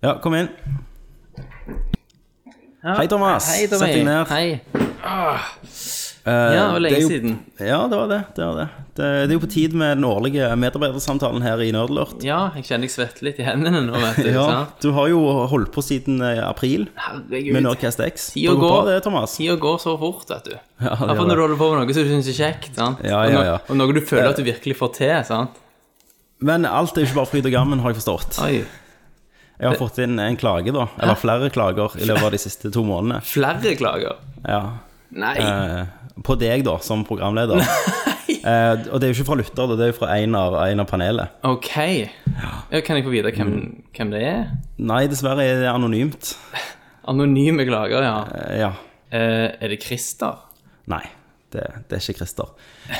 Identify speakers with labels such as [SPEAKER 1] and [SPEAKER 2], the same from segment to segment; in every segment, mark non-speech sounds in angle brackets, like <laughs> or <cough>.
[SPEAKER 1] Ja, kom inn.
[SPEAKER 2] Ja.
[SPEAKER 1] Hei, Thomas.
[SPEAKER 2] Hei, Tommy.
[SPEAKER 1] Sett deg ned.
[SPEAKER 2] Hei.
[SPEAKER 1] Eh,
[SPEAKER 2] Ja, det var lenge
[SPEAKER 1] er jo,
[SPEAKER 2] siden.
[SPEAKER 1] Ja, det var det. Det, var det. det. det er jo på tid med den årlige medarbeidersamtalen her i Nerdlurt.
[SPEAKER 2] Ja, jeg kjenner jeg svetter litt i hendene nå, vet du.
[SPEAKER 1] <laughs> Ja,
[SPEAKER 2] sant?
[SPEAKER 1] du har jo holdt på siden eh, april med
[SPEAKER 2] Herregud.
[SPEAKER 1] Nerdcast X.
[SPEAKER 2] Tida
[SPEAKER 1] Det går
[SPEAKER 2] går.
[SPEAKER 1] bra, det, Thomas.
[SPEAKER 2] Tida går så fort, vet du.
[SPEAKER 1] Ja, det
[SPEAKER 2] Iallfall
[SPEAKER 1] gjør
[SPEAKER 2] når du holder på med noe som du syns er kjekt. sant?
[SPEAKER 1] Ja, ja,
[SPEAKER 2] Og
[SPEAKER 1] Eh.
[SPEAKER 2] no-
[SPEAKER 1] ja.
[SPEAKER 2] Og noe du føler at du virkelig får til. sant?
[SPEAKER 1] Men alt er jo ikke bare fryd og gammen, har jeg forstått.
[SPEAKER 2] Oi.
[SPEAKER 1] Jeg har fått inn en klage, da. Eller flere klager i
[SPEAKER 2] <laughs>
[SPEAKER 1] løpet av de siste to månedene.
[SPEAKER 2] Flere klager.
[SPEAKER 1] Ja.
[SPEAKER 2] Nei.
[SPEAKER 1] Eh, på deg, da, som programleder. Eh, og det er jo ikke fra lytter, da, det er jo fra en av, en av panelet.
[SPEAKER 2] Ok. Ja, Kan jeg få vite hvem,
[SPEAKER 1] Mm.
[SPEAKER 2] hvem det er?
[SPEAKER 1] Nei, dessverre er det anonymt.
[SPEAKER 2] Anonyme klager, ja.
[SPEAKER 1] Eh, ja.
[SPEAKER 2] Eh, er det Christer?
[SPEAKER 1] Nei, det, det er ikke Christer.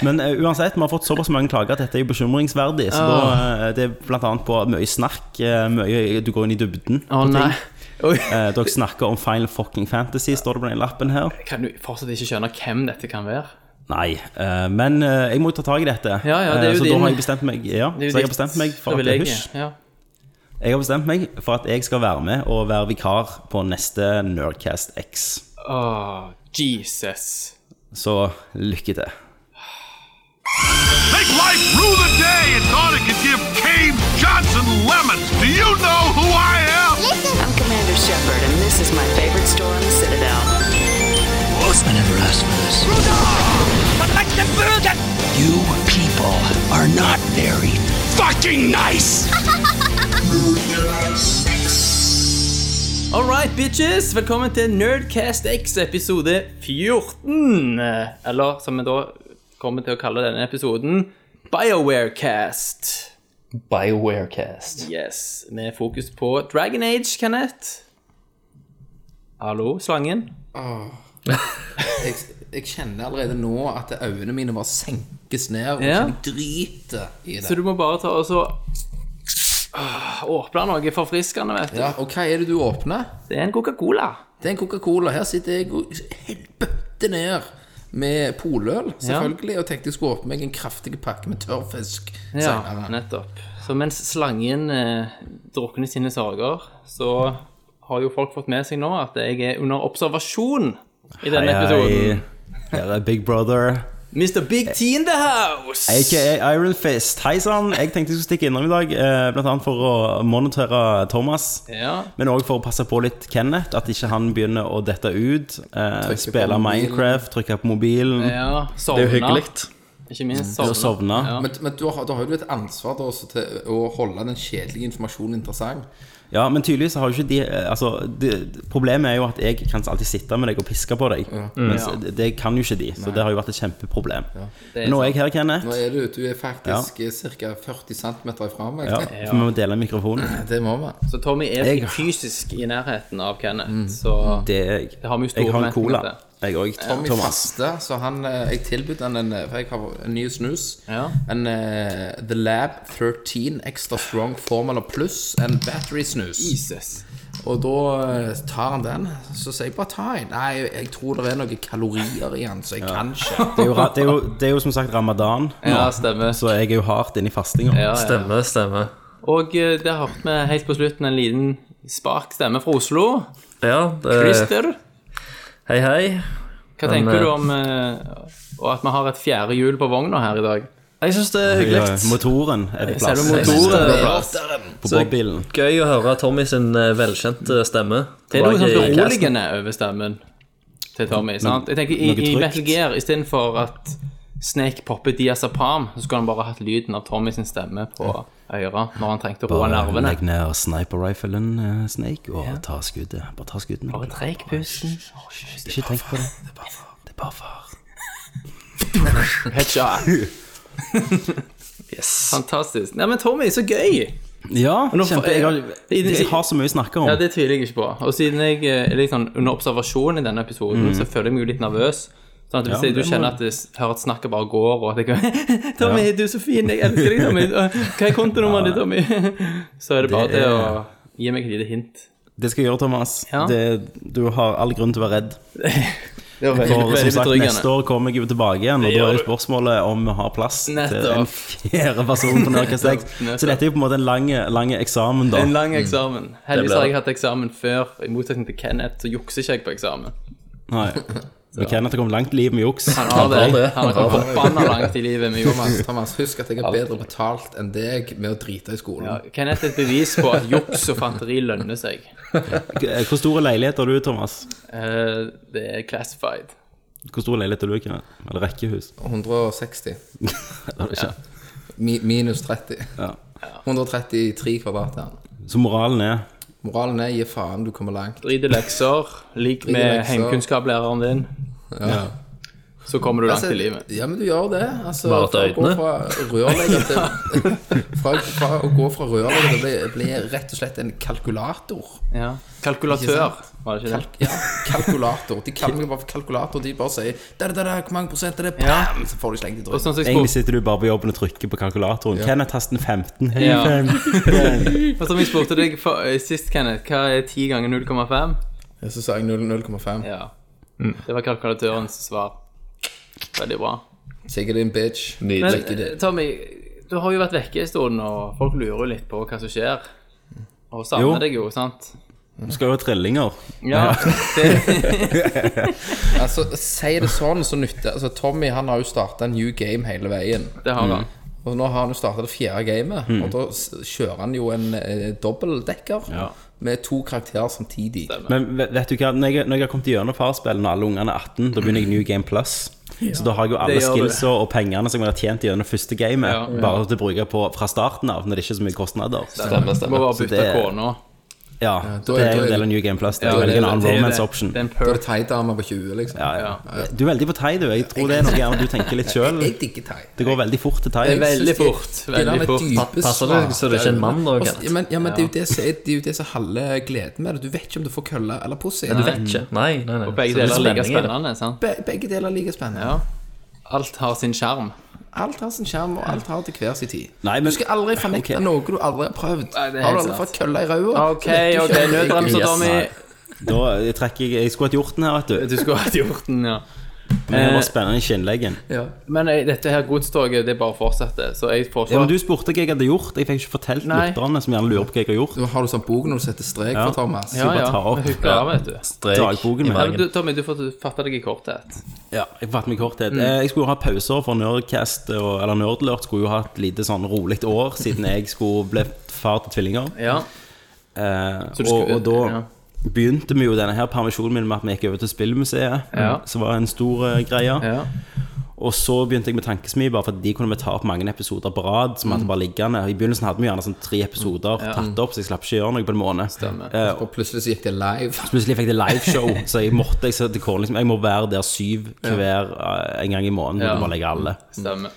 [SPEAKER 1] Men eh, uansett, vi har fått såpass mange klager at dette er jo bekymringsverdig. Så da,
[SPEAKER 2] Ah.
[SPEAKER 1] eh, det er blant annet på mye snakk, eh, mye Du går inn i dybden.
[SPEAKER 2] Å nei. Oi.
[SPEAKER 1] Eh, dere snakker om Final Fucking Fantasy, står det på den lappen her.
[SPEAKER 2] Kan du fortsatt ikke skjønne hvem dette kan være?
[SPEAKER 1] Nei, eh, men eh, jeg må jo ta tak i dette.
[SPEAKER 2] Ja, ja, det er
[SPEAKER 1] Eh,
[SPEAKER 2] jo
[SPEAKER 1] så
[SPEAKER 2] din-
[SPEAKER 1] da har jeg bestemt meg Ja, så
[SPEAKER 2] Det er jo
[SPEAKER 1] jeg har
[SPEAKER 2] ditt
[SPEAKER 1] bestemt meg for at
[SPEAKER 2] privilegium.
[SPEAKER 1] hysj.
[SPEAKER 2] Ja.
[SPEAKER 1] Jeg har bestemt meg for at jeg skal være med og være vikar på neste Nerdcast X.
[SPEAKER 2] Åh, Jesus.
[SPEAKER 1] Så lykke til.
[SPEAKER 3] Make life rue the day and thought it could give Cave Johnson lemons. Do you know who I am?
[SPEAKER 4] I'm Commander Shepard, and this is my favorite store in the Citadel.
[SPEAKER 5] I never asked for this. You people are not very fucking nice!
[SPEAKER 2] All right, bitches! Velkommen til Nerdcast X episode 14. eh, Eller som vi da kommer til å kalle denne episoden, BiowareCast.
[SPEAKER 6] BioWarecast.
[SPEAKER 2] Yes, med fokus på Dragon Age, Kenneth. Hallo, slangen.
[SPEAKER 6] Jeg, jeg kjenner allerede nå at øynene mine bare senkes ned og
[SPEAKER 2] Ja.
[SPEAKER 6] jeg driter i
[SPEAKER 2] Så
[SPEAKER 6] det.
[SPEAKER 2] du må bare ta og så Åh, åpne noe forfriskende, vet du.
[SPEAKER 6] Ja, og hva er det du åpner?
[SPEAKER 2] Det er en Coca-Cola.
[SPEAKER 6] Det er en Coca-Cola. Her sitter jeg og helbøtte ned med poløl, selvfølgelig, og tenkte jeg skulle åpne meg en kraftig pakke med tørrfisk
[SPEAKER 2] Ja,
[SPEAKER 6] senere.
[SPEAKER 2] nettopp. Så mens slangen eh, drukner sine sorger, så har jo folk fått med seg nå at jeg er under observasjon i denne episoden.
[SPEAKER 1] Her er Big Brother.
[SPEAKER 2] Mr. Big T in the house!
[SPEAKER 1] AKA Iron Fist. Hei sann. Jeg tenkte jeg skulle stikke innom i dag, eh, blant annet for å monitere Thomas.
[SPEAKER 2] Ja.
[SPEAKER 1] Men òg for å passe på litt Kenneth, at ikke han begynner å dette ut. Eh, spille
[SPEAKER 6] på mobilen.
[SPEAKER 1] Minecraft, trykke på mobilen.
[SPEAKER 2] ja,
[SPEAKER 7] Det
[SPEAKER 2] sovna.
[SPEAKER 7] er jo hyggelig.
[SPEAKER 2] Ikke minst
[SPEAKER 1] Du
[SPEAKER 2] sovna.
[SPEAKER 1] har sovna.
[SPEAKER 2] Ja.
[SPEAKER 6] Men, men du har, da har jo et ansvar da, også til å holde den kjedelige informasjonen interessant.
[SPEAKER 1] Ja, men tydeligvis har jo ikke de Altså, de, Problemet er jo at jeg kan alltid sitte med deg og piske på deg. Mens
[SPEAKER 2] Ja.
[SPEAKER 1] det, det kan jo ikke de, så det har jo vært et kjempeproblem.
[SPEAKER 2] Det er
[SPEAKER 1] Men nå er
[SPEAKER 2] sant.
[SPEAKER 1] jeg her,
[SPEAKER 6] Nå
[SPEAKER 1] Kenneth.
[SPEAKER 6] er du, du er faktisk ca. 40 cm ifra meg.
[SPEAKER 1] Ja, for vi må dele mikrofonen.
[SPEAKER 6] <laughs> Det må vi.
[SPEAKER 2] Så Tommy er
[SPEAKER 1] Jeg-
[SPEAKER 2] fysisk i nærheten av Kenneth, så
[SPEAKER 1] Det er jeg.
[SPEAKER 2] Det har vi jo store
[SPEAKER 1] Jeg har en
[SPEAKER 2] forventninger
[SPEAKER 1] cola,
[SPEAKER 2] til.
[SPEAKER 1] jeg òg.
[SPEAKER 6] Tommy
[SPEAKER 1] Thomas.
[SPEAKER 6] faste, så han, eh, jeg tilbød han en eh, For jeg har en ny snus.
[SPEAKER 2] Ja.
[SPEAKER 6] En eh, The Lab 13 Extra Strong Formula Plus En battery-snus.
[SPEAKER 2] Jesus.
[SPEAKER 6] Og da eh, tar han den. Så sier jeg bare ta en. Nei, jeg tror det er noen kalorier i den, så jeg kan ikke.
[SPEAKER 1] <laughs> Det er, jo, ra- det, er jo,
[SPEAKER 2] <laughs>
[SPEAKER 1] det er jo som sagt ramadan, nå,
[SPEAKER 2] Ja, stemmer.
[SPEAKER 1] så jeg er jo hardt inne i fastinga.
[SPEAKER 2] Ja, ja.
[SPEAKER 7] Stemme, stemme.
[SPEAKER 2] Og eh, der hørte vi helt på slutten en liten spark stemme fra Oslo.
[SPEAKER 7] Ja, det,
[SPEAKER 2] Christer,
[SPEAKER 7] hei, hei.
[SPEAKER 2] hva
[SPEAKER 7] men,
[SPEAKER 2] tenker
[SPEAKER 7] eh,
[SPEAKER 2] du om eh, og at vi har et fjerde hjul på vogna her i dag?
[SPEAKER 7] Jeg syns det er
[SPEAKER 1] Ja,
[SPEAKER 7] hyggelig.
[SPEAKER 1] eh, motoren er på plass.
[SPEAKER 2] Selve motoren er på plass.
[SPEAKER 1] På bobilen.
[SPEAKER 7] Gøy å høre Tommy sin eh, velkjente stemme.
[SPEAKER 2] Det er noe sånn
[SPEAKER 7] tilbake i casten.
[SPEAKER 2] beroligende over stemmen til Tommy. sant? Jeg tenker I,
[SPEAKER 1] noe
[SPEAKER 2] i
[SPEAKER 1] trygt.
[SPEAKER 2] Metal Gear, istedenfor at Snake popper diazepam, så skulle han bare hatt lyden av Tommy sin stemme på øret når han trengte å roe
[SPEAKER 1] Bare
[SPEAKER 2] nervene.
[SPEAKER 1] legg ned sniper-riflen, eh, Snake, og ta skuddet. Bare ta skuddene.
[SPEAKER 2] Bare treik pusten.
[SPEAKER 1] Ikke tenk på det. Det er bare far. <laughs>
[SPEAKER 2] Headshot. Fantastisk. Nei, men Tommy, så gøy!
[SPEAKER 1] Ja,
[SPEAKER 2] nå-
[SPEAKER 1] kjempe, jeg, har,
[SPEAKER 2] Det-
[SPEAKER 1] jeg har så mye å snakke om.
[SPEAKER 2] Ja, det tviler jeg ikke på. Og siden jeg eh, er litt sånn under observasjon i denne episoden, så føler jeg meg jo litt nervøs. Sånn at Hvis
[SPEAKER 1] Ja,
[SPEAKER 2] jeg, du
[SPEAKER 1] det må-
[SPEAKER 2] kjenner at det, hører at snakket bare går, og at jeg <laughs> kan 'Tommy, du er så fin. Jeg elsker deg, Tommy. Hva er kontonummeret ditt, Tommy?' <laughs> Så er det bare
[SPEAKER 1] Det
[SPEAKER 2] det,
[SPEAKER 1] er-
[SPEAKER 2] å gi meg et lite hint.
[SPEAKER 1] Det skal jeg gjøre, Thomas.
[SPEAKER 2] Ja.
[SPEAKER 1] Det, du har all grunn til å være redd.
[SPEAKER 2] Det var
[SPEAKER 1] For som
[SPEAKER 2] veldig
[SPEAKER 1] sagt, neste
[SPEAKER 2] betryggende.
[SPEAKER 1] år kommer jeg jo tilbake igjen, og da
[SPEAKER 2] gjør
[SPEAKER 1] er jo
[SPEAKER 2] du.
[SPEAKER 1] spørsmålet om vi har plass til
[SPEAKER 2] Nettopp.
[SPEAKER 1] en fjerde person på Nerdcast X.
[SPEAKER 2] <laughs> Nettopp.
[SPEAKER 1] Så dette er jo på en måte en lang, lang eksamen, da.
[SPEAKER 2] En lang eksamen. Heldigvis
[SPEAKER 7] Det ble
[SPEAKER 2] har
[SPEAKER 7] det.
[SPEAKER 2] jeg hatt eksamen før. I motsetning til Kenneth så jukser ikke jeg på eksamen.
[SPEAKER 1] Nei.
[SPEAKER 2] <laughs>
[SPEAKER 1] Men Kenneth har kommet langt i livet med juks.
[SPEAKER 2] Han har
[SPEAKER 7] har
[SPEAKER 2] det.
[SPEAKER 7] det.
[SPEAKER 2] Han har
[SPEAKER 7] Han
[SPEAKER 2] kommet forbanna langt i livet med Jonas.
[SPEAKER 6] Thomas, Thomas, husk at jeg er bedre betalt enn deg med å drite i skolen.
[SPEAKER 2] Ja, Kenneth er et bevis på at juks og fanteri lønner seg.
[SPEAKER 1] K- Hvor stor leilighet har du, Thomas?
[SPEAKER 2] Eh, det er classified.
[SPEAKER 1] Hvor stor leilighet har du, Kenneth? Eller rekkehus?
[SPEAKER 6] 160.
[SPEAKER 1] Det har du ikke.
[SPEAKER 6] Mi minus 30.
[SPEAKER 1] Ja.
[SPEAKER 6] 133 kvadrat her.
[SPEAKER 1] Så moralen er
[SPEAKER 6] Moralen er gi faen, du kommer langt.
[SPEAKER 2] Drit i lekser. Lik
[SPEAKER 6] i
[SPEAKER 2] med
[SPEAKER 6] lekser.
[SPEAKER 2] heimkunnskaplæreren din.
[SPEAKER 6] Ja.
[SPEAKER 2] Så kommer du langt
[SPEAKER 6] Altså,
[SPEAKER 2] i livet.
[SPEAKER 6] Ja, men du gjør det. Altså,
[SPEAKER 7] Bare til
[SPEAKER 6] fra å gå
[SPEAKER 7] øynene?
[SPEAKER 6] Fra, rørlegger til, <laughs> fra, fra å gå fra rørlegger til å bli, bli rett og slett en kalkulator.
[SPEAKER 2] Ja.
[SPEAKER 6] Ikke
[SPEAKER 2] Kalkulatør, var det ikke det?
[SPEAKER 6] Kalk, ja, kalkulator. De
[SPEAKER 2] <laughs>
[SPEAKER 6] kaller meg bare for kalkulator. De bare sier da, da, da, hvor mange prosent er det?
[SPEAKER 2] Ja.
[SPEAKER 6] Bam! Så får de slengt i
[SPEAKER 2] Og
[SPEAKER 6] drømmen.
[SPEAKER 2] sånn som jeg
[SPEAKER 1] Egentlig
[SPEAKER 2] spurte,
[SPEAKER 1] sitter du bare på jobben og trykker på kalkulatoren. Kenneth tasten 15. Hei,
[SPEAKER 2] Ja.
[SPEAKER 1] fem.
[SPEAKER 2] og sånn som jeg spurte deg for, eh, sist, Kenneth, hva er 10 ganger 0,5?
[SPEAKER 6] Så sa jeg 0, 0,5.
[SPEAKER 2] Ja. Det var kalkulatørens svar. Veldig bra.
[SPEAKER 6] Take it in, bitch.
[SPEAKER 2] Men
[SPEAKER 7] Nydelig.
[SPEAKER 2] eh, Tommy, du har jo vært vekke en stund, og folk lurer jo litt på hva som skjer. Og
[SPEAKER 1] Jo.
[SPEAKER 2] savner deg jo, sant?
[SPEAKER 1] Du skal jo ha trillinger.
[SPEAKER 2] Ja, det,
[SPEAKER 6] Altså, Si det sånn, så nytter altså, Tommy han har jo starta en new game hele veien.
[SPEAKER 2] det har han.
[SPEAKER 6] Og nå har han jo starta det fjerde gamet,
[SPEAKER 7] Hmm.
[SPEAKER 6] og da s- kjører han jo en eh, dobbeltdekker
[SPEAKER 1] Ja.
[SPEAKER 6] med to karakterer samtidig.
[SPEAKER 1] Men vet vet du hva, når jeg, når jeg har kommet gjennom farspillet når alle ungene er 18, da begynner jeg New Game Plus. Så da har jeg jo alle
[SPEAKER 2] Det gjør du.
[SPEAKER 1] skillsa og pengene som jeg har tjent gjennom første gamet,
[SPEAKER 2] Ja.
[SPEAKER 1] bare til å bruke på fra starten av, når det ikke er så mye kostnader.
[SPEAKER 7] Stemmer,
[SPEAKER 2] Du må
[SPEAKER 7] stemmer.
[SPEAKER 2] bare bytte
[SPEAKER 1] det-
[SPEAKER 2] kåna.
[SPEAKER 1] Ja,
[SPEAKER 6] da er-
[SPEAKER 1] det er jo
[SPEAKER 6] da er-
[SPEAKER 1] en del av New Game Plus. Det er
[SPEAKER 2] Ja,
[SPEAKER 1] jo
[SPEAKER 2] det
[SPEAKER 1] veldig
[SPEAKER 2] er
[SPEAKER 1] en annen
[SPEAKER 2] det.
[SPEAKER 1] romance
[SPEAKER 2] Det-
[SPEAKER 1] option.
[SPEAKER 2] Det er en
[SPEAKER 6] Da er
[SPEAKER 2] perk.
[SPEAKER 6] det thai-dame på 20, liksom.
[SPEAKER 1] Ja, ja.
[SPEAKER 2] Ja.
[SPEAKER 1] Du er veldig på thai, du. Jeg tror det er noe gjerne du tenker litt sjøl.
[SPEAKER 6] Jeg digger thai.
[SPEAKER 1] Det går veldig fort til thai.
[SPEAKER 2] Det er veldig
[SPEAKER 6] Jeg synes de-
[SPEAKER 2] fort,
[SPEAKER 6] de der
[SPEAKER 2] veldig
[SPEAKER 6] med
[SPEAKER 2] fort.
[SPEAKER 6] dype
[SPEAKER 7] Passer det så det er ikke en mann da,
[SPEAKER 6] Og-
[SPEAKER 7] Kenneth?
[SPEAKER 6] Ja, men, ja, men det er jo det som er- det er jo det som er halve gleden med det. Du vet ikke om du får kølle eller pussy.
[SPEAKER 7] Du vet ikke. Nei, nei, nei.
[SPEAKER 2] Begge
[SPEAKER 7] Så det er
[SPEAKER 2] deler er like
[SPEAKER 7] spenning i det.
[SPEAKER 2] spennende, sant?
[SPEAKER 6] Be begge deler er like spennende.
[SPEAKER 2] Ja. Alt har sin sjarm.
[SPEAKER 6] Alt har sin skjerm, og alt har til hver sin tid.
[SPEAKER 1] Nei, men-
[SPEAKER 6] du skal aldri fornekte
[SPEAKER 1] Ok.
[SPEAKER 6] noe du aldri har prøvd.
[SPEAKER 2] Nei, det er
[SPEAKER 6] har
[SPEAKER 2] helt
[SPEAKER 6] du aldri
[SPEAKER 2] sant.
[SPEAKER 6] fått kølle i ræva?
[SPEAKER 2] OK, ok, nødbremser, Tommy.
[SPEAKER 1] Da trekker jeg Jeg skulle hatt hjorten her, vet du.
[SPEAKER 2] Du skulle hatt gjort den, ja.
[SPEAKER 1] Men det var spennende i skinnleggen.
[SPEAKER 6] Ja.
[SPEAKER 2] Men eh, dette her godstoget, det bare fortsetter. Så jeg
[SPEAKER 1] Ja, men
[SPEAKER 2] foreslår
[SPEAKER 1] du spurte hva jeg hadde gjort. Jeg fikk ikke fortalt
[SPEAKER 2] Nei.
[SPEAKER 1] lytterne, som gjerne lurer på hva jeg har gjort.
[SPEAKER 6] Nå har du sånn bok når du setter strek for Thomas.
[SPEAKER 2] ja, ja.
[SPEAKER 1] bare ta opp.
[SPEAKER 2] Hooker av, vet du.
[SPEAKER 7] Strek
[SPEAKER 1] Dagboken
[SPEAKER 7] i
[SPEAKER 1] min.
[SPEAKER 2] Men
[SPEAKER 7] magen.
[SPEAKER 2] du, Tommy, du får fatte deg i korthet.
[SPEAKER 1] Ja, jeg fatter meg i korthet.
[SPEAKER 2] Mm.
[SPEAKER 1] Eh, Jeg skulle jo ha pauser for Nerdcast, og, eller Nerdlurt skulle jo ha et lite sånn rolig år, siden jeg skulle ble far til tvillinger.
[SPEAKER 2] Ja.
[SPEAKER 1] Eh,
[SPEAKER 2] Så du
[SPEAKER 1] og,
[SPEAKER 2] skulle-
[SPEAKER 1] og da
[SPEAKER 2] ja.
[SPEAKER 1] begynte vi jo denne her permisjonen min med at vi gikk over til Spillmuseet,
[SPEAKER 2] Ja.
[SPEAKER 1] som var en stor eh, greie.
[SPEAKER 2] ja.
[SPEAKER 1] Og så begynte jeg med Tankesmi, bare for at de kunne vi ta opp mange episoder på rad. Som
[SPEAKER 2] Mm.
[SPEAKER 1] hadde bare liggende I begynnelsen hadde vi gjerne sånn tre episoder tatt opp, så jeg slapp ikke gjøre noe på en måned.
[SPEAKER 2] Stemmer.
[SPEAKER 1] Eh,
[SPEAKER 6] Og plutselig så gikk det live.
[SPEAKER 1] Plutselig fikk jeg liveshow, <laughs> så jeg måtte jeg, sa til kåren, liksom, jeg må være der syv hver eh, en gang i måneden.
[SPEAKER 2] Ja.
[SPEAKER 1] Ja. Bare legge alle.
[SPEAKER 2] Stemmer.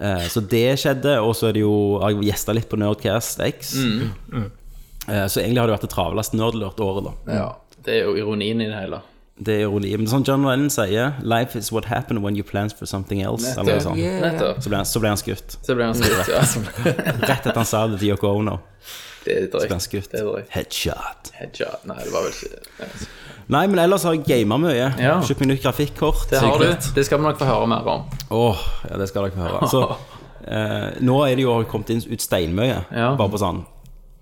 [SPEAKER 1] Eh, Så det skjedde, og så er det jo har jeg gjesta litt på Nerdcast X.
[SPEAKER 2] Mm.
[SPEAKER 1] Eh, Så egentlig har det vært det travleste nerdlurt året, da.
[SPEAKER 6] Ja.
[SPEAKER 2] Det er jo ironien i det hele.
[SPEAKER 1] Det er ironi. Men sånn John Lennon sier 'Life is what happens when you plans for something else'. Eller noe sånt.
[SPEAKER 2] Nettopp.
[SPEAKER 1] Så ble han, så ble han skutt.
[SPEAKER 2] Så ble han skutt,
[SPEAKER 1] <laughs>
[SPEAKER 2] ja.
[SPEAKER 1] Rett etter han sa det til Yoko Ono.
[SPEAKER 2] Det er
[SPEAKER 1] Ble han
[SPEAKER 2] drøyt.
[SPEAKER 1] skutt.
[SPEAKER 2] Det er drøyt.
[SPEAKER 1] Headshot.
[SPEAKER 2] Headshot. Nei, det var vel ikke
[SPEAKER 1] Nei, men ellers har jeg gama mye.
[SPEAKER 2] Ja.
[SPEAKER 1] Kjøpt meg nytt grafikkort.
[SPEAKER 2] Det har du.
[SPEAKER 1] Sikkert.
[SPEAKER 2] Det skal vi nok få høre mer om.
[SPEAKER 1] Åh, ja, det skal dere få høre. Så, eh, nå er det jo kommet inn ut steinmye,
[SPEAKER 2] Ja.
[SPEAKER 1] bare på sånn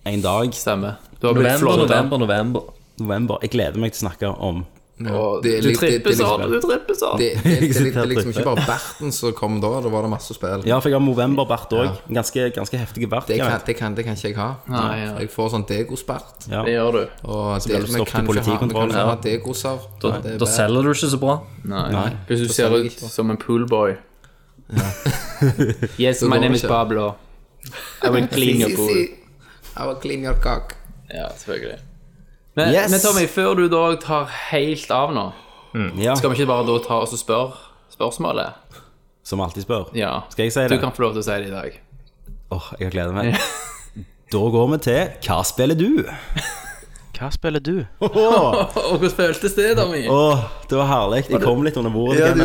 [SPEAKER 1] en dag.
[SPEAKER 2] Stemmer. Du har blitt
[SPEAKER 7] November,
[SPEAKER 2] flådd.
[SPEAKER 7] november, november.
[SPEAKER 1] November. Jeg gleder meg til å snakke om
[SPEAKER 2] Og
[SPEAKER 6] Det er
[SPEAKER 2] Du
[SPEAKER 6] litt- det- det
[SPEAKER 2] tripper
[SPEAKER 6] er liksom-
[SPEAKER 2] sånn, du tripper sånn.
[SPEAKER 6] Det, det, det, det, det,
[SPEAKER 1] sitter her
[SPEAKER 6] er
[SPEAKER 2] <laughs>
[SPEAKER 6] liksom
[SPEAKER 1] og
[SPEAKER 6] ikke bare verten som kom da, da var det masse spill.
[SPEAKER 1] Ja, for jeg har Movember-bart òg. Ganske, ganske heftige bart.
[SPEAKER 6] Det
[SPEAKER 1] jeg
[SPEAKER 6] kan,
[SPEAKER 1] vet.
[SPEAKER 6] det, kan, det kan ikke jeg ha.
[SPEAKER 2] Nei, ja.
[SPEAKER 6] Jeg får sånn degospert.
[SPEAKER 1] Ja.
[SPEAKER 2] Det gjør du.
[SPEAKER 6] Og
[SPEAKER 1] blir
[SPEAKER 6] det,
[SPEAKER 1] du
[SPEAKER 6] vi
[SPEAKER 1] stoppet i
[SPEAKER 6] kan ikke ha, vi kan
[SPEAKER 1] politikontrollen,
[SPEAKER 6] ikke
[SPEAKER 1] ja.
[SPEAKER 6] ha degoser.
[SPEAKER 7] Da,
[SPEAKER 6] Det er
[SPEAKER 7] da
[SPEAKER 6] bad.
[SPEAKER 7] selger du ikke så bra.
[SPEAKER 2] Nei. Hvis du ser
[SPEAKER 6] selger jeg
[SPEAKER 2] ut
[SPEAKER 6] ikke.
[SPEAKER 2] som en poolboy. <laughs> yes, my
[SPEAKER 6] går
[SPEAKER 2] name is
[SPEAKER 6] ikke.
[SPEAKER 2] Pablo. I <laughs> will clean your
[SPEAKER 6] Si,
[SPEAKER 2] pool.
[SPEAKER 6] si. I will clean your cock.
[SPEAKER 2] Ja, selvfølgelig. Men,
[SPEAKER 1] Yes.
[SPEAKER 2] men Tommy, før du da tar helt av nå,
[SPEAKER 1] Ja.
[SPEAKER 2] skal vi ikke bare da ta oss og spørre spørsmålet?
[SPEAKER 1] Som alltid spør.
[SPEAKER 2] Ja.
[SPEAKER 1] Skal jeg si
[SPEAKER 2] Du
[SPEAKER 1] det?
[SPEAKER 2] kan få lov til å si det i dag.
[SPEAKER 1] Åh, jeg har gledet meg. Da går vi til Hva spiller du? Hva spiller du? Åh,
[SPEAKER 2] Og hvordan føltes det, Tommy?
[SPEAKER 1] åh, det var herlig. Jeg kom litt under bordet. Kenneth,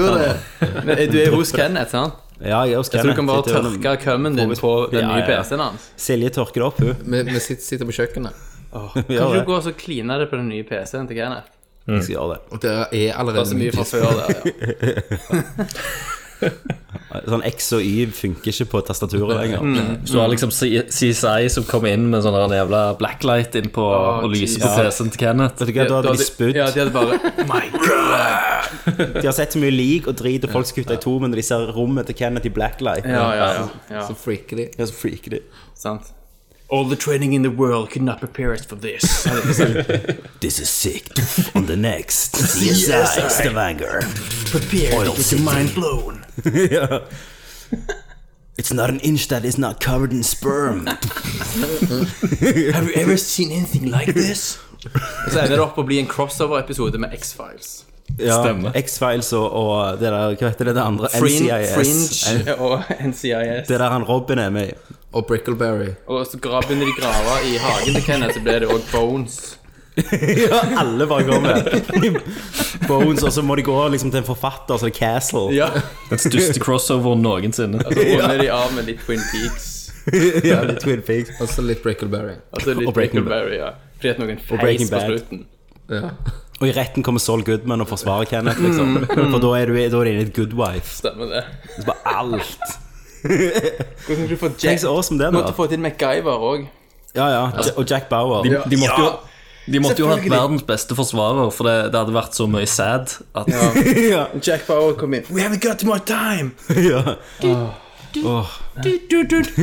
[SPEAKER 1] her nå.
[SPEAKER 2] Du er hos Kenneth, sant?
[SPEAKER 1] Ja, jeg
[SPEAKER 2] Så du kan bare tørke
[SPEAKER 1] tørke
[SPEAKER 2] kømmen din på den
[SPEAKER 1] Ja,
[SPEAKER 2] nye
[SPEAKER 1] ja, ja.
[SPEAKER 2] PC-en hans?
[SPEAKER 1] Silje tørker det opp, hun.
[SPEAKER 6] Vi, vi sitter, sitter på kjøkkenet.
[SPEAKER 1] <laughs> Hun
[SPEAKER 2] Kan
[SPEAKER 1] gjør
[SPEAKER 2] ikke
[SPEAKER 1] det.
[SPEAKER 2] du gå og så kline det på den nye PC-en til Kenneth?
[SPEAKER 1] Jeg skal gjøre det.
[SPEAKER 6] Og det er allerede
[SPEAKER 2] så mye fra før der, ja.
[SPEAKER 1] Sånn X og Y funker ikke på
[SPEAKER 2] Mm.
[SPEAKER 1] tastaturet lenger.
[SPEAKER 7] Hvis du har liksom C- CSI som kommer inn med sånn der jævla blacklight inn på, og lyser på PC-en til Kenneth.
[SPEAKER 1] Vet du hva, Da hadde de spydd.
[SPEAKER 2] Ja, de
[SPEAKER 1] <laughs>
[SPEAKER 2] hadde bare My God!
[SPEAKER 1] De har sett så mye lik og drit, og folk skal kutte i to, men når de ser rommet til Kenneth i blacklight,
[SPEAKER 2] Ja, ja, ja. ja.
[SPEAKER 6] <laughs> Så freaker de.
[SPEAKER 1] ja, så freaker de.
[SPEAKER 2] Sant. All the training in the world could not prepare us for this. Ja, det er sant.
[SPEAKER 1] This is sick. On the next CSI Stavanger.
[SPEAKER 2] Prepare
[SPEAKER 1] Oil
[SPEAKER 2] to get
[SPEAKER 1] City.
[SPEAKER 2] your mind blown.
[SPEAKER 1] <laughs> ja. It's not an inch that is not covered in sperm.
[SPEAKER 2] Have you ever seen anything like this? Og så ender det opp å bli en crossover-episode med X-Files.
[SPEAKER 1] Ja,
[SPEAKER 7] Stemmer.
[SPEAKER 1] X-Files og, og det der, hva heter det, det andre?
[SPEAKER 2] Fringe,
[SPEAKER 1] NCIS.
[SPEAKER 2] Fringe og NCIS.
[SPEAKER 1] Det der han Robin er med i.
[SPEAKER 6] Og Brickleberry.
[SPEAKER 2] Og så gra- begynner de å grave i hagen til Kenneth, så blir det òg <laughs> Bones.
[SPEAKER 1] <laughs> Ja, alle bare går med. Bones, og så må de gå liksom, til en forfatter, så det er Castle.
[SPEAKER 2] Ja.
[SPEAKER 7] Den største crossoveren noensinne.
[SPEAKER 2] Så runder de av med litt Twin Peaks.
[SPEAKER 1] <laughs> ja, det er Twin Peaks.
[SPEAKER 6] Og så litt Brickleberry.
[SPEAKER 2] Altså litt
[SPEAKER 1] Og Breaking
[SPEAKER 2] Brickleberry, ja. Fordi at noen feis
[SPEAKER 1] Breaking
[SPEAKER 2] på
[SPEAKER 1] Bad.
[SPEAKER 2] slutten.
[SPEAKER 6] Ja.
[SPEAKER 1] Og i retten kommer Saul Goodman og forsvarer Kenneth, liksom. For da er du, da er du inne i et good wife.
[SPEAKER 2] Stemmer det.
[SPEAKER 1] Så bare alt.
[SPEAKER 2] Hvordan skal du få
[SPEAKER 1] Tenk
[SPEAKER 2] Jack
[SPEAKER 1] så awesome det
[SPEAKER 2] Du måtte
[SPEAKER 1] da.
[SPEAKER 2] få til MacGyver òg.
[SPEAKER 1] Ja, ja. Ja, Og Jack Bauer.
[SPEAKER 7] De, de måtte jo de måtte jo ha hatt verdens beste forsvarer, for det, det hadde vært så mye sad at
[SPEAKER 1] ja. <laughs>
[SPEAKER 2] Jack Bauer kom inn. We haven't got more time!
[SPEAKER 1] ja. Åh.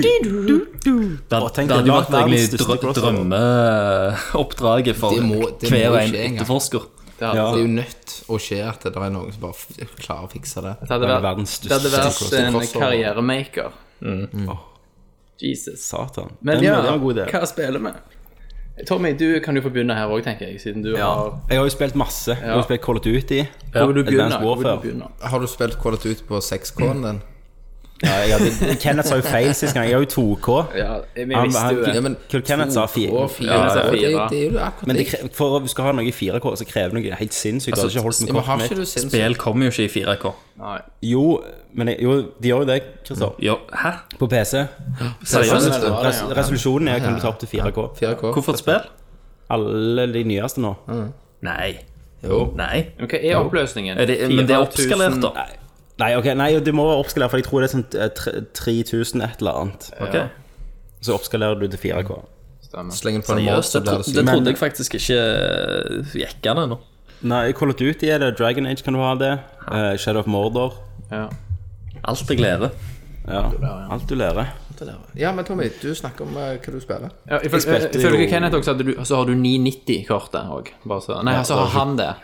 [SPEAKER 7] Det,
[SPEAKER 1] Å, tenk
[SPEAKER 7] det hadde
[SPEAKER 1] deg,
[SPEAKER 7] jo vært
[SPEAKER 1] verdens
[SPEAKER 7] egentlig
[SPEAKER 1] største
[SPEAKER 7] drø
[SPEAKER 1] crossover.
[SPEAKER 7] drømmeoppdraget for
[SPEAKER 6] Det må- det
[SPEAKER 7] hver
[SPEAKER 6] må
[SPEAKER 7] og en
[SPEAKER 6] skje en gang.
[SPEAKER 7] etterforsker.
[SPEAKER 2] Det hadde,
[SPEAKER 1] Ja.
[SPEAKER 6] Det er jo nødt å skje at det er noen som bare f- klarer å fikse det.
[SPEAKER 2] det hadde
[SPEAKER 1] Det er
[SPEAKER 2] vært,
[SPEAKER 1] verdens
[SPEAKER 2] det hadde
[SPEAKER 1] største Mm.
[SPEAKER 2] vært en
[SPEAKER 6] crossover.
[SPEAKER 2] karrieremaker. Jesus.
[SPEAKER 1] Satan.
[SPEAKER 2] Men
[SPEAKER 1] Den-
[SPEAKER 2] ja,
[SPEAKER 1] det var en god idé.
[SPEAKER 2] hva spiller vi? Tommy, du kan jo få begynne her òg, tenker jeg, siden du har
[SPEAKER 1] Jeg har jo spilt masse. Jeg har jo spilt Call of Duty.
[SPEAKER 2] Hvor vil du begynne?
[SPEAKER 1] Advanced
[SPEAKER 2] Hvor vil du
[SPEAKER 1] Warfare.
[SPEAKER 2] begynne?
[SPEAKER 6] Har du spilt Call of Duty på 6K-en din?
[SPEAKER 1] Ja, jeg hadde, Kenneth sa jo feil sist gang. Jeg har jo 2K.
[SPEAKER 2] Ja, vi
[SPEAKER 1] Han-
[SPEAKER 2] visste jo
[SPEAKER 1] han-
[SPEAKER 2] det.
[SPEAKER 6] Ja, men
[SPEAKER 1] Kurt Kenneth sa fire.
[SPEAKER 6] Og fire.
[SPEAKER 2] Ja, han sa
[SPEAKER 6] og
[SPEAKER 2] fire.
[SPEAKER 6] det, det er jo akkurat
[SPEAKER 1] Men det,
[SPEAKER 6] det.
[SPEAKER 1] kre- for å skal ha noe i 4K, så krever det noe helt sinnssykt. Altså, ikke holdt med
[SPEAKER 6] Men har
[SPEAKER 1] kortet
[SPEAKER 6] ikke
[SPEAKER 1] mitt.
[SPEAKER 6] du sinnssykt
[SPEAKER 7] BL kommer jo ikke i 4K.
[SPEAKER 2] Nei.
[SPEAKER 1] Jo, men jeg, jo, de gjør jo det, Christer.
[SPEAKER 7] Jo, hæ?
[SPEAKER 1] På PC.
[SPEAKER 7] Seriøst?
[SPEAKER 2] det var det,
[SPEAKER 1] Res,
[SPEAKER 2] ja.
[SPEAKER 1] resolusjonen er kan du ta opp til 4K.
[SPEAKER 6] 4K?
[SPEAKER 7] Hvorfor et spill?
[SPEAKER 1] Alle de nyeste nå.
[SPEAKER 7] Nei.
[SPEAKER 6] Jo.
[SPEAKER 7] Nei.
[SPEAKER 2] Men hva er oppløsningen?
[SPEAKER 7] Er det, men det er oppskalert, da.
[SPEAKER 1] Nei, ok, nei, det må være oppskalert, for jeg tror det er sånn eh, tre- 3000 et eller annet.
[SPEAKER 7] Ok.
[SPEAKER 1] Så oppskalerer du til 4K.
[SPEAKER 6] Sleng den på en måte,
[SPEAKER 7] Seriøst,
[SPEAKER 6] så
[SPEAKER 7] det,
[SPEAKER 6] blir
[SPEAKER 7] tro,
[SPEAKER 6] det sykt.
[SPEAKER 7] det trodde jeg faktisk ikke eh, gikk an ennå.
[SPEAKER 1] Nei, Call of Duty er det. Dragon Age kan du ha det. Eh, Shadow of Mordor.
[SPEAKER 2] Ja.
[SPEAKER 7] Alt jeg gleder.
[SPEAKER 1] Ja, alt du lærer.
[SPEAKER 6] Ja, men Tommy, du snakker om eh, hva du spiller.
[SPEAKER 2] Ja, ifølge
[SPEAKER 1] spilte
[SPEAKER 2] ifølge
[SPEAKER 1] jo-
[SPEAKER 2] Kenneth også, hadde du, så har du 990-kortet òg. Nei, så har han det.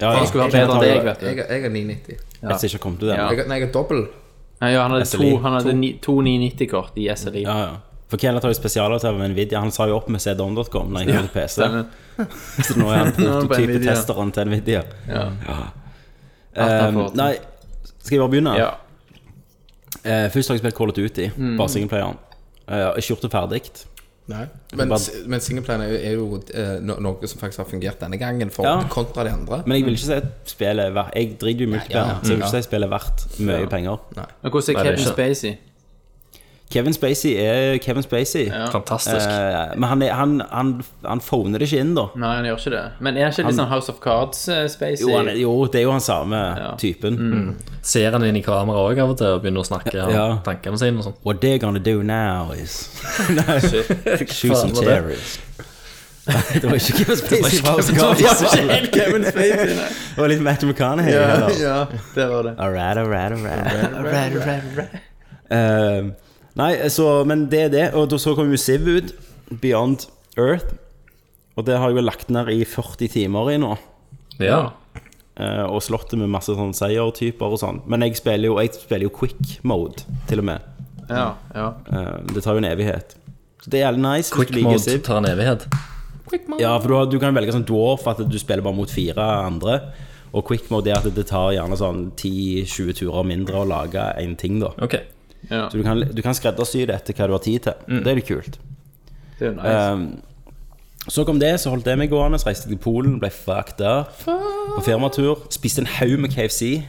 [SPEAKER 1] Ja,
[SPEAKER 2] Han skulle være bedre enn deg, vet du.
[SPEAKER 6] Jeg, jeg har 990.
[SPEAKER 1] Jeg har ikke kommet til det.
[SPEAKER 2] Ja.
[SPEAKER 1] Ja.
[SPEAKER 6] Jeg, har- nei, jeg har dobbel.
[SPEAKER 2] Nei, ja, han hadde
[SPEAKER 1] SLI.
[SPEAKER 2] to, han hadde ni, to 990-kort i SLI.
[SPEAKER 1] Ja, For Kenneth har jo spesialavtale med Nvidia. Han sa jo opp med cdon.com når jeg kom til PC.
[SPEAKER 2] stemmer.
[SPEAKER 1] Så nå <laughs> er han
[SPEAKER 2] er han på
[SPEAKER 1] prototypetesteren til Nvidia.
[SPEAKER 2] Alt han
[SPEAKER 1] Um,
[SPEAKER 2] får til.
[SPEAKER 1] nei, skal jeg bare begynne?
[SPEAKER 2] Ja.
[SPEAKER 1] Eh, først har jeg spilt Call of Duty, bare singleplayeren. Eh, jeg har ikke gjort det ferdig.
[SPEAKER 6] Nei. Men,
[SPEAKER 1] Bare-
[SPEAKER 6] s- men singleplayen er jo, er jo eh, no- noe som faktisk har fungert denne gangen, for,
[SPEAKER 1] Ja.
[SPEAKER 6] kontra de andre.
[SPEAKER 1] Men jeg vil ikke si at spillet er verdt Jeg driter jo i multiplayer,
[SPEAKER 6] Ja, ja.
[SPEAKER 1] så jeg vil ikke si
[SPEAKER 6] Ja.
[SPEAKER 1] at spillet er verdt mye penger.
[SPEAKER 2] Men hvordan er
[SPEAKER 7] det er
[SPEAKER 2] Kevin
[SPEAKER 7] ikke-
[SPEAKER 2] Spacey?
[SPEAKER 1] Kevin Spacey er Kevin Spacey.
[SPEAKER 7] Fantastisk.
[SPEAKER 1] Eh, men han, er, han, han, han phoner det ikke inn, da.
[SPEAKER 2] Nei, han gjør ikke det. Men er han ikke litt sånn House of Cards-Spacey?
[SPEAKER 1] Jo, han, er- jo, det er jo han samme typen.
[SPEAKER 7] Ser han inn i kamera òg av og til og begynner å snakke om
[SPEAKER 1] Ja.
[SPEAKER 7] tankene sine og sånn.
[SPEAKER 1] What they're gonna do now is <laughs> Nei, Shoot some
[SPEAKER 7] <laughs> Faen, var det?
[SPEAKER 1] terrorists. <laughs> Nei, det var ikke Kevin Spacey. <laughs> Det var,
[SPEAKER 7] <laughs>
[SPEAKER 2] helt Kevin Spacey, nei.
[SPEAKER 1] det var litt Match McConaughey. eller?
[SPEAKER 2] <laughs> Ja, det var det.
[SPEAKER 1] Alright, alright, alright. Eh, nei, så, men det er det. Og da så kom jo Siv ut. Beyond Earth. Og det har jeg jo lagt ned i 40 timer i nå.
[SPEAKER 7] Ja.
[SPEAKER 1] eh, og slått det med masse sånn seiertyper og sånn. Men jeg spiller jo, jeg spiller jo quick mode, til og med.
[SPEAKER 2] Ja, ja.
[SPEAKER 1] Eh, det tar jo en evighet. Så det er jævlig nice. hvis du
[SPEAKER 7] Quick
[SPEAKER 1] liker
[SPEAKER 7] mode
[SPEAKER 1] Civ.
[SPEAKER 7] tar en evighet.
[SPEAKER 1] Ja, for du, har, du kan velge sånn dwarf at du spiller bare mot fire andre. Og quick mode er at det tar gjerne sånn 10-20 turer mindre å lage én ting, da.
[SPEAKER 7] Ok.
[SPEAKER 2] ja.
[SPEAKER 1] Så du
[SPEAKER 7] Mm.
[SPEAKER 1] kan, du kan skreddersy det etter hva du har tid til. Det er litt kult.
[SPEAKER 2] Det er jo nice.
[SPEAKER 1] Um, Ehm, Så kom det, så holdt det meg gående, så reiste jeg til Polen, ble fucked up. På firmatur. Spiste en haug med KFC.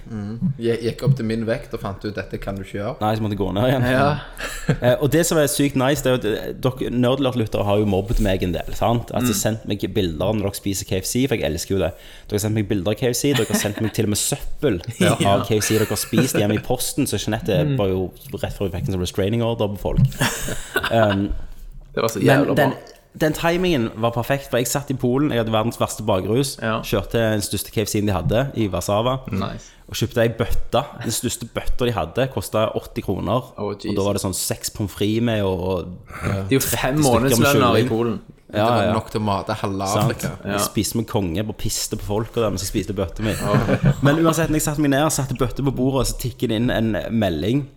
[SPEAKER 6] Jeg gikk opp til min vekt og fant ut dette kan du ikke gjøre.
[SPEAKER 1] Nei, så måtte jeg gå ned igjen. <laughs> Eh, og det som er sykt nice, det er jo at eh, dere nerdlert-lyttere har jo mobbet meg en del. sant? Altså Sendt meg bilder når dere spiser KFC, for jeg elsker jo det. Dere har sendt meg bilder av KFC, dere har sendt meg til og med søppel av KFC dere har spist hjemme i posten. Så Jeanette var jo rett før hun fikk en sånn restraining order på folk.
[SPEAKER 2] Det var så
[SPEAKER 1] Men
[SPEAKER 2] jævla bra.
[SPEAKER 1] den, den timingen var perfekt, for jeg satt i Polen, jeg hadde verdens verste bakrus,
[SPEAKER 2] Ja.
[SPEAKER 1] kjørte den største KFC-en de hadde, i Warszawa,
[SPEAKER 2] Nice.
[SPEAKER 1] og kjøpte ei bøtte. Den største bøtta de hadde, kosta 80 kroner.
[SPEAKER 2] Oh,
[SPEAKER 1] og da var det sånn seks pommes frites med, og,
[SPEAKER 2] Det er jo
[SPEAKER 1] stykker
[SPEAKER 2] fem
[SPEAKER 1] med
[SPEAKER 2] månedslønner i
[SPEAKER 1] kylling.
[SPEAKER 2] Polen.
[SPEAKER 1] ja,
[SPEAKER 6] det var
[SPEAKER 1] ja.
[SPEAKER 6] nok til å mate halve
[SPEAKER 1] Sant?
[SPEAKER 6] Afrika.
[SPEAKER 1] Jeg spiste med konge, bare piste på folk og der mens jeg spiste bøtta mi. Men uansett, når jeg satte meg ned og satte bøtta på bordet, så tikker det inn en melding.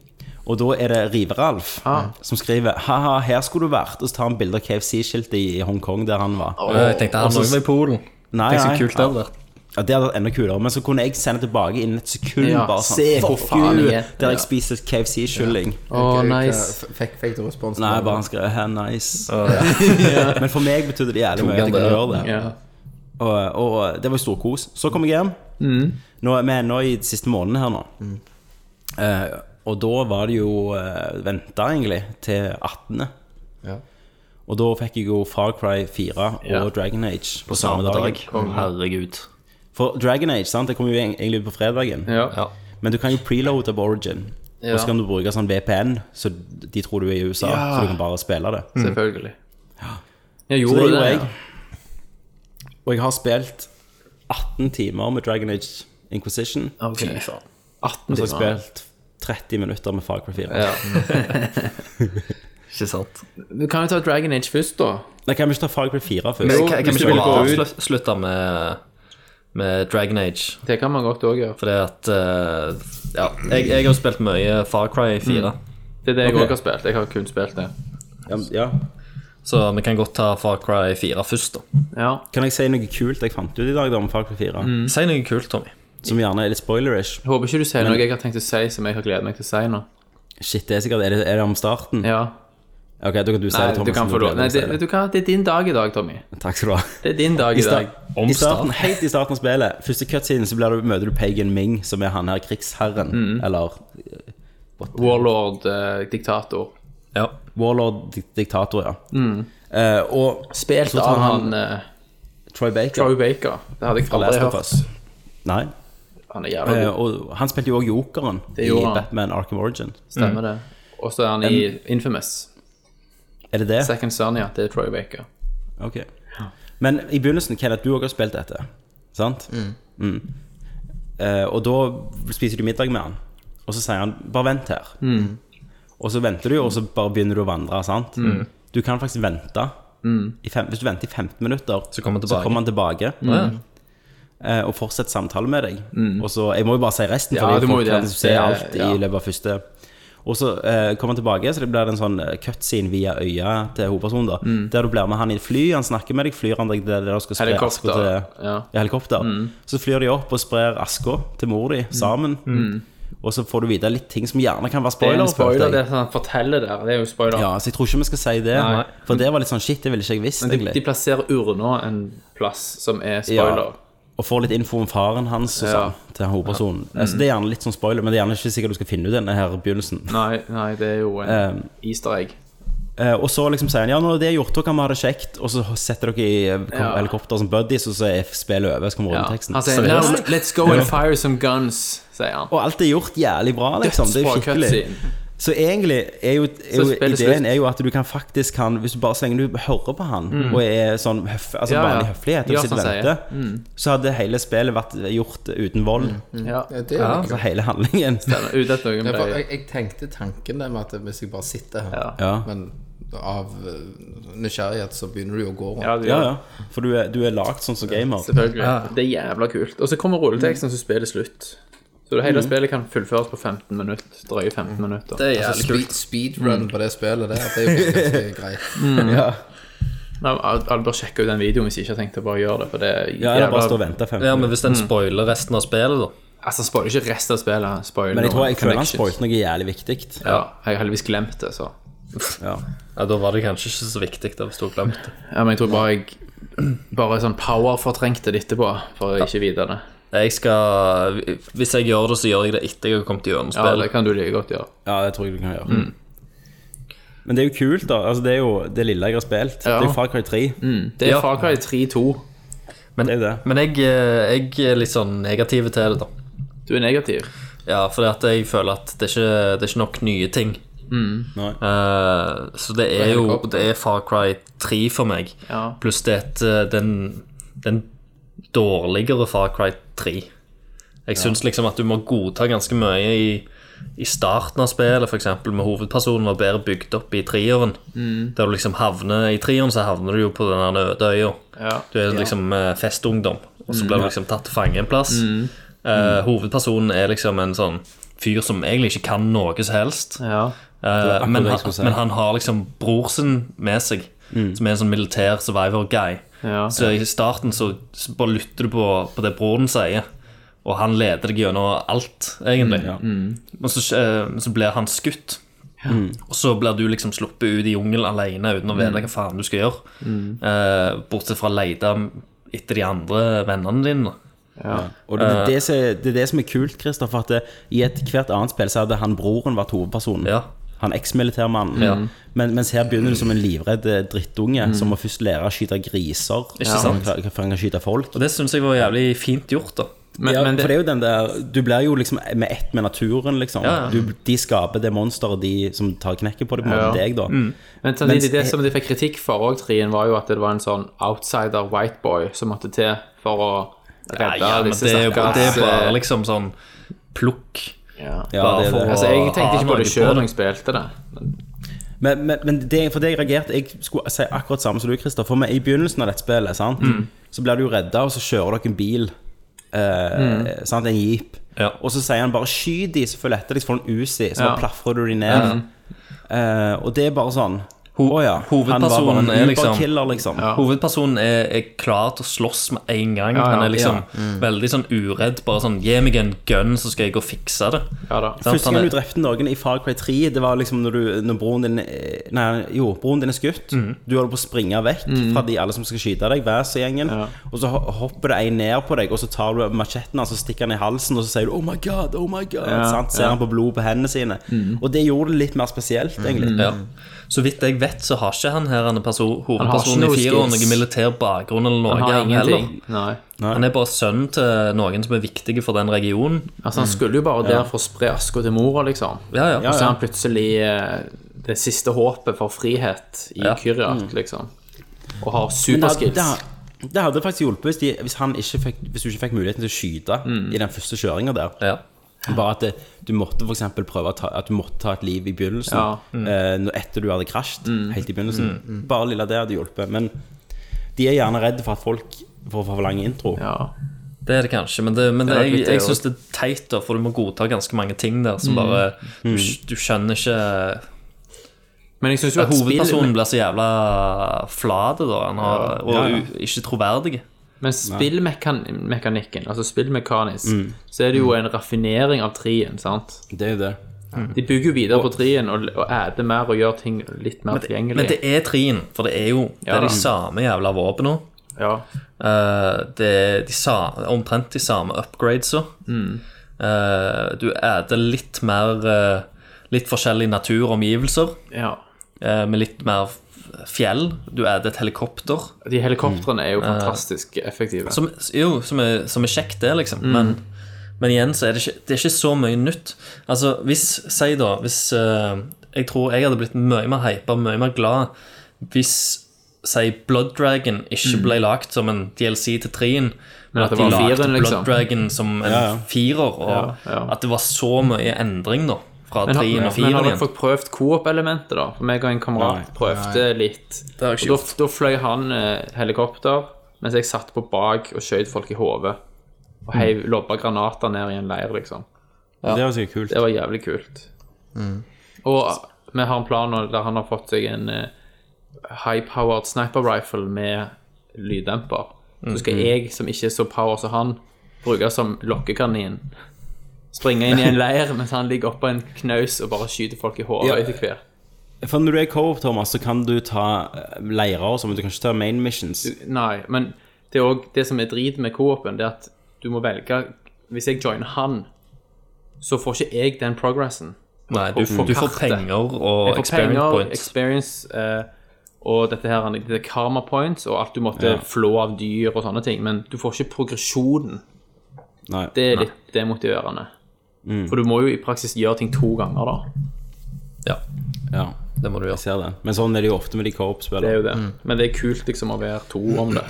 [SPEAKER 1] Og da er det Rive-Ralf
[SPEAKER 2] Ah.
[SPEAKER 1] som skriver Haha, her skulle du vært. Og så tar han bilde av KFC-skiltet i Hongkong, der han var.
[SPEAKER 7] Jeg tenkte "Ah, han også var i Polen.
[SPEAKER 1] Nei,
[SPEAKER 7] Tenk så
[SPEAKER 1] nei.
[SPEAKER 7] kult det hadde vært.
[SPEAKER 1] Ja, det hadde vært enda kulere, men så kunne jeg sende tilbake innen et sekund.
[SPEAKER 2] Ja,
[SPEAKER 1] bare sånn,
[SPEAKER 2] se hvor
[SPEAKER 1] "Fuck
[SPEAKER 2] faen
[SPEAKER 1] you,"
[SPEAKER 2] jeg er.
[SPEAKER 1] Der jeg spiser KFC-kylling.
[SPEAKER 2] Å,
[SPEAKER 6] Hva-
[SPEAKER 2] nice.
[SPEAKER 6] Fikk, fikk du respons?
[SPEAKER 1] Nei,
[SPEAKER 6] på
[SPEAKER 1] bare han
[SPEAKER 6] det?
[SPEAKER 1] skrev "Hey, nice. <laughs> Men for meg betydde det jævlig mye at
[SPEAKER 7] han
[SPEAKER 1] jeg kunne
[SPEAKER 7] det,
[SPEAKER 1] gjøre det.
[SPEAKER 2] Ja.
[SPEAKER 1] Og, og det var jo stor kos. Så kom jeg hjem. Nå, vi er nå i de siste månedene her nå. Eh, og da var det jo eh, venta, egentlig, til 18.
[SPEAKER 6] Ja.
[SPEAKER 1] Og da fikk jeg jo Far Cry 4
[SPEAKER 7] Ja.
[SPEAKER 1] og Dragon Age på samme dag.
[SPEAKER 7] Mm. Herregud.
[SPEAKER 1] For Dragon Age sant, det kom jo eng- egentlig på fredagen.
[SPEAKER 2] Ja.
[SPEAKER 7] Ja.
[SPEAKER 1] Men du kan jo preloade på Origin. Og så kan du bruke sånn VPN, så de tror du er i USA.
[SPEAKER 2] Ja.
[SPEAKER 1] Så du kan bare spille
[SPEAKER 2] Mm.
[SPEAKER 1] det.
[SPEAKER 2] Selvfølgelig. Jeg
[SPEAKER 1] Mm. Så
[SPEAKER 2] gjorde
[SPEAKER 1] det
[SPEAKER 2] det.
[SPEAKER 1] gjorde
[SPEAKER 2] ja.
[SPEAKER 1] jeg. Og jeg har spilt 18 timer med Dragon Age Inquisition.
[SPEAKER 2] Ok. 18
[SPEAKER 1] Og så har
[SPEAKER 2] timer.
[SPEAKER 1] jeg spilt 30 minutter med Far Cry 4.
[SPEAKER 7] Ikke sant.
[SPEAKER 2] Du Mm. kan jo ta Dragon Age først, da.
[SPEAKER 1] Nei, kan vi ikke ta Far Cry 4 først?
[SPEAKER 7] Men
[SPEAKER 2] Jo,
[SPEAKER 7] kan, kan
[SPEAKER 2] hvis
[SPEAKER 7] vi
[SPEAKER 2] du
[SPEAKER 7] ikke
[SPEAKER 2] vil gå
[SPEAKER 7] bare
[SPEAKER 2] ut-
[SPEAKER 7] avslut- slutte med, med Dragon Age?
[SPEAKER 2] Det kan man godt òg gjøre.
[SPEAKER 7] Fordi at eh, Ja, jeg, jeg har jo spilt mye Far Cry 4,
[SPEAKER 2] Det er det jeg
[SPEAKER 1] Ok.
[SPEAKER 2] òg har spilt. Jeg har kun spilt det.
[SPEAKER 1] Ja, ja.
[SPEAKER 7] så vi kan godt ta Far Cry 4 først, da.
[SPEAKER 2] Ja.
[SPEAKER 1] Kan jeg si noe kult jeg fant ut i dag da, om Far Cry 4?
[SPEAKER 2] Mm.
[SPEAKER 7] Si noe kult, Tommy.
[SPEAKER 1] Som gjerne er litt spoilerish.
[SPEAKER 2] Jeg håper ikke du sier noe jeg har tenkt å si som jeg har gledet meg til å si nå.
[SPEAKER 1] Shit, det er sikkert Er det, er det om starten?
[SPEAKER 2] Ja.
[SPEAKER 1] Ok, da kan du si
[SPEAKER 2] Nei,
[SPEAKER 1] det, Thomas.
[SPEAKER 2] du kan
[SPEAKER 1] om
[SPEAKER 2] få lov.
[SPEAKER 1] gleder
[SPEAKER 2] Nei,
[SPEAKER 1] deg
[SPEAKER 2] det,
[SPEAKER 1] til å si
[SPEAKER 2] vet du hva? Det er din dag i dag, Tommy.
[SPEAKER 1] det. Takk skal du ha.
[SPEAKER 2] Det er din dag
[SPEAKER 1] I
[SPEAKER 2] i dag.
[SPEAKER 1] sta- I starten, helt i starten av spillet, første cutscene, så blir du, møter du Pagan Ming, som er han her krigsherren.
[SPEAKER 2] Mm.
[SPEAKER 1] Eller
[SPEAKER 2] Warlord, eh, diktator.
[SPEAKER 7] Ja.
[SPEAKER 1] warlord-diktator, ja. Eh, og
[SPEAKER 2] Spilt
[SPEAKER 1] Så tar
[SPEAKER 2] av
[SPEAKER 1] han-
[SPEAKER 2] Mm. han eh,
[SPEAKER 1] Troy Baker.
[SPEAKER 2] Troy Baker. Det hadde jeg
[SPEAKER 1] fra
[SPEAKER 2] aldri
[SPEAKER 1] Last of
[SPEAKER 2] hørt.
[SPEAKER 1] Us. Nei.
[SPEAKER 2] Han er jævla
[SPEAKER 1] Eh,
[SPEAKER 2] god.
[SPEAKER 1] og han spilte jo òg Jokeren
[SPEAKER 2] Det
[SPEAKER 1] i
[SPEAKER 2] gjorde han.
[SPEAKER 1] Batman Arkham Origin.
[SPEAKER 2] Stemmer det. Og så er han i Infamous.
[SPEAKER 1] Er det det?
[SPEAKER 2] Second Son, ja. Det er Troy Baker.
[SPEAKER 1] Ok. Men i begynnelsen, Kenneth, du òg har spilt dette, sant? Mm. Eh, og da spiser du middag med han, og så sier han 'bare vent her'.
[SPEAKER 7] Mm.
[SPEAKER 1] Og så venter du, og så bare begynner du å vandre, sant?
[SPEAKER 7] Mm.
[SPEAKER 1] Du kan faktisk vente. I fem, hvis du venter i 15 minutter,
[SPEAKER 7] Så kommer han tilbake.
[SPEAKER 1] han tilbake,
[SPEAKER 7] Mm.
[SPEAKER 1] eh, og fortsetter samtalen med deg. Og så, Jeg må jo bare si resten,
[SPEAKER 2] Mm. Ja,
[SPEAKER 1] for
[SPEAKER 2] du
[SPEAKER 1] fordi
[SPEAKER 2] må
[SPEAKER 1] folk
[SPEAKER 2] jo det.
[SPEAKER 1] kan se
[SPEAKER 2] Det er-
[SPEAKER 1] alt
[SPEAKER 2] ja.
[SPEAKER 1] i løpet av første og så eh, kommer han tilbake, så det blir en sånn eh, cutscene via øya til hovedpersonen. da
[SPEAKER 2] Mm.
[SPEAKER 1] Der du blir med han i et fly, han snakker med deg, flyr han deg der der du skal spre asker
[SPEAKER 2] Helikopter,
[SPEAKER 1] til
[SPEAKER 2] ja. Mm.
[SPEAKER 1] helikopter. Så flyr de opp og sprer aska til mor di sammen. Og så får du vite litt ting som gjerne kan være
[SPEAKER 2] Mm. Det er
[SPEAKER 1] spoiler.
[SPEAKER 2] en spoiler,
[SPEAKER 1] følte
[SPEAKER 2] det
[SPEAKER 1] jeg.
[SPEAKER 2] som han forteller der. Det er jo spoiler.
[SPEAKER 1] Ja, så jeg tror ikke vi skal si det,
[SPEAKER 2] Nei.
[SPEAKER 1] for det var litt sånn shit, det ville ikke jeg visst.
[SPEAKER 2] Men de,
[SPEAKER 1] egentlig.
[SPEAKER 2] de plasserer urna en plass som er spoiler.
[SPEAKER 1] Og får litt info om faren hans og
[SPEAKER 2] Ja.
[SPEAKER 1] sånn til hovedpersonen. Altså, det er gjerne litt sånn spoiler, men det er gjerne ikke sikkert du skal finne ut denne her begynnelsen.
[SPEAKER 2] Nei, nei, det er jo en
[SPEAKER 1] Um,
[SPEAKER 2] easter egg.
[SPEAKER 1] Eh, og så liksom sier han ja, når det er gjort, da kan vi ha det kjekt. Og så setter dere i eh, kom-
[SPEAKER 2] Ja.
[SPEAKER 1] helikopter som buddies, og så er spillet over. Så kommer
[SPEAKER 2] Ja.
[SPEAKER 1] rulleteksten.
[SPEAKER 2] Han sier
[SPEAKER 1] Så-
[SPEAKER 2] Now, Let's go and fire some guns, sier han.
[SPEAKER 1] og alt er gjort jævlig bra, liksom. Det er jo
[SPEAKER 2] Dødsbra
[SPEAKER 1] skikkelig.
[SPEAKER 2] cutscene.
[SPEAKER 1] Så egentlig er jo, er jo
[SPEAKER 2] Så spillet
[SPEAKER 1] ideen
[SPEAKER 2] slutt.
[SPEAKER 1] er jo at du kan faktisk kan Hvis du bare så lenge du hører på han, og er sånn høf, altså
[SPEAKER 2] Mm. Ja, ja.
[SPEAKER 1] vanlig høflighet, og
[SPEAKER 2] Ja,
[SPEAKER 1] sitter og
[SPEAKER 2] som Mm. han
[SPEAKER 1] venter, så hadde hele spillet vært gjort uten vold.
[SPEAKER 2] Mm, Ja.
[SPEAKER 6] Ja, det er jo
[SPEAKER 1] Altså hele handlingen.
[SPEAKER 2] Uten at noen
[SPEAKER 6] Ja, for
[SPEAKER 2] ble
[SPEAKER 6] jeg, jeg tenkte tanken der med at hvis jeg bare sitter her
[SPEAKER 2] Ja.
[SPEAKER 1] Ja.
[SPEAKER 6] Men av eh, nysgjerrighet så begynner du jo å gå rundt.
[SPEAKER 2] Ja, du-
[SPEAKER 1] ja, ja. For du er, du er lagd sånn som gamer.
[SPEAKER 2] Selvfølgelig. Det er jævla kult. Og så kommer rulleteksten, så spillet slutt. Så det hele spillet kan fullføres på 15 minutter. Drøye 15 minutter.
[SPEAKER 7] Det er
[SPEAKER 6] Så
[SPEAKER 7] jævlig
[SPEAKER 6] speed,
[SPEAKER 7] kult.
[SPEAKER 6] speedrun på det spillet der, det er jo ganske <laughs> greit.
[SPEAKER 2] Nei, Al- Alle bør sjekke ut den videoen hvis de ikke har tenkt å bare gjøre det. For det er
[SPEAKER 1] Ja, eller bare stå og
[SPEAKER 2] jævla...
[SPEAKER 1] vente 15
[SPEAKER 7] Ja, men hvis den spoiler resten av spillet, da.
[SPEAKER 2] Altså, han spoiler ikke resten av spillet. Han spoiler
[SPEAKER 1] Men jeg tror
[SPEAKER 2] noen
[SPEAKER 1] jeg føler han
[SPEAKER 2] connections.
[SPEAKER 1] spoilte noe jævlig viktig.
[SPEAKER 2] Ja, jeg har heldigvis glemt det, så
[SPEAKER 1] Ja.
[SPEAKER 7] Ja, Da var det kanskje ikke så viktig da, hvis du har glemt det.
[SPEAKER 2] Ja, men jeg <clears throat> tror bare jeg Bare sånn power-fortrengte det etterpå, for å ikke vite det.
[SPEAKER 7] Jeg skal, hvis jeg gjør det, så gjør jeg det etter jeg har kommet gjennom
[SPEAKER 2] Ja, det
[SPEAKER 7] spillet.
[SPEAKER 2] kan du like godt gjøre.
[SPEAKER 1] Ja, det tror jeg du kan gjøre. Men det er jo kult, da. Altså, det er jo det lille jeg har spilt. Det er jo Far Cry 3.
[SPEAKER 2] Det er
[SPEAKER 7] Ja.
[SPEAKER 2] Far Cry 3-2.
[SPEAKER 7] men
[SPEAKER 1] det er jo det.
[SPEAKER 7] men jeg, eh, jeg er litt sånn negativ til det, da.
[SPEAKER 2] Du er negativ.
[SPEAKER 7] Ja, fordi at jeg føler at det er ikke, det er ikke nok nye ting.
[SPEAKER 2] Mm.
[SPEAKER 1] Nei.
[SPEAKER 7] Eh, så det er jo
[SPEAKER 6] helikopter.
[SPEAKER 7] Det er Far Cry 3 for meg.
[SPEAKER 2] Ja.
[SPEAKER 7] Pluss det er et, eh, den, den dårligere Far Cry 3. Jeg syns liksom at du må godta ganske mye i, i starten av spillet, f.eks. med hovedpersonen var bedre bygd opp i treeren.
[SPEAKER 2] Mm.
[SPEAKER 7] Der du liksom havner I treeren så havner du jo på den der øde øya.
[SPEAKER 2] Ja. Mm.
[SPEAKER 7] Du er liksom eh, festungdom, og så blir du liksom tatt til fange en plass. Eh,
[SPEAKER 1] Mm.
[SPEAKER 7] hovedpersonen er liksom en sånn fyr som egentlig ikke kan noe som helst.
[SPEAKER 2] Ja.
[SPEAKER 7] Eh, men,
[SPEAKER 1] det jeg
[SPEAKER 7] han,
[SPEAKER 1] skulle si. Mm.
[SPEAKER 7] men han har liksom bror sin med seg, som er en sånn militær survivor guy.
[SPEAKER 2] Ja.
[SPEAKER 7] Så i starten så så bare lytter du på, på det broren sier, og han leder deg gjennom alt,
[SPEAKER 1] Mm,
[SPEAKER 7] egentlig. Men så, eh, så blir han skutt. Mm. Og så blir du liksom sluppet ut i jungelen alene uten å vite
[SPEAKER 1] Mm.
[SPEAKER 7] hva faen du skal gjøre. Eh, bortsett fra å lete etter de andre vennene dine.
[SPEAKER 1] Og det, det, er det, som, det er det som er kult, Kristoffer, at det, i ethvert annet spill så hadde han broren vært hovedpersonen.
[SPEAKER 7] Ja.
[SPEAKER 1] Han eksmilitærmannen.
[SPEAKER 7] Ja.
[SPEAKER 1] Men, mens her begynner du som en livredd eh, drittunge som må først lære å skyte griser
[SPEAKER 7] Ikke sant?
[SPEAKER 1] før før han kan skyte folk.
[SPEAKER 7] Og det syns jeg var jævlig fint gjort, da.
[SPEAKER 2] Men,
[SPEAKER 1] ja,
[SPEAKER 2] men
[SPEAKER 1] for det
[SPEAKER 2] det,
[SPEAKER 1] er jo den der Du blir jo liksom med ett med naturen, liksom.
[SPEAKER 7] Ja, ja.
[SPEAKER 1] Du, de skaper det monsteret de som tar knekket på det, på en måte
[SPEAKER 2] Ja.
[SPEAKER 1] deg, da.
[SPEAKER 7] Mm.
[SPEAKER 2] men samtidig, det som de fikk kritikk for òg, Trien, var jo at det var en sånn outsider white boy som måtte til for å redde
[SPEAKER 7] Ja, men
[SPEAKER 2] disse
[SPEAKER 7] det er, jo bare,
[SPEAKER 2] stakkars
[SPEAKER 7] det er bare
[SPEAKER 2] eh,
[SPEAKER 7] liksom sånn plukk.
[SPEAKER 2] ja.
[SPEAKER 1] Ja,
[SPEAKER 7] Bare
[SPEAKER 1] det er
[SPEAKER 7] for-
[SPEAKER 1] det.
[SPEAKER 2] Altså, jeg tenkte ikke på det
[SPEAKER 7] Ah,
[SPEAKER 2] sjøl
[SPEAKER 7] bare-
[SPEAKER 2] når jeg spilte det.
[SPEAKER 1] Men, men, men det, for det jeg reagerte Jeg skulle si akkurat samme som du, Kristoffer. Men i begynnelsen av dette spillet sant?
[SPEAKER 7] Mm.
[SPEAKER 1] Så blir du redda, og så kjører dere en bil. Eh, sant? En jeep.
[SPEAKER 7] Mm. Ja.
[SPEAKER 1] Og så sier han bare 'skyt de som følger etter deg', så får du en Uzi, så
[SPEAKER 2] Ja.
[SPEAKER 1] bare plafrer du de ned. Eh, og det er bare sånn
[SPEAKER 7] Ho-
[SPEAKER 1] Å ja.
[SPEAKER 7] hovedpersonen er liksom-
[SPEAKER 1] Uber-killer, liksom.
[SPEAKER 7] Hovedpersonen er, er klar til å slåss med en gang. Han
[SPEAKER 2] ja, Mm.
[SPEAKER 7] er liksom veldig sånn uredd. Bare sånn 'Gi meg en gun, så skal jeg gå og fikse det'.
[SPEAKER 2] Ja da.
[SPEAKER 7] Sant?
[SPEAKER 1] Første gang
[SPEAKER 7] Han
[SPEAKER 1] du
[SPEAKER 7] er-
[SPEAKER 1] drepte noen i Far Cry 3, det var liksom når, du, når broren din eh, Nei, jo, broren din er skutt. Du holder på å springe vekk fra de alle som skal skyte deg, Væs-gjengen. Og så ho- hopper det en ned på deg, og så tar du machetten hans og stikker han i halsen, og så sier du 'Oh my God', 'Oh my God'. sant? Ser han på blodet på hendene sine. Og det gjorde det litt mer spesielt, egentlig.
[SPEAKER 7] ja. Så vidt jeg vet, så har ikke han her en perso hovedpersonen
[SPEAKER 2] ikke noe
[SPEAKER 7] i fireren
[SPEAKER 2] skills.
[SPEAKER 7] noen militær bakgrunn eller noe.
[SPEAKER 2] Han har ingenting.
[SPEAKER 7] heller.
[SPEAKER 2] Nei.
[SPEAKER 7] Han er bare sønnen til noen som er viktige for den regionen.
[SPEAKER 2] Altså, han skulle jo bare der for å spre aska til mora, liksom.
[SPEAKER 7] Mm. Ja, ja.
[SPEAKER 2] Og så er han plutselig eh, det siste håpet for frihet i
[SPEAKER 7] Ja.
[SPEAKER 2] Kyriak, liksom. Og har
[SPEAKER 1] Men det, hadde-
[SPEAKER 2] superskills.
[SPEAKER 1] det, hadde- det hadde faktisk hjulpet hvis, de, hvis, han ikke fikk, hvis du ikke fikk muligheten til å skyte i den første kjøringa der.
[SPEAKER 7] Ja.
[SPEAKER 1] Bare at det, du måtte for eksempel prøve å ta, at du måtte ta et liv i begynnelsen.
[SPEAKER 2] Ja. Mm.
[SPEAKER 1] eh, når- etter du hadde krasjet. Helt i begynnelsen. Bare lille det hadde hjulpet. Men de er gjerne redd for at folk får for lang intro.
[SPEAKER 2] Ja.
[SPEAKER 7] Det er det kanskje, men, det, men det,
[SPEAKER 2] er nok
[SPEAKER 7] jeg,
[SPEAKER 2] litt det
[SPEAKER 7] jeg syns det er teit, da, for du må godta ganske mange ting der
[SPEAKER 1] Mm.
[SPEAKER 7] som bare Du, du skjønner ikke
[SPEAKER 2] Men jeg syns jo at
[SPEAKER 7] Hovedpersonen
[SPEAKER 2] spill,
[SPEAKER 7] blir så jævla flate, da. Han har, og
[SPEAKER 1] Ja, ja.
[SPEAKER 7] u- ikke troverdig.
[SPEAKER 2] men spillmekanikken, altså spillmekanisk,
[SPEAKER 7] Mm.
[SPEAKER 2] så er det jo en raffinering av trien, sant.
[SPEAKER 1] Det er jo det.
[SPEAKER 7] Mm.
[SPEAKER 2] De bygger jo videre på trien og, og æder mer og gjør ting litt mer
[SPEAKER 7] Men
[SPEAKER 2] tilgjengelig.
[SPEAKER 7] det er trien, for det er jo det
[SPEAKER 2] Ja.
[SPEAKER 7] er de samme jævla våpnene.
[SPEAKER 2] Ja.
[SPEAKER 7] Eh, det er de sa, omtrent de samme upgradesa.
[SPEAKER 1] Mm.
[SPEAKER 7] Eh, du æter litt mer eh, Litt forskjellige naturomgivelser,
[SPEAKER 2] ja.
[SPEAKER 7] eh, med litt mer f- fjell. Du æter et helikopter.
[SPEAKER 2] De helikoptrene er jo
[SPEAKER 7] Eh.
[SPEAKER 2] fantastisk effektive.
[SPEAKER 7] Som, jo, som er, som er kjekt, det, liksom.
[SPEAKER 2] Mm.
[SPEAKER 7] Men, men igjen så er det, ikke, det er ikke så mye nytt. Altså, hvis Si, da, hvis eh, Jeg tror jeg hadde blitt mye mer hypa, mye mer glad, hvis Si Blood Dragon ikke ble lagt som en DLC til trien, men
[SPEAKER 2] at Mm. det
[SPEAKER 7] at de
[SPEAKER 2] var
[SPEAKER 7] lagde
[SPEAKER 2] fireren, liksom.
[SPEAKER 7] Blood Dragon som en
[SPEAKER 1] Ja, ja.
[SPEAKER 7] firer, og
[SPEAKER 2] ja.
[SPEAKER 7] at det var så mye endring, da. Fra
[SPEAKER 2] Men har,
[SPEAKER 7] trien og
[SPEAKER 2] men har
[SPEAKER 7] fireren
[SPEAKER 2] dere
[SPEAKER 7] igjen.
[SPEAKER 2] fått prøvd coop-elementet, da? For meg og en kamerat prøvde litt.
[SPEAKER 6] har jeg
[SPEAKER 2] Og
[SPEAKER 6] ikke
[SPEAKER 2] da, da fløy han eh, helikopter, mens jeg satt på bak og skjøt folk i hodet. Og heiv lobba granater ned i en leir, liksom.
[SPEAKER 1] Det var sikkert kult.
[SPEAKER 2] Det var jævlig kult. Og vi har en plan nå der han har fått seg en eh, high-powered sniper rifle med lyddemper. Så skal jeg, som ikke er så power som han, bruke som lokkekanin. Springe inn i en leir mens han ligger oppå en knaus og bare skyter folk i hodet
[SPEAKER 1] Ja.
[SPEAKER 2] etter hvert.
[SPEAKER 1] For når du er co-op, Thomas, så kan du ta eh, leirer og sånn, men du kan ikke ta main missions.
[SPEAKER 2] Nei, men det, er også, det som er drit med co-open, det er at du må velge Hvis jeg joiner han, så får ikke jeg den progressen.
[SPEAKER 7] Nei, du,
[SPEAKER 2] Og får
[SPEAKER 7] du får
[SPEAKER 2] kartet.
[SPEAKER 7] penger
[SPEAKER 2] Jeg
[SPEAKER 7] og
[SPEAKER 2] får
[SPEAKER 7] experience
[SPEAKER 2] penger,
[SPEAKER 7] points.
[SPEAKER 2] experience eh, og dette her, det er karma points og alt du måtte flå av dyr og sånne ting, men du får ikke progresjonen.
[SPEAKER 1] Nei.
[SPEAKER 2] Det er litt demotiverende. For du må jo i praksis gjøre ting to ganger, da.
[SPEAKER 7] Ja,
[SPEAKER 1] Ja,
[SPEAKER 7] det må du
[SPEAKER 1] jeg
[SPEAKER 7] gjøre.
[SPEAKER 1] ser det. Men sånn er det jo ofte med de
[SPEAKER 2] Det er
[SPEAKER 1] co-op-spillene.
[SPEAKER 2] jo det. Men det er kult liksom å være to om det.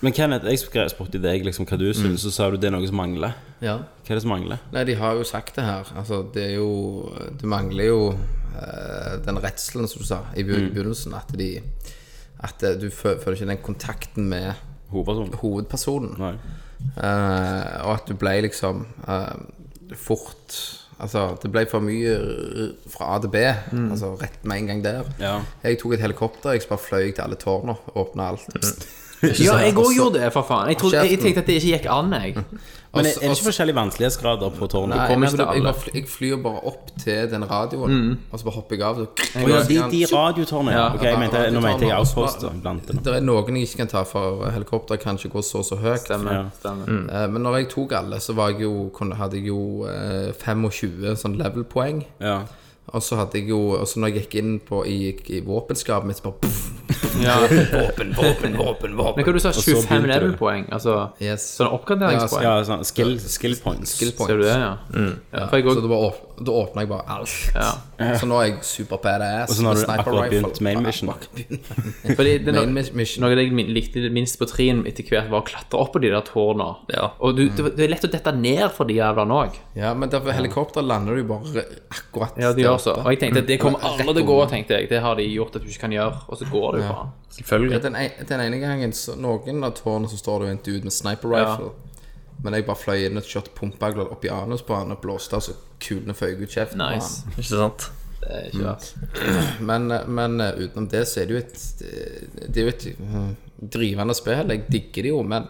[SPEAKER 1] Men Kenneth, jeg skrev spurte deg liksom, hva
[SPEAKER 2] Mm.
[SPEAKER 1] du syns, og så sa du det er noe som mangler.
[SPEAKER 6] Ja.
[SPEAKER 1] Hva er det som mangler?
[SPEAKER 6] Nei, de har jo sagt det her. Altså, det er jo Det mangler jo eh, den redselen, som du sa, i be-
[SPEAKER 7] Mm.
[SPEAKER 6] i begynnelsen. At de At eh, du fø- føler ikke den kontakten med
[SPEAKER 1] Hovedpersonen?
[SPEAKER 6] hovedpersonen.
[SPEAKER 1] Nei.
[SPEAKER 2] Altså,
[SPEAKER 6] Eh, og at du ble liksom eh, fort Altså, det ble for mye r- fra A til B.
[SPEAKER 2] Mm.
[SPEAKER 6] Altså rett med en gang der.
[SPEAKER 1] Ja.
[SPEAKER 6] Jeg tok et helikopter, jeg bare fløy til alle tårna, åpna alt.
[SPEAKER 7] Mm. <laughs>
[SPEAKER 2] Ja, jeg òg gjorde det, for faen. Jeg, trodde, jeg, jeg tenkte at det ikke gikk an, jeg.
[SPEAKER 1] Men er,
[SPEAKER 6] Også-
[SPEAKER 1] er det
[SPEAKER 6] også-
[SPEAKER 2] altså-
[SPEAKER 1] ikke forskjellige vanskelighetsgrader på tårnet?
[SPEAKER 6] Nei,
[SPEAKER 2] kommer
[SPEAKER 6] men
[SPEAKER 2] ikke til
[SPEAKER 6] jeg,
[SPEAKER 2] alle. Mm.
[SPEAKER 6] bare fly- jeg flyr bare opp til den radioen, og så bare hopper jeg av. Så,
[SPEAKER 1] Å ja, de, de radiotårnene, ja.
[SPEAKER 2] Ja.
[SPEAKER 1] Ok, jeg mente, nå mente jeg
[SPEAKER 6] Radiotårnet.
[SPEAKER 1] Outpost da, blant dem.
[SPEAKER 6] Det er noen jeg ikke kan ta, for helikopter kan ikke gå så så høyt.
[SPEAKER 2] Stemmer.
[SPEAKER 1] Ja.
[SPEAKER 2] stemmer.
[SPEAKER 6] Eh, Men når jeg tok alle, så var jeg jo, kunne, hadde jeg jo eh, 25 sånn level-poeng.
[SPEAKER 1] Ja.
[SPEAKER 6] Og så hadde jeg jo Og så når jeg gikk inn på, i, i våpenskapet mitt, så bare puff,
[SPEAKER 2] Ja.
[SPEAKER 6] Våpen, våpen,
[SPEAKER 2] Men
[SPEAKER 6] våpen, våpen.
[SPEAKER 2] hva du sa,
[SPEAKER 1] så
[SPEAKER 2] 25
[SPEAKER 1] begynte det.
[SPEAKER 2] level-poeng? Altså
[SPEAKER 6] Yes.
[SPEAKER 2] sånn oppgraderingspoeng?
[SPEAKER 1] ja sånn, skill, skill points.
[SPEAKER 6] Skill points.
[SPEAKER 2] Ser du det, ja? ja for jeg
[SPEAKER 6] Så
[SPEAKER 2] også,
[SPEAKER 6] da, bare åp da åpna jeg bare alt. Så nå er jeg super badass.
[SPEAKER 1] Og så nå har
[SPEAKER 6] med
[SPEAKER 1] du
[SPEAKER 6] sniper
[SPEAKER 1] akkurat
[SPEAKER 6] rifle.
[SPEAKER 1] begynt main mission.
[SPEAKER 6] Akkurat begynt.
[SPEAKER 2] fordi det er
[SPEAKER 6] Main
[SPEAKER 2] noe,
[SPEAKER 6] mis- mission.
[SPEAKER 2] noe jeg min- likte det minst på trinn etter hvert, var å klatre opp på de der tårna.
[SPEAKER 7] Ja.
[SPEAKER 2] Og du, det, det er lett å dette ned for de jævlene òg.
[SPEAKER 6] Ja, men derfor helikopter lander du bare akkurat
[SPEAKER 2] Ja, de
[SPEAKER 6] der
[SPEAKER 2] gjør
[SPEAKER 6] oppe.
[SPEAKER 2] så. Og jeg tenkte at det kommer alle til å gå, tenkte jeg. Det har de gjort at du ikke kan gjøre, og så går det jo faen.
[SPEAKER 6] Ja,
[SPEAKER 7] Selvfølgelig.
[SPEAKER 6] den, en, den ene gangen, så, noen av tårnene, så står det jo en dude med sniper rifle. Men jeg bare fløy inn og kjørte pumpegler opp i anus på han og blåste av så kulene føyk ut kjeften
[SPEAKER 2] Nice.
[SPEAKER 7] Ikke sant?
[SPEAKER 2] Det er ikke verst.
[SPEAKER 6] på han. Men, men eh, utenom det så er det jo et Det det er jo et eh, drivende spill. Jeg digger det jo, men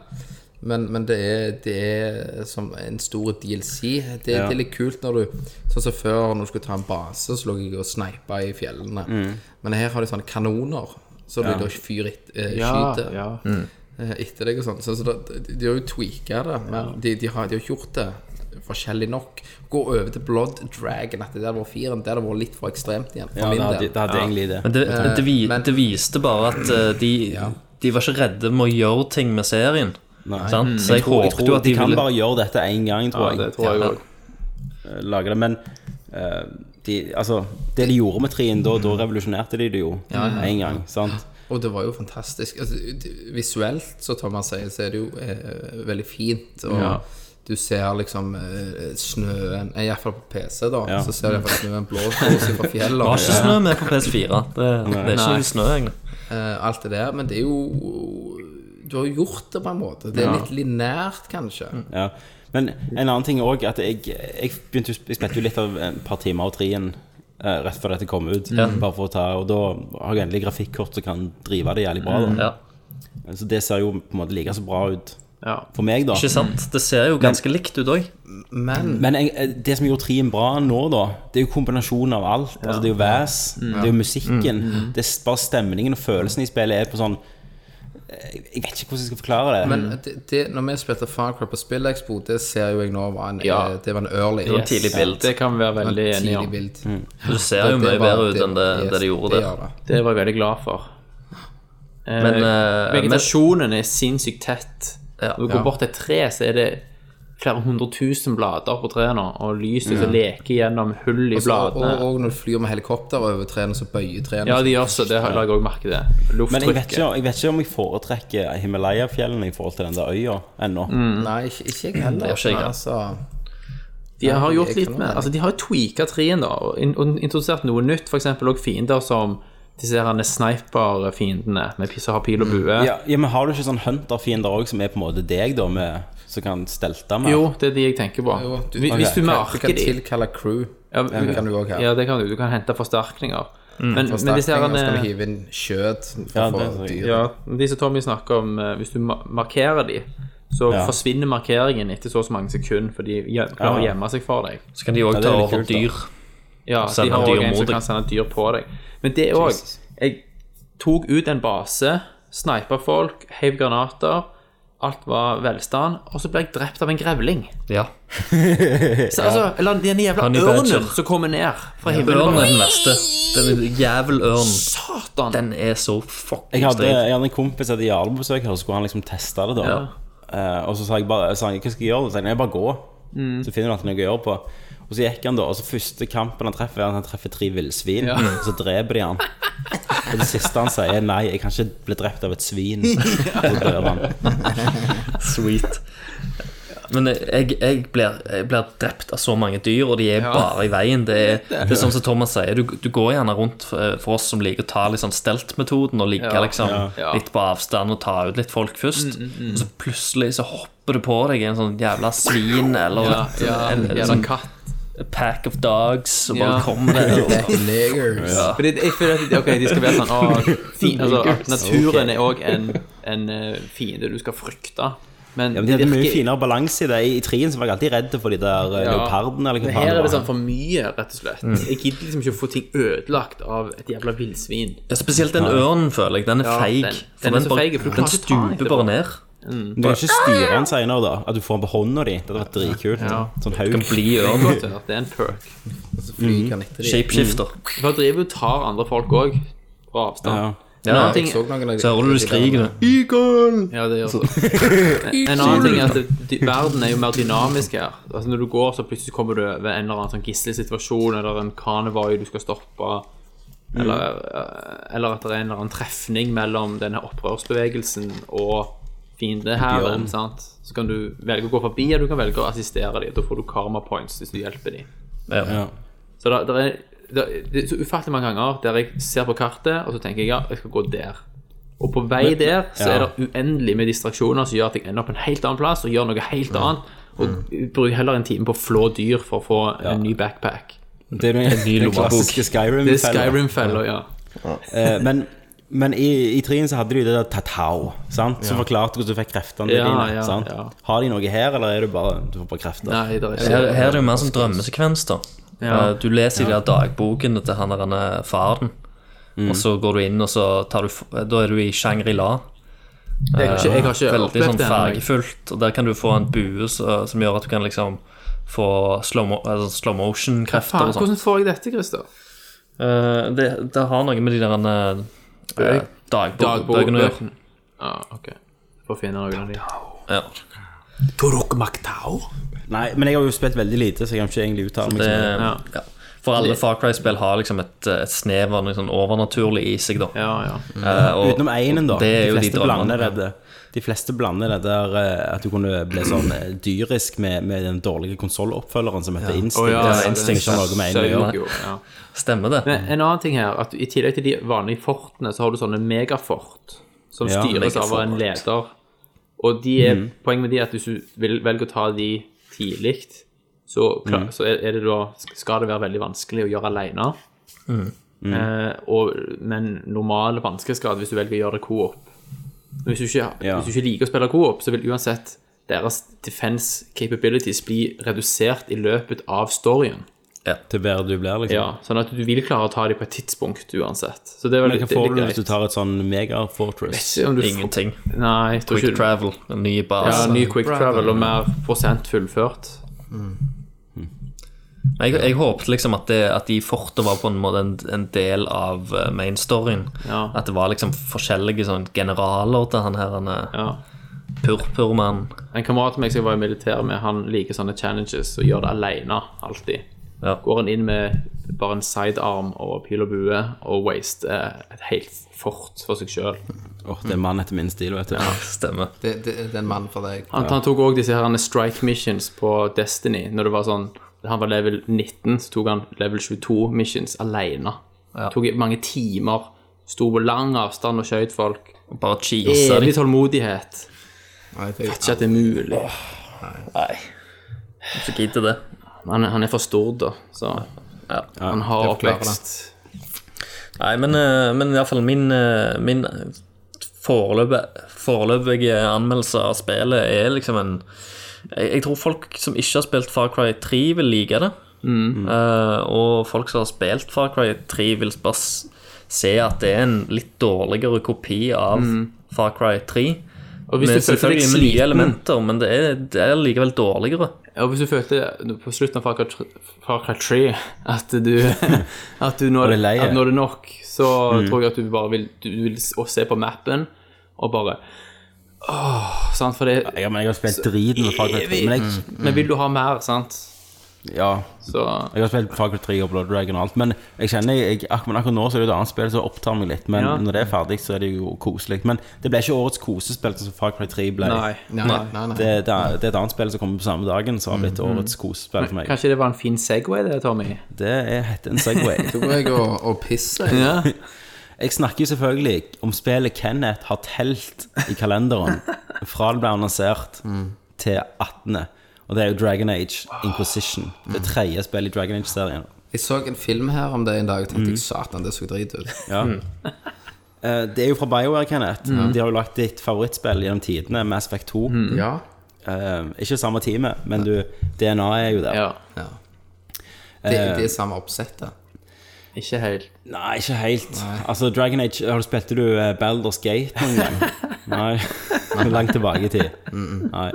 [SPEAKER 6] men, men det, er, det er som en stor DLC. Det, det er litt kult når du Sånn som før, når du skulle ta en base, så lå jeg og sneipa i fjellene. Men her har de sånne kanoner, så du da fyr et, eh,
[SPEAKER 2] Ja,
[SPEAKER 6] skyter.
[SPEAKER 2] ja.
[SPEAKER 6] eh, etter deg og sånn. Så, så da- de, de har jo tweaka det, men de, de, har, de har gjort det forskjellig nok. Gå over til Blood Dragon, at det der var firen, det hadde vært litt for ekstremt igjen. For
[SPEAKER 1] Ja, det
[SPEAKER 6] min
[SPEAKER 1] hadde,
[SPEAKER 6] del.
[SPEAKER 1] det hadde egentlig det.
[SPEAKER 7] Men det, det, vi,
[SPEAKER 6] men-
[SPEAKER 7] det viste bare at eh, de, de var ikke redde med å gjøre ting med serien. Sant? Så jeg,
[SPEAKER 1] Jeg
[SPEAKER 7] håpet jo
[SPEAKER 1] tror
[SPEAKER 7] at
[SPEAKER 1] de
[SPEAKER 7] de
[SPEAKER 1] kan
[SPEAKER 7] ville
[SPEAKER 1] bare gjøre dette én gang, tror
[SPEAKER 2] Ja,
[SPEAKER 1] jeg.
[SPEAKER 2] det tror jeg
[SPEAKER 7] Ja.
[SPEAKER 2] òg.
[SPEAKER 1] eh, Lage det. Men eh, de, altså, det de gjorde med trien da, da revolusjonerte de det jo én gang. sant?
[SPEAKER 6] Og det var jo fantastisk. Altså, det- visuelt, så Thomas sier, så er det jo eh, veldig fint. Og
[SPEAKER 2] Ja.
[SPEAKER 6] du ser liksom eh, snøen eh, i hvert fall på PC, da.
[SPEAKER 1] Ja.
[SPEAKER 6] Så ser du i hvert fall snøen blåse fra fjellet.
[SPEAKER 7] Det var ikke snø med på PS4. Det, det er ikke
[SPEAKER 2] Nei.
[SPEAKER 7] noe snø, egentlig.
[SPEAKER 6] eh, alt det der. Men det er jo Du har jo gjort det på en måte. Det er litt lineært, kanskje.
[SPEAKER 7] Mm.
[SPEAKER 1] Ja. Men en annen ting òg, at jeg, jeg begynte jo- jeg spilte jo litt av et par timer av trien eh, rett før dette kom ut. Bare for å ta, Og da har jeg endelig grafikkort som kan drive det jævlig bra. Da.
[SPEAKER 7] Mm, Ja.
[SPEAKER 1] Så det ser jo på en måte like så bra ut
[SPEAKER 2] Ja.
[SPEAKER 1] for meg, da.
[SPEAKER 7] Ikke sant? Det ser jo ganske likt ut òg.
[SPEAKER 1] Men jeg, eh, det som gjorde trien bra nå, da, det er jo kombinasjonen av alt. Altså, det er jo væs,
[SPEAKER 7] Mm.
[SPEAKER 1] det er jo musikken, det er s- bare stemningen og følelsen i spillet er på sånn eh, Jeg vet ikke hvordan jeg skal forklare det.
[SPEAKER 6] Men det, det, når vi spilte Far Cry på Spillexpo, det ser jo jeg nå var en,
[SPEAKER 2] Ja.
[SPEAKER 6] eh, det var en early.
[SPEAKER 7] var en tidlig
[SPEAKER 2] Yes.
[SPEAKER 7] bild.
[SPEAKER 2] Det kan vi være
[SPEAKER 6] En
[SPEAKER 2] veldig
[SPEAKER 6] tidlig
[SPEAKER 2] enige om.
[SPEAKER 6] bild.
[SPEAKER 7] Du ser jo
[SPEAKER 6] Det-
[SPEAKER 7] mye
[SPEAKER 6] det var-
[SPEAKER 7] bedre ut enn det, det de gjorde der.
[SPEAKER 6] gjør det.
[SPEAKER 2] Det var jeg veldig glad for. Eh,
[SPEAKER 7] Men, eh,
[SPEAKER 2] vegetasjonen er sinnssykt tett.
[SPEAKER 7] Ja.
[SPEAKER 2] Når du går bort til et tre, så er det flere hundre tusen blader på treet nå, og lyset som leker gjennom hull i
[SPEAKER 6] Og så-
[SPEAKER 2] bladene.
[SPEAKER 6] og, og når du flyr med helikopter over trærne, så bøyer trærne.
[SPEAKER 2] Ja, de gjør så det. La jeg òg merke det.
[SPEAKER 1] Men jeg vet,
[SPEAKER 2] Lufttrykket.
[SPEAKER 1] ikke, jeg vet ikke om jeg foretrekker Himalaya-fjellene i forhold til den der øya ennå.
[SPEAKER 7] Mm.
[SPEAKER 6] Mm. Nei, ikke, ikke jeg heller.
[SPEAKER 7] Det gjør ikke jeg heller.
[SPEAKER 6] altså,
[SPEAKER 2] De har gjort
[SPEAKER 6] Jeg
[SPEAKER 2] litt
[SPEAKER 6] kan
[SPEAKER 2] med
[SPEAKER 6] være
[SPEAKER 2] Altså, de har jo tweaka trien, da, og, in- og introdusert noe nytt, f.eks. òg fiender som disse her sniper-fiendene med pisse har pil og bue.
[SPEAKER 1] Mm. Ja, ja, men har du ikke sånn hunter-fiender òg, som er på en måte deg, da, med, som kan stelte med?
[SPEAKER 2] Jo, det er de jeg tenker på.
[SPEAKER 6] jo, du-
[SPEAKER 2] Hvis- Hvis du
[SPEAKER 1] Ok.
[SPEAKER 6] Du
[SPEAKER 2] merker
[SPEAKER 6] kan
[SPEAKER 2] de
[SPEAKER 6] tilkalle crew.
[SPEAKER 2] Ja,
[SPEAKER 6] Det kan du også ha.
[SPEAKER 2] Ja, det kan du. Du kan hente forsterkninger.
[SPEAKER 1] Mm.
[SPEAKER 2] Men, men disse
[SPEAKER 6] Forsterkninger, så kan du
[SPEAKER 2] her
[SPEAKER 6] hive inn skjøt for
[SPEAKER 1] Ja,
[SPEAKER 6] å
[SPEAKER 1] det tror
[SPEAKER 6] få
[SPEAKER 1] jeg.
[SPEAKER 6] dyr.
[SPEAKER 2] ja, men de som Tommy snakker om, eh, hvis du ma- markerer de, så
[SPEAKER 1] Ja.
[SPEAKER 2] forsvinner markeringen etter så og så mange sekunder, for de gjem- klarer å
[SPEAKER 1] Ja.
[SPEAKER 2] gjemme seg for deg.
[SPEAKER 7] Så kan de òg
[SPEAKER 1] Ja, det
[SPEAKER 7] ta
[SPEAKER 1] er litt
[SPEAKER 7] over
[SPEAKER 1] kult, da.
[SPEAKER 7] dyr.
[SPEAKER 2] Ja, de
[SPEAKER 7] Sender
[SPEAKER 2] har
[SPEAKER 7] dyr
[SPEAKER 2] også en
[SPEAKER 7] mot
[SPEAKER 2] som
[SPEAKER 7] deg.
[SPEAKER 2] kan sende dyr på deg. Men det òg
[SPEAKER 1] Jesus.
[SPEAKER 2] Jeg tok ut en base, snipa folk, heiv granater. Alt var velstand. Og så ble jeg drept av en grevling.
[SPEAKER 7] Ja.
[SPEAKER 2] Så, altså, Eller den jævla
[SPEAKER 7] Han i Badger.
[SPEAKER 2] ørnen som kommer ned fra himmelen.
[SPEAKER 7] Ørnen er den verste. Den jævelørnen.
[SPEAKER 2] Satan!
[SPEAKER 7] Den er så
[SPEAKER 1] Jeg
[SPEAKER 7] fuckings
[SPEAKER 1] hadde,
[SPEAKER 7] streit.
[SPEAKER 1] jeg hadde en kompis etter Jarl på besøk her, og så skulle han liksom teste det. da
[SPEAKER 7] Ja.
[SPEAKER 1] Eh, Og så sa jeg bare sa han, Hva skal jeg gjøre? Så sa han, jeg bare gå.
[SPEAKER 2] Mm.
[SPEAKER 1] Så finner du alltid noe å gjøre på. Og så gikk han, da. Og så første kampen han treffer, er at han treffer tre villsvin. Og så dreper de han. Og det siste han sier, er nei, jeg kan ikke bli drept av et
[SPEAKER 2] <laughs>
[SPEAKER 1] svin. Og så dør han.
[SPEAKER 7] Sweet. Men jeg, jeg, blir, jeg blir drept av så mange dyr, og de er bare i veien. Det er, det er sånn som Thomas sier, du, du går gjerne rundt eh, for oss som liker å ta litt sånn steltmetoden og ligge
[SPEAKER 2] Ja,
[SPEAKER 7] liksom
[SPEAKER 2] ja. Mm,
[SPEAKER 7] litt på avstand og ta ut litt folk først. Og så plutselig så hopper det på deg en sånn jævla svin eller
[SPEAKER 2] Ja,
[SPEAKER 7] et,
[SPEAKER 2] ja,
[SPEAKER 7] en, en,
[SPEAKER 2] jævla
[SPEAKER 7] sånn
[SPEAKER 2] katt.
[SPEAKER 7] pack of dogs og
[SPEAKER 2] <laughs>
[SPEAKER 7] bare
[SPEAKER 2] Ja.
[SPEAKER 7] kommer der. Og,
[SPEAKER 6] Niggers. Ja.
[SPEAKER 2] Fordi jeg føler at de, ok, de skal være sånn å,
[SPEAKER 7] <laughs>
[SPEAKER 2] fi, altså, at Naturen er òg en, en eh, fiende du skal frykte. Men,
[SPEAKER 1] Ja, men de hadde mye finere balanse i det. I, i trien så var jeg alltid redd for de der eh, leopardene. Eller hva
[SPEAKER 2] Men
[SPEAKER 1] faen
[SPEAKER 2] Her er det
[SPEAKER 1] var.
[SPEAKER 2] sånn for mye, rett og slett.
[SPEAKER 7] Mm.
[SPEAKER 2] Jeg gidder liksom ikke å få ting ødelagt av et jævla villsvin.
[SPEAKER 7] ja, spesielt den ørnen, føler jeg. Den er
[SPEAKER 2] Ja,
[SPEAKER 7] feig.
[SPEAKER 2] den-
[SPEAKER 7] for
[SPEAKER 2] den er så
[SPEAKER 7] bare-
[SPEAKER 2] feig, for du kan
[SPEAKER 7] den
[SPEAKER 2] ikke ta
[SPEAKER 7] stuper
[SPEAKER 2] etterpå.
[SPEAKER 7] bare ned.
[SPEAKER 1] Du kan ikke styre den senere, da. At du får den på hånda di. Det hadde vært dritkult. Sånn
[SPEAKER 7] Du kan
[SPEAKER 1] haug.
[SPEAKER 7] bli ørn.
[SPEAKER 2] Godt hørt, Det er en perk.
[SPEAKER 7] Shapeshifter.
[SPEAKER 2] For da driver du og tar andre folk òg, på avstand.
[SPEAKER 1] Ja.
[SPEAKER 7] Ja,
[SPEAKER 2] En annen ting,
[SPEAKER 6] Så noen av de-
[SPEAKER 7] så hører du du skriker. da.
[SPEAKER 2] ja, det gjør det. En en annen ting er at det- de- verden er jo mer dynamisk her. Altså Når du går, så plutselig kommer du over en eller annen sånn gisselsituasjon, eller en kanevai du skal stoppe, eller, eh, eller at det er en eller annen trefning mellom denne opprørsbevegelsen og fiendehæren. sant? Så kan du velge å gå forbi, eller du kan velge å assistere dem. Da får du karma points hvis du hjelper dem.
[SPEAKER 7] Ja.
[SPEAKER 2] Så der, der er, der, det er så ufattelig mange ganger der jeg ser på kartet, og så tenker jeg ja, jeg skal gå der. Og på vei der så er
[SPEAKER 1] ja.
[SPEAKER 2] det uendelig med distraksjoner som gjør at jeg ender opp en helt annen plass og gjør noe helt annet. Og
[SPEAKER 7] Mm.
[SPEAKER 2] bruker heller en time på å flå dyr for å få en ny backpack.
[SPEAKER 1] Det er den, den
[SPEAKER 7] lommebok.
[SPEAKER 1] klassiske
[SPEAKER 2] Det er
[SPEAKER 1] Skyrim-fella.
[SPEAKER 2] Skyrim-feller, ja.
[SPEAKER 1] Eh, men men i, i trien så hadde de det der tatao, sant? som forklarte hvordan du fikk kreftene
[SPEAKER 2] Ja,
[SPEAKER 1] dine.
[SPEAKER 2] ja,
[SPEAKER 1] sant?
[SPEAKER 2] ja.
[SPEAKER 1] Har de noe her, eller er du bare du får bare krefter?
[SPEAKER 2] Nei, det er
[SPEAKER 7] Her,
[SPEAKER 2] ikke
[SPEAKER 7] her er det jo mer sånn drømmesekvens, da.
[SPEAKER 2] Ja. Mm.
[SPEAKER 7] Eh, Du leser i de der dagbokene til han der han er faren, og så går du inn, og så tar du f- eh, Da er du i Shangri-La.
[SPEAKER 2] Jeg har ikke, jeg har ikke
[SPEAKER 7] Veldig
[SPEAKER 2] opplevd
[SPEAKER 7] sånn
[SPEAKER 2] det. ennå, jeg.
[SPEAKER 7] fargefullt. Og der kan du få en bue så, som gjør at du kan liksom få slow, mo altså slow motion-krefter
[SPEAKER 2] Faen,
[SPEAKER 7] og sånn.
[SPEAKER 2] hvordan får jeg dette, Christer?
[SPEAKER 7] Eh, det, det har noe med de der eh, eh, dagbok- dagbøkene å gjøre.
[SPEAKER 2] Dagbokbøkene. Ja, ok. Får finne noen av de.
[SPEAKER 7] Ja.
[SPEAKER 1] Nei, men jeg har jo spilt veldig lite, så jeg kan ikke egentlig uttale
[SPEAKER 2] Liksom,
[SPEAKER 1] meg.
[SPEAKER 7] Det,
[SPEAKER 1] sånn.
[SPEAKER 7] ja. For alle Far Cry-spill har liksom et, et snev av noe sånn overnaturlig i seg, da.
[SPEAKER 2] Ja, ja.
[SPEAKER 7] Eh, og-
[SPEAKER 1] Utenom einen, da.
[SPEAKER 7] og Det er
[SPEAKER 1] de
[SPEAKER 7] jo de,
[SPEAKER 1] fleste
[SPEAKER 7] drømmene.
[SPEAKER 1] blander det der- De fleste blander det der eh, at du kunne bli sånn eh, dyrisk med, med den dårlige konsolloppfølgeren som heter Instinct.
[SPEAKER 2] Å, ja,
[SPEAKER 7] det er
[SPEAKER 2] ja, det
[SPEAKER 7] instinct
[SPEAKER 1] som har noe med en å gjøre.
[SPEAKER 2] søg jo, ja.
[SPEAKER 7] Stemmer det?
[SPEAKER 2] Men en annen ting her, at i tillegg til de vanlige fortene, så har du sånne megafort, som
[SPEAKER 1] Ja, Mhm.
[SPEAKER 2] styres av en
[SPEAKER 7] megafort.
[SPEAKER 2] leder. Og de er, poenget med de er at hvis du vil, velger å ta de tidlig, så, klar,
[SPEAKER 1] Mhm.
[SPEAKER 2] så er er det da, skal det være veldig vanskelig å gjøre alene.
[SPEAKER 1] Mhm.
[SPEAKER 2] Eh, og, men normal vanskelighetsgrad hvis du velger å gjøre det co-op. Men Hvis, du ikke-
[SPEAKER 1] Ja.
[SPEAKER 2] hvis du ikke liker å spille co-op, så vil uansett deres defense capabilities bli redusert i løpet av storyen.
[SPEAKER 1] Til bedre du blir, liksom.
[SPEAKER 2] Ja, sånn at du vil klare å ta dem på et tidspunkt uansett. Så det er vel
[SPEAKER 1] Men hva
[SPEAKER 2] det- det
[SPEAKER 1] får
[SPEAKER 2] er
[SPEAKER 1] du
[SPEAKER 2] greit.
[SPEAKER 1] hvis du tar et sånn mega-fortress?
[SPEAKER 2] Om du får-
[SPEAKER 7] Ingenting.
[SPEAKER 2] Nei, jeg tror
[SPEAKER 7] Quick
[SPEAKER 2] ikke
[SPEAKER 7] travel, en ny
[SPEAKER 2] ja,
[SPEAKER 7] base.
[SPEAKER 2] Ny quick travel og mer prosent fullført.
[SPEAKER 7] jeg, jeg håpet liksom at, det, at de fortene var på en måte en, en del av eh, mainstoryen.
[SPEAKER 2] Ja.
[SPEAKER 7] At det var liksom forskjellige sånn generaler til han her, han eh,
[SPEAKER 2] Ja.
[SPEAKER 7] purpurmannen.
[SPEAKER 2] En kamerat av meg som jeg var i militæret med, han liker sånne challenges og gjør det alene alltid.
[SPEAKER 7] Ja.
[SPEAKER 2] Går han inn med bare en sidearm og pil og bue og waster et helt fort for seg sjøl.
[SPEAKER 1] Åh, det er mann etter min stil, vet du.
[SPEAKER 7] Stemmer.
[SPEAKER 6] Det, det, det er en mann for deg.
[SPEAKER 2] Han, han tok òg disse her strike missions på Destiny. Når det var sånn Han var level 19, så tok han level 22 missions alene.
[SPEAKER 7] Ja.
[SPEAKER 2] Tok mange timer. Sto på lang avstand og skjøt folk.
[SPEAKER 7] Bare cheese
[SPEAKER 2] Evig
[SPEAKER 7] de.
[SPEAKER 2] tålmodighet.
[SPEAKER 6] Nei, det er
[SPEAKER 2] Ikke at det er mulig.
[SPEAKER 7] Nei. Så gidder det.
[SPEAKER 2] Han, er- han er for stor, da. Så han har oppvekst.
[SPEAKER 7] Nei, men, eh, men iallfall min, eh, min foreløpige, foreløpige anmeldelse av spillet er liksom en jeg, jeg tror folk som ikke har spilt Far Cry 3, vil like det.
[SPEAKER 1] Mm.
[SPEAKER 7] Eh, og folk som har spilt Far Cry 3, vil bare s- se at det er en litt dårligere kopi av
[SPEAKER 1] Mm.
[SPEAKER 7] Far Cry 3.
[SPEAKER 2] Og hvis
[SPEAKER 7] Med
[SPEAKER 2] du følte deg
[SPEAKER 7] selvfølgelig med nye
[SPEAKER 2] sliten
[SPEAKER 7] elementer, men det er, det er likevel dårligere.
[SPEAKER 2] Og hvis du følte på slutten av Far Cry tr- Far Cry 3 at du, at du nå,
[SPEAKER 1] Og det er lei.
[SPEAKER 2] at nå er det nok, så tror jeg at du bare vil, du vil s- og se på mappen og bare Åh, sant, for det
[SPEAKER 1] Ja, men jeg har spilt driten med Far Cry 3. Men jeg,
[SPEAKER 2] Men vil du ha mer, sant? Mm.
[SPEAKER 1] ja,
[SPEAKER 2] Så
[SPEAKER 1] jeg har spilt Far Cry 3 og Blood Dragon og alt. Men jeg kjenner, jeg, ak- men akkurat nå så er det et annet spill som opptar meg litt. Men
[SPEAKER 2] Ja.
[SPEAKER 1] når det er ferdig, så er det jo koselig. Men det ble ikke årets kosespill, sånn som Far Cry 3 ble.
[SPEAKER 2] Nei.
[SPEAKER 6] Nei, nei, nei, nei.
[SPEAKER 1] Det, det, er, det er et annet spill som kommer på samme dagen, som har blitt årets kosespill for meg.
[SPEAKER 2] Mm, Kanskje det var en fin Segway, det, Tommy?
[SPEAKER 1] Det er heter en Segway.
[SPEAKER 6] Da går jeg og, og pisser. jeg.
[SPEAKER 2] Ja.
[SPEAKER 1] Jeg snakker jo selvfølgelig om spillet Kenneth har telt i kalenderen fra det ble annonsert til 18. Og det er jo Dragon Age Inquisition. Det tredje spillet i Dragon Age-serien.
[SPEAKER 6] Jeg så en film her om det en dag og tenkte jeg, satan, det så drit ut.
[SPEAKER 1] Ja. Eh, Det er jo fra BioWare, Kenneth. De har jo lagt ditt favorittspill gjennom tidene, Mass Effect 2.
[SPEAKER 6] Ja.
[SPEAKER 1] Eh, ikke samme teamet, men du, DNA er jo der.
[SPEAKER 2] ja.
[SPEAKER 6] ja. Det, det er samme oppsettet.
[SPEAKER 2] Ikke helt.
[SPEAKER 1] Nei, ikke helt. Altså, Dragon Age har du Spilte du eh, Baldur's Gate noen gang? Nei. Langt tilbake i tid. Nei.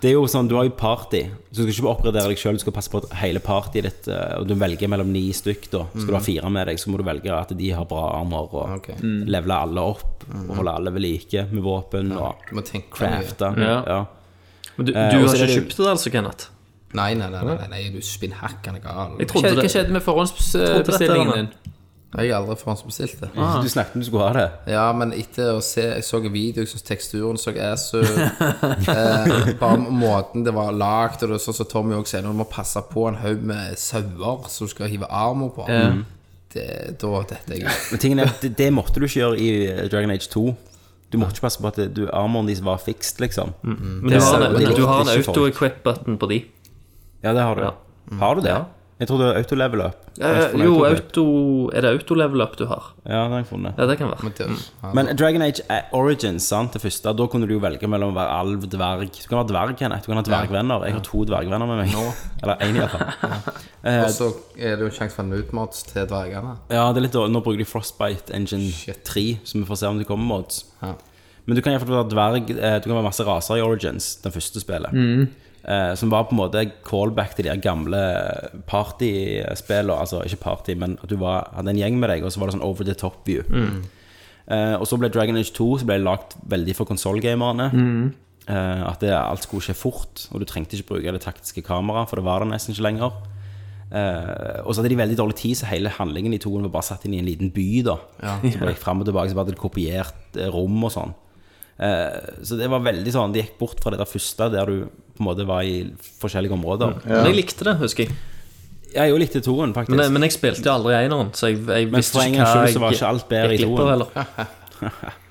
[SPEAKER 1] Det er jo sånn, Du har jo party, så du skal ikke bare oppgradere deg sjøl. Du skal passe på at hele partyet ditt eh, Og du velger mellom ni stykk, da. Skal du ha fire med deg, så må du velge at de har bra armer, og
[SPEAKER 6] Ok.
[SPEAKER 1] levele alle opp. Og holde alle ved like med våpen og
[SPEAKER 6] Du må tenke deg-
[SPEAKER 1] crafte.
[SPEAKER 2] Ja.
[SPEAKER 1] Ja.
[SPEAKER 7] Men du, du
[SPEAKER 1] Eh, og
[SPEAKER 7] har
[SPEAKER 1] så er
[SPEAKER 7] ikke
[SPEAKER 1] det jo-
[SPEAKER 7] kjøpt det, altså, Kenneth?
[SPEAKER 6] Nei, nei, nei, nei, nei, nei, du er spinnhakkende gal.
[SPEAKER 7] Jeg
[SPEAKER 6] Jeg
[SPEAKER 7] trodde
[SPEAKER 2] Hva
[SPEAKER 7] det.
[SPEAKER 2] skjedde med
[SPEAKER 7] dette
[SPEAKER 2] forhåndsbestillingen
[SPEAKER 7] var-
[SPEAKER 2] din?
[SPEAKER 6] har aldri forhåndsbestilt det.
[SPEAKER 1] Du snakket om du skulle ha det.
[SPEAKER 6] Ja, men etter å se Jeg så en video, jeg synes teksturen så ass ut. eh, bare måten det var lagd, og det er sånn som Tommy også sier, når du må passe på en haug med sauer som du skal hive armer på.
[SPEAKER 2] Mm.
[SPEAKER 6] Det, da detter jeg
[SPEAKER 7] <laughs>
[SPEAKER 6] ut.
[SPEAKER 1] Men tingen er, at det, det måtte du ikke gjøre i eh, Dragon Age 2. Du måtte ikke passe på at det- du, armoren deres var fikst, liksom.
[SPEAKER 7] Men du har,
[SPEAKER 1] det
[SPEAKER 7] en, du
[SPEAKER 1] likte
[SPEAKER 7] har en
[SPEAKER 1] ikke folk.
[SPEAKER 7] auto-equip-button på de.
[SPEAKER 1] Ja, det har du.
[SPEAKER 7] Ja.
[SPEAKER 1] Har du det?
[SPEAKER 7] Ja.
[SPEAKER 1] Jeg trodde autolevel up.
[SPEAKER 7] Eh,
[SPEAKER 1] Autolevel
[SPEAKER 7] jo,
[SPEAKER 1] up.
[SPEAKER 7] auto, er det auto-level-up du har?
[SPEAKER 1] Ja, det har jeg funnet.
[SPEAKER 7] Ja, det kan være.
[SPEAKER 6] Men det-
[SPEAKER 7] Mm.
[SPEAKER 6] ja.
[SPEAKER 1] Men Dragon Age eh, Origins, sant, det første, da kunne du jo velge mellom å være alv, dverg Du kan være dverg, Kenneth. Du kan ha dvergvenner. Jeg har to dvergvenner med meg. <laughs> Eller én, iallfall.
[SPEAKER 2] Eh,
[SPEAKER 6] Og så er det jo en sjanse for en utmats til dvergene.
[SPEAKER 1] Ja, det er litt dårlig. Nå bruker de Frostbite Engine 3, så vi får se om det kommer mods.
[SPEAKER 6] Ja.
[SPEAKER 1] Men du kan i hvert fall være dverg eh, Du kan være masse raser i Origins, det første spillet. Eh, som var på en måte callback til de her gamle partyspillene. Altså ikke party, men at du var, hadde en gjeng med deg, og så var det sånn over the top view. Eh, og så ble Dragon Age 2 så ble det lagt veldig for konsollgamerne. Eh, at det, alt skulle skje fort, og du trengte ikke bruke det taktiske kameraet, for det var det nesten ikke lenger. Eh, og så hadde de veldig dårlig tid, så hele handlingen i toen var bare satt inn i en liten by. da Så bare gikk frem og tilbake, så bare hadde de kopiert eh, rom og sånn. Eh, så det var veldig sånn De gikk bort fra det der første, der du på en måte var i forskjellige områder.
[SPEAKER 7] Men jeg likte det, husker jeg.
[SPEAKER 1] Jeg jo likte toen, faktisk.
[SPEAKER 7] Men, men jeg spilte jo aldri eneren, så jeg, jeg visste
[SPEAKER 1] for en
[SPEAKER 7] ikke
[SPEAKER 1] gangs
[SPEAKER 7] hva
[SPEAKER 1] skyld
[SPEAKER 7] jeg
[SPEAKER 1] så var ikke alt bedre i
[SPEAKER 7] gikk glipp av
[SPEAKER 1] toen.
[SPEAKER 7] heller.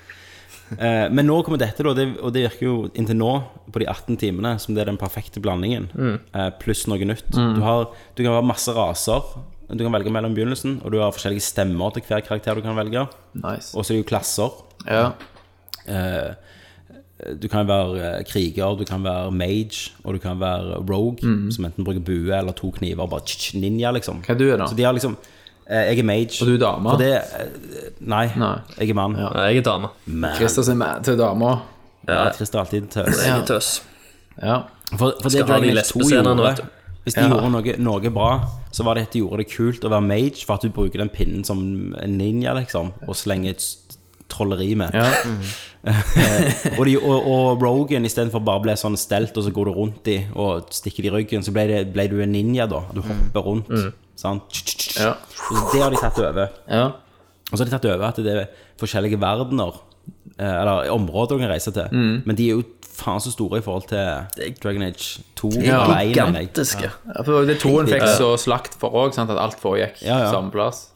[SPEAKER 1] Eh, Men nå kommer dette, da, det, og det virker jo inntil nå, på de 18 timene, som det er den perfekte blandingen.
[SPEAKER 2] Mm.
[SPEAKER 1] eh, Pluss noe nytt. Du, har, du kan ha masse raser du kan velge mellom begynnelsen, og du har forskjellige stemmer til hver karakter du kan velge.
[SPEAKER 2] Nice.
[SPEAKER 1] Og så er det jo klasser.
[SPEAKER 2] Ja.
[SPEAKER 1] Du kan være eh, kriger, du kan være mage, og du kan være rogue, som enten bruker bue eller to kniver, bare tsk, tsk, ninja, liksom.
[SPEAKER 2] Mm. Hva er du, da?
[SPEAKER 1] Så de har liksom eh, Jeg er mage.
[SPEAKER 2] Og du er dame?
[SPEAKER 1] For det eh, Nei,
[SPEAKER 2] Nei.
[SPEAKER 1] jeg er mann.
[SPEAKER 7] Nei, Jeg er dame.
[SPEAKER 2] Christer sin mad til dama.
[SPEAKER 1] Ja, Christer er alltid tøs.
[SPEAKER 2] <laughs>
[SPEAKER 7] Jeg er tøs.
[SPEAKER 2] Ja.
[SPEAKER 1] For, for det
[SPEAKER 7] ha de
[SPEAKER 1] Dragon Age 2
[SPEAKER 7] lesbescenene,
[SPEAKER 1] gjorde
[SPEAKER 7] vet du.
[SPEAKER 1] Hvis de gjorde noe, noe bra, så var det at de gjorde det kult å være mage for at du bruker den pinnen som en ninja, liksom, og slenger et s- trolleri med. <laughs> Eh,
[SPEAKER 2] Ja. Mm.
[SPEAKER 1] og, de, og, og Rogan istedenfor bare ble sånn stelt, og så går du rundt de og stikker de i ryggen, så ble, det, ble du en ninja, da.
[SPEAKER 7] Mm.
[SPEAKER 1] Du hopper rundt. Sant?
[SPEAKER 2] Mm. Ja.
[SPEAKER 1] Så Det har de tatt over.
[SPEAKER 2] ja.
[SPEAKER 1] Og så har de tatt over at det er forskjellige verdener, eh, eller områder du kan reise til.
[SPEAKER 2] Mm.
[SPEAKER 1] Men de er jo faen så store i forhold til Dragon Age 2.
[SPEAKER 2] Ja.
[SPEAKER 1] alene, mener jeg.
[SPEAKER 7] Gigantiske.
[SPEAKER 2] Ja, for det toen fikk så slakt for òg, at alt foregikk
[SPEAKER 1] Ja, ja.
[SPEAKER 2] samme plass.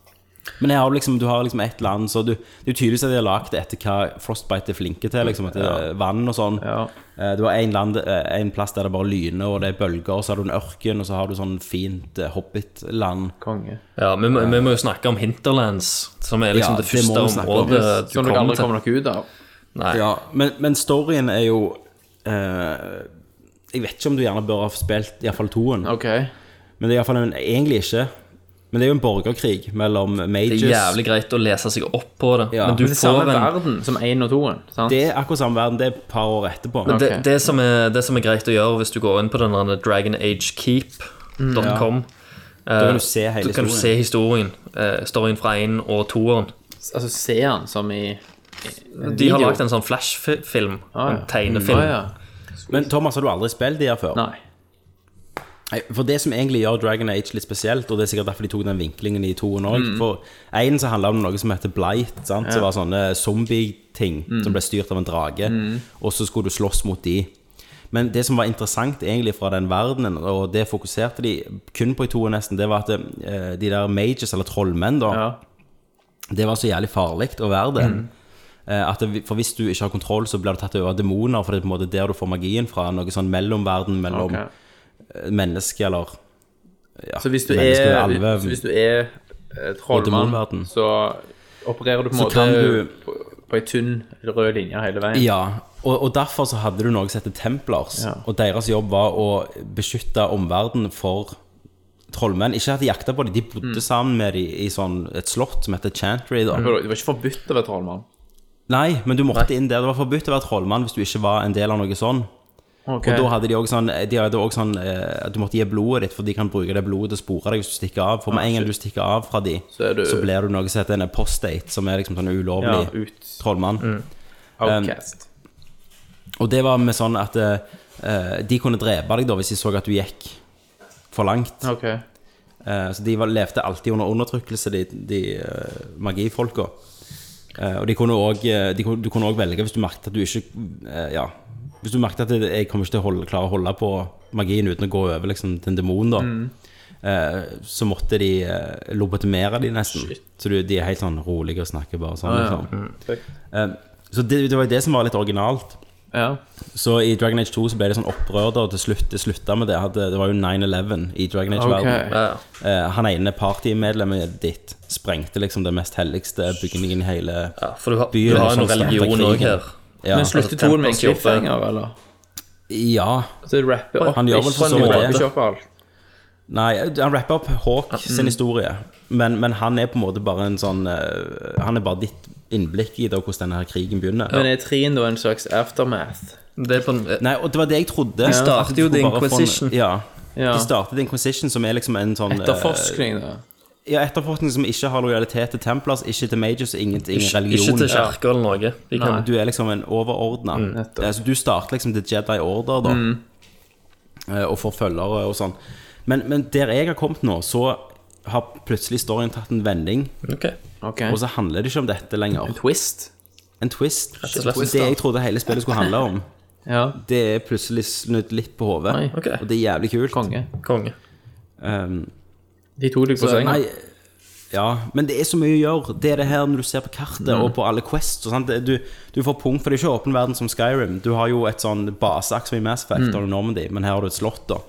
[SPEAKER 1] Men her har du liksom, du har liksom ett land, så du, det er jo tydelig at de har lagd det etter hva Frostbite er flinke til. Liksom, at det er vann og sånn.
[SPEAKER 2] Ja.
[SPEAKER 1] Eh, Du har en, land, eh, en plass der det bare lyner, og det er bølger, og så har du en ørken, og så har du sånn fint eh, hobbit-land.
[SPEAKER 2] Konge.
[SPEAKER 7] Ja, vi, må- vi må jo snakke om Hinterlands, som er
[SPEAKER 1] Ja,
[SPEAKER 7] liksom det
[SPEAKER 1] det må
[SPEAKER 7] første
[SPEAKER 1] vi snakke om.
[SPEAKER 7] området du
[SPEAKER 2] Som dere
[SPEAKER 7] kommer
[SPEAKER 2] aldri
[SPEAKER 7] til.
[SPEAKER 2] kommer dere ut av.
[SPEAKER 7] Nei.
[SPEAKER 1] Ja, men, men storyen er jo eh, Jeg vet ikke om du gjerne bør ha spilt iallfall toen.
[SPEAKER 2] Ok.
[SPEAKER 1] Men det er iallfall en, egentlig ikke. Men det er jo en borgerkrig mellom
[SPEAKER 7] Det
[SPEAKER 1] majors.
[SPEAKER 7] er jævlig greit å lese seg opp på det,
[SPEAKER 1] Ja.
[SPEAKER 7] men du
[SPEAKER 1] Men
[SPEAKER 2] Det er
[SPEAKER 7] får
[SPEAKER 2] samme
[SPEAKER 7] en
[SPEAKER 2] verden som én og toen. sant?
[SPEAKER 1] Det er akkurat samme verden. Det er et par år etterpå.
[SPEAKER 7] Men
[SPEAKER 2] Ok.
[SPEAKER 7] det, det, som er, det som er greit å gjøre hvis du går inn på den der dragonagekeep.com
[SPEAKER 1] Da kan du se hele
[SPEAKER 7] så eh, kan du se
[SPEAKER 1] historien.
[SPEAKER 7] historien. eh, storyen fra én og toeren.
[SPEAKER 2] Altså ser han som i
[SPEAKER 7] De har lagd en sånn flashfilm.
[SPEAKER 2] Ah, ja.
[SPEAKER 7] En tegnefilm.
[SPEAKER 2] Å, ja.
[SPEAKER 1] Men Thomas, har du aldri spilt de her før?
[SPEAKER 2] Nei.
[SPEAKER 1] Nei, For det som egentlig gjør Dragon Age litt spesielt, og det er sikkert derfor de tok den vinklingen i toen òg
[SPEAKER 7] Mm.
[SPEAKER 1] For én som handla om noe som heter Blight, sant? som var sånne zombie-ting
[SPEAKER 7] Mm.
[SPEAKER 1] som ble styrt av en drage, og så skulle du slåss mot de. Men det som var interessant egentlig fra den verdenen, og det fokuserte de kun på i toen nesten, det var at eh, de der mages, eller trollmenn, da,
[SPEAKER 2] Ja.
[SPEAKER 1] det var så jævlig farlig å være det.
[SPEAKER 2] Mm.
[SPEAKER 1] Eh, At det, for hvis du ikke har kontroll, så blir du tatt over av demoner, for det er på en måte der du får magien fra. Noe sånn mellomverden mellom
[SPEAKER 2] Ok.
[SPEAKER 1] eh, menneske eller ja,
[SPEAKER 2] Så hvis du
[SPEAKER 1] menneske
[SPEAKER 2] er,
[SPEAKER 1] og alve.
[SPEAKER 2] hvis, hvis du er eh, trollmann,
[SPEAKER 1] demonverden.
[SPEAKER 2] så opererer du på en
[SPEAKER 1] Så
[SPEAKER 2] måte
[SPEAKER 1] kan du-
[SPEAKER 2] på, på ei tynn rød linje hele veien.
[SPEAKER 1] Ja, og, og derfor så hadde du noe som heter Templars,
[SPEAKER 2] Ja.
[SPEAKER 1] og deres jobb var å beskytte omverdenen for trollmenn. Ikke at de jakta på dem, de bodde
[SPEAKER 2] Mm.
[SPEAKER 1] sammen med dem i sånn, et slott som heter Chantry. Da.
[SPEAKER 2] For Det var ikke forbudt å være trollmann.
[SPEAKER 1] Nei, men du måtte inn der. Det var forbudt å være trollmann hvis du ikke var en del av noe sånn.
[SPEAKER 2] Okay.
[SPEAKER 1] Og da hadde de også sånn, de hadde også sånn eh, at du måtte gi blodet ditt, for de kan bruke det blodet til å spore deg hvis du stikker av. For med en gang du stikker av fra de, så,
[SPEAKER 2] Så er du-
[SPEAKER 1] blir du noe som heter en apostate, som er liksom sånn
[SPEAKER 2] ja, Mm.
[SPEAKER 1] ulovlig
[SPEAKER 2] ut.
[SPEAKER 1] trollmann.
[SPEAKER 2] Outcast.
[SPEAKER 1] Og det var med sånn at eh, eh, de kunne drepe deg da hvis de så at du gikk for langt.
[SPEAKER 2] ok.
[SPEAKER 1] Eh, så de var, levde alltid under undertrykkelse, de, de eh, magifolka. Eh, og de kunne også, eh, de, kunne- du kunne òg velge hvis du merket at du ikke eh, Ja. Hvis du merket at det- jeg kommer ikke til å holde, klare å holde på magien uten å gå over liksom, til en demon, da. eh, så måtte de uh, lobotomere de nesten. Så du, de er helt sånn rolige og snakker bare sånn. liksom. Eh, så det, det var jo det som var litt originalt.
[SPEAKER 2] Ja.
[SPEAKER 1] Så i Dragon Age 2 så ble det sånn opprør da, og til slutt det slutta med det. Hadde, det var jo 9-11 i Dragon Age-verden.
[SPEAKER 2] Ok.
[SPEAKER 7] Ja, ja.
[SPEAKER 1] Eh, han ene partymedlemmet ditt sprengte liksom den mest helligste bygningen i hele
[SPEAKER 7] Ja, for du har,
[SPEAKER 1] Byen
[SPEAKER 7] du
[SPEAKER 1] er
[SPEAKER 7] har en
[SPEAKER 1] sånn
[SPEAKER 7] religion
[SPEAKER 1] stenderkrig.
[SPEAKER 7] òg her.
[SPEAKER 1] Ja,
[SPEAKER 2] Men slutter
[SPEAKER 7] altså,
[SPEAKER 2] toen med en
[SPEAKER 7] Tempest jobber-
[SPEAKER 2] cliffhanger, eller?
[SPEAKER 1] ja.
[SPEAKER 2] Så det rapper opp
[SPEAKER 1] Han gjør vel
[SPEAKER 2] ikke- sånn
[SPEAKER 1] for så vidt
[SPEAKER 2] rapper
[SPEAKER 1] det.
[SPEAKER 2] ikke opp alt.
[SPEAKER 1] Nei, han rapper opp Hawk sin historie, men, men han er på en måte bare en sånn eh, Han er bare ditt innblikk i det, og hvordan denne her krigen begynner.
[SPEAKER 2] Men er trien da en slags aftermath?
[SPEAKER 7] Det er på en,
[SPEAKER 1] Nei, og det var det jeg trodde. De
[SPEAKER 7] starter jo The Inquisition.
[SPEAKER 1] Ja.
[SPEAKER 2] Ja.
[SPEAKER 1] De startet The Inquisition, som er liksom en sånn eh,
[SPEAKER 2] Etterforskning, da.
[SPEAKER 1] ja, etterforskning som ikke har lojalitet til Templars, ikke til Majors, ingen, til- ingen
[SPEAKER 7] ikke,
[SPEAKER 1] religion.
[SPEAKER 7] ikke til Mm, kirka eller noe. De kan,
[SPEAKER 1] Men Du er liksom en overordna.
[SPEAKER 2] Nettopp.
[SPEAKER 1] Altså, du starter liksom The Jedi Order, da.
[SPEAKER 7] Mm.
[SPEAKER 1] Eh, Og får følgere og sånn. Men, men der jeg har kommet nå, så har plutselig storyen tatt en vending.
[SPEAKER 7] Ok.
[SPEAKER 2] Ok.
[SPEAKER 1] Og så handler det ikke om dette lenger.
[SPEAKER 2] Twist.
[SPEAKER 1] En twist.
[SPEAKER 7] og slett.
[SPEAKER 1] Så det jeg trodde hele spillet skulle handle om,
[SPEAKER 2] Ja.
[SPEAKER 1] det er plutselig snudd litt på hodet.
[SPEAKER 2] Nei.
[SPEAKER 7] Ok.
[SPEAKER 1] Og det er jævlig kult.
[SPEAKER 2] Konge.
[SPEAKER 7] Konge.
[SPEAKER 1] Um,
[SPEAKER 2] De liksom tok deg på
[SPEAKER 1] Eh,
[SPEAKER 2] senga.
[SPEAKER 1] Nei, ja, men det er så mye å gjøre. Det er det her når du ser på kartet
[SPEAKER 7] Mm.
[SPEAKER 1] og på alle quests. Og sånt. Det- Du, du får punkt, for det er ikke åpen verden som Skyrim. Du har jo et sånn baseaks i Mass
[SPEAKER 7] Mm.
[SPEAKER 1] Effect og Normandy, men her har du et slott da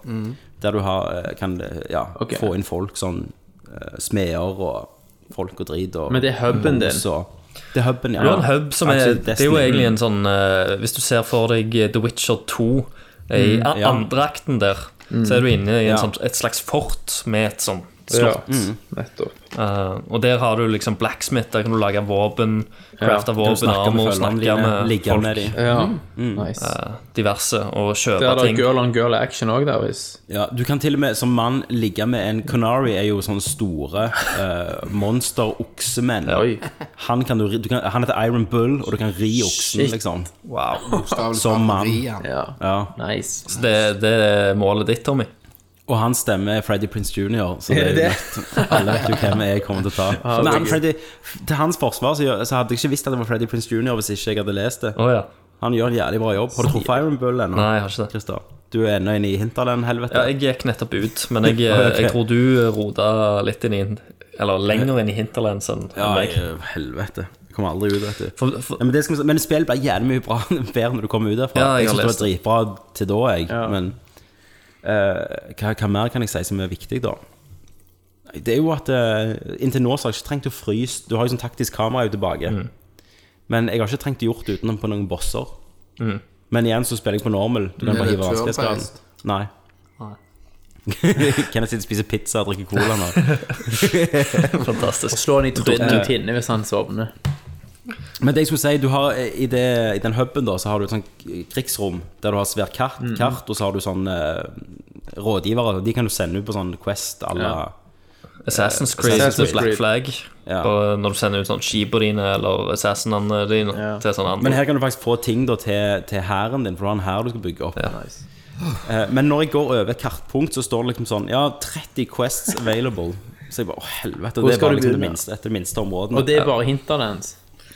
[SPEAKER 1] der du har, eh, kan ja,
[SPEAKER 2] Ok.
[SPEAKER 1] få inn folk, sånn eh, smeder og folk og drit og
[SPEAKER 2] Men det er hubben din.
[SPEAKER 1] Så, det er hubben, ja.
[SPEAKER 7] Du har en hub som er
[SPEAKER 1] Absolutt
[SPEAKER 7] Det er jo
[SPEAKER 1] Destiny.
[SPEAKER 7] egentlig en sånn eh, Hvis du ser for deg eh, The Witcher 2 eh, i a-
[SPEAKER 1] Mm, ja. Mm.
[SPEAKER 7] andre akten der, så er du inne i
[SPEAKER 1] Ja.
[SPEAKER 7] en sånn, et slags fort med et sånt slott.
[SPEAKER 2] Mm. Nettopp.
[SPEAKER 7] Eh, og der har du liksom blacksmith. Der kan du lage våpen, crafte
[SPEAKER 1] Du
[SPEAKER 7] våpen,
[SPEAKER 1] snakker
[SPEAKER 7] armer,
[SPEAKER 1] med
[SPEAKER 7] snakke
[SPEAKER 1] følgerne dine,
[SPEAKER 7] med
[SPEAKER 1] ligge
[SPEAKER 7] folk,
[SPEAKER 1] med dem.
[SPEAKER 2] Mm. Ja. Nice.
[SPEAKER 7] eh, diverse,
[SPEAKER 2] Der
[SPEAKER 7] og kjøpe
[SPEAKER 2] er det
[SPEAKER 7] ting.
[SPEAKER 2] girl on girl action òg, der, hvis.
[SPEAKER 1] Ja, du kan til og med som mann ligge med en Canary er jo sånne store eh, monster-oksemenn.
[SPEAKER 2] Oi.
[SPEAKER 1] Han, kan du, ri- du kan, han heter Iron Bull, og du kan ri oksen,
[SPEAKER 2] Shit.
[SPEAKER 1] liksom.
[SPEAKER 7] Wow.
[SPEAKER 1] Som mann.
[SPEAKER 2] Ja.
[SPEAKER 1] Ja.
[SPEAKER 2] Nice.
[SPEAKER 7] Så det, det er målet ditt, Tommy.
[SPEAKER 1] Og han stemmer Freddy Prince Jr., så det er jo
[SPEAKER 2] det?
[SPEAKER 1] nødt Alle vet jo hvem jeg kommer til å ta.
[SPEAKER 7] <laughs> Ah,
[SPEAKER 1] Så nei, men Freddy, til hans forsvar så, gjør- så hadde jeg ikke visst at det var Freddy Prince Jr. hvis ikke jeg hadde lest det.
[SPEAKER 7] Å ja.
[SPEAKER 1] Han gjør en jævlig bra jobb. Har du truffet Iron Bull ennå?
[SPEAKER 7] Nei, jeg har ikke det.
[SPEAKER 1] Christer? Du er ennå inne i Hinterland-helvete.
[SPEAKER 7] Ja, jeg gikk nettopp ut, men
[SPEAKER 1] <laughs>
[SPEAKER 7] jeg, eh, jeg tror du rota litt inn i Eller lenger inn i hinterlands enn
[SPEAKER 1] Ja,
[SPEAKER 7] meg.
[SPEAKER 1] jeg, helvete. Jeg kommer aldri ut, vet du.
[SPEAKER 7] For, for,
[SPEAKER 1] Ja, men, det skal, vi- men spillet ble jævlig mye bra <laughs> bedre når du kom ut derfra.
[SPEAKER 7] Ja, jeg
[SPEAKER 1] jeg synes
[SPEAKER 7] har
[SPEAKER 1] det
[SPEAKER 7] lest
[SPEAKER 1] var dritbra til da, jeg. Men eh, hva, hva mer kan jeg si som er viktig, da? Nei, Det er jo at eh, Inntil nå så har jeg ikke trengt å fryse. Du har jo sånn taktisk kamera jo tilbake.
[SPEAKER 7] Mm.
[SPEAKER 1] Men jeg har ikke trengt å gjort det utenom på noen bosser.
[SPEAKER 7] Mm.
[SPEAKER 1] Men igjen så spiller jeg på normal. Du kan bare
[SPEAKER 6] det
[SPEAKER 1] hive
[SPEAKER 6] turn-based?
[SPEAKER 1] vanskelighetsgraden. Nei. <laughs> Kenneth sitter og spiser pizza og drikker cola
[SPEAKER 7] <laughs>
[SPEAKER 1] nå.
[SPEAKER 7] Fantastisk.
[SPEAKER 2] Slå han i trynet og tinne hvis han sovner.
[SPEAKER 1] Men det jeg skulle si, du har eh, i, det, i den huben da, så har du et sånt krigsrom der du har svært kart,
[SPEAKER 2] Mm.
[SPEAKER 1] kart og så har du sånn eh, rådgivere. De kan du sende ut på sånn Quest à la
[SPEAKER 7] Assassin's Creed,
[SPEAKER 6] Assassin's
[SPEAKER 7] Black
[SPEAKER 6] Creed.
[SPEAKER 7] Flag.
[SPEAKER 1] Eh, Ja.
[SPEAKER 7] Og når du sender ut sånn skipene dine eller assassinene dine til sånne andre.
[SPEAKER 1] Men her kan du faktisk få ting da, til, til hæren din, for du har en hær du skal bygge opp.
[SPEAKER 2] Nice.
[SPEAKER 1] Eh, Men når jeg går over et kartpunkt, så står det liksom sånn Ja, 30 quests available. Så jeg bare, å helvete, det
[SPEAKER 2] skal
[SPEAKER 1] var
[SPEAKER 2] du
[SPEAKER 1] liksom det
[SPEAKER 2] begynne?
[SPEAKER 1] minste, et av de minste områdene.
[SPEAKER 2] Og det er bare hintene hans.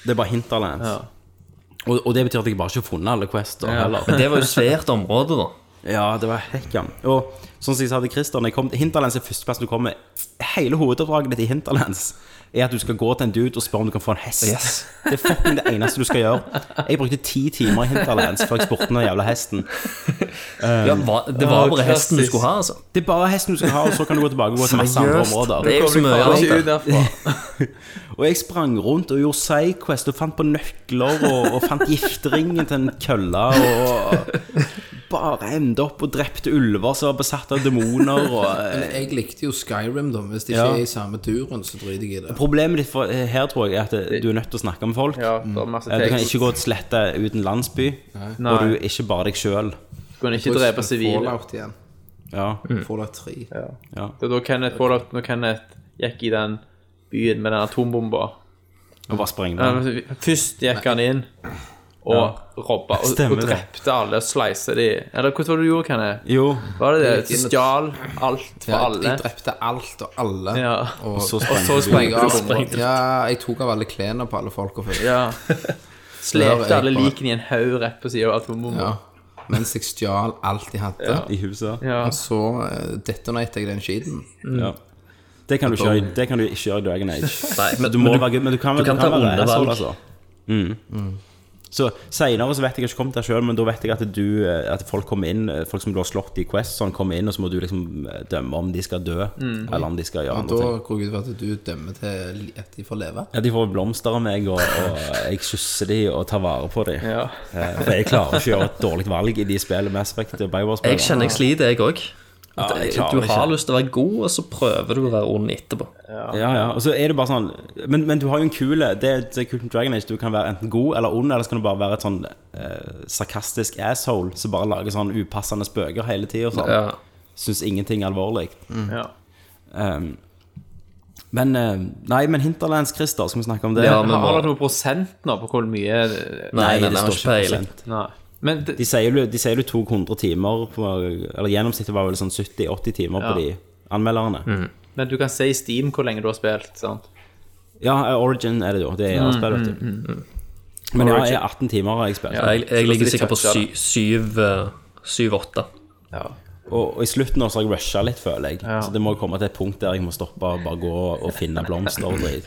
[SPEAKER 1] Det er bare hinterlands.
[SPEAKER 2] Ja.
[SPEAKER 1] Og, og det betyr at jeg bare ikke har funnet alle quests.
[SPEAKER 2] Ja. <laughs>
[SPEAKER 1] heller.
[SPEAKER 7] Men det var jo svært område, da.
[SPEAKER 1] Ja, det var hekkan. Og sånn som jeg sa til Christer, når jeg kom til Hinterlands er førsteplassen du kommer Hele hovedoppdraget ditt i Hinterlands er at du skal gå til en dude og spørre om du kan få en hest.
[SPEAKER 7] Yes.
[SPEAKER 1] <laughs> Det er fucking det eneste du skal gjøre. Jeg brukte ti timer i Hinterlands før jeg spurte den jævla hesten.
[SPEAKER 7] Ja, hva- det var
[SPEAKER 2] Å,
[SPEAKER 7] bare hesten du
[SPEAKER 2] klassisk.
[SPEAKER 7] skulle ha, altså.
[SPEAKER 1] Det er bare hesten du skal ha, og så kan du gå tilbake og gå til masse andre
[SPEAKER 7] Seriøst?
[SPEAKER 1] områder.
[SPEAKER 7] Det er jo så
[SPEAKER 2] Faen,
[SPEAKER 7] mye annet.
[SPEAKER 2] liksom ikke ut derfra.
[SPEAKER 1] Og jeg sprang rundt og gjorde sidequest og fant på nøkler og, og fant gifteringen til en kølle og bare endte opp og drepte ulver som var besatt av demoner og eh,
[SPEAKER 6] Men jeg likte jo Skyrim, da. Hvis det ikke
[SPEAKER 1] Ja.
[SPEAKER 6] er i samme turen, så driter jeg i det.
[SPEAKER 1] Problemet ditt for, eh, her tror jeg er at du er nødt til å snakke med folk.
[SPEAKER 2] Ja, det var masse
[SPEAKER 1] Eh, Du kan
[SPEAKER 2] tekst.
[SPEAKER 1] ikke gå og slette uten landsby, og du er ikke bare deg sjøl.
[SPEAKER 2] Du kan ikke drepe sivile. Mm.
[SPEAKER 6] Fallout igjen.
[SPEAKER 1] Ja.
[SPEAKER 6] Fallout 3.
[SPEAKER 2] Det var da Kenneth, Fallout, når Kenneth gikk i den byen med den atombomba.
[SPEAKER 1] Og bare spreng
[SPEAKER 2] Ja,
[SPEAKER 1] den.
[SPEAKER 2] men Først gikk han inn og robba og,
[SPEAKER 1] Stemmer
[SPEAKER 2] og
[SPEAKER 1] det.
[SPEAKER 2] drepte alle og sleisa de. Eller hvordan var det du gjorde, Kenneth?
[SPEAKER 1] Jo,
[SPEAKER 2] Var det
[SPEAKER 6] Jeg
[SPEAKER 2] det?
[SPEAKER 6] gikk inn og-
[SPEAKER 2] Stjal alt fra
[SPEAKER 6] Ja, jeg,
[SPEAKER 2] alle?
[SPEAKER 6] jeg drepte alt og alle.
[SPEAKER 2] Ja.
[SPEAKER 6] Og,
[SPEAKER 1] så
[SPEAKER 2] Og
[SPEAKER 1] sprengte
[SPEAKER 2] så
[SPEAKER 1] du.
[SPEAKER 2] sprengte
[SPEAKER 6] Ja,
[SPEAKER 2] du bomba.
[SPEAKER 6] ja, jeg tok av alle klærne på alle folk og fikk
[SPEAKER 2] Ja.
[SPEAKER 6] Slår jeg
[SPEAKER 2] Slepte alle
[SPEAKER 6] bare.
[SPEAKER 2] likene i en haug rett på sida av atombomba.
[SPEAKER 6] ja. Mens jeg stjal alt de hadde.
[SPEAKER 1] i huset.
[SPEAKER 2] Ja.
[SPEAKER 6] Og så uh, detonerte jeg den skiten.
[SPEAKER 1] Ja. Det kan du ikke gjøre, det kan du ikke gjøre i Dragon Age.
[SPEAKER 7] Nei, men,
[SPEAKER 1] Du må være gutt, men du kan,
[SPEAKER 7] du kan ta
[SPEAKER 1] være
[SPEAKER 7] onde
[SPEAKER 1] asshole,
[SPEAKER 7] valg.
[SPEAKER 1] altså. Så Senere så vet jeg ikke om det sjøl, men da vet jeg at, du, eh, at folk kommer inn eh, Folk som du har slått i Quest, sånn, kommer inn, og så må du liksom eh, dømme om de skal dø, eller om de skal gjøre
[SPEAKER 6] Og
[SPEAKER 1] andre
[SPEAKER 6] da
[SPEAKER 1] ting.
[SPEAKER 6] går jeg ut fra at du dømmer til li- at de får leve.
[SPEAKER 1] Ja, De får blomster av meg, og, og jeg kysser de og tar vare på de.
[SPEAKER 2] Ja.
[SPEAKER 1] Eh, For jeg klarer ikke å gjøre et dårlig valg i de spillene Mass Effect og Bioware-spillene.
[SPEAKER 7] Jeg kjenner jeg sliter, jeg òg.
[SPEAKER 1] jeg
[SPEAKER 7] Du
[SPEAKER 1] klarer
[SPEAKER 7] har
[SPEAKER 1] ikke.
[SPEAKER 7] lyst til å være god, og så prøver du å være ond etterpå.
[SPEAKER 1] Ja, ja, og så er det bare sånn Men, men du har jo en kule. Det, det er kult med Dragon Age. Du kan være enten god eller ond, eller så kan du bare være et sånn eh, sarkastisk asshole som bare lager sånn upassende spøker hele tida og sånn.
[SPEAKER 7] Ja.
[SPEAKER 1] Syns ingenting er alvorlig.
[SPEAKER 2] Ja.
[SPEAKER 1] Um, men eh, Nei, men Hinterlands, Christer, skal vi snakke om det?
[SPEAKER 7] Ja, men-
[SPEAKER 2] Har dere noe prosent nå på hvor mye Nei.
[SPEAKER 7] Nei,
[SPEAKER 1] nei,
[SPEAKER 7] det
[SPEAKER 1] det
[SPEAKER 7] har
[SPEAKER 1] står
[SPEAKER 7] ikke
[SPEAKER 1] ikke
[SPEAKER 7] peiling.
[SPEAKER 1] prosent.
[SPEAKER 2] Men det,
[SPEAKER 1] De sier, du, de sier du tok 100 timer på, Eller gjennomsnittet var vel sånn 70-80 timer på de
[SPEAKER 2] Ja.
[SPEAKER 1] anmelderne.
[SPEAKER 7] Mhm.
[SPEAKER 2] men du kan se i Steam hvor lenge du har spilt. sant?
[SPEAKER 1] Ja, Origin er det jo. Det er
[SPEAKER 7] Mhm,
[SPEAKER 1] spill, vet du. Men ja, jeg er 18 timer har jeg spilt.
[SPEAKER 7] Jeg, jeg ligger sikkert på
[SPEAKER 2] toucha, da.
[SPEAKER 7] sy- syv, eh, syv-åtte.
[SPEAKER 2] Ja.
[SPEAKER 1] Og, og i slutten nå så har jeg rusha litt, føler jeg. Så det må komme til et punkt der jeg må stoppe og bare gå og finne blomster og
[SPEAKER 7] <laughs>
[SPEAKER 1] drit.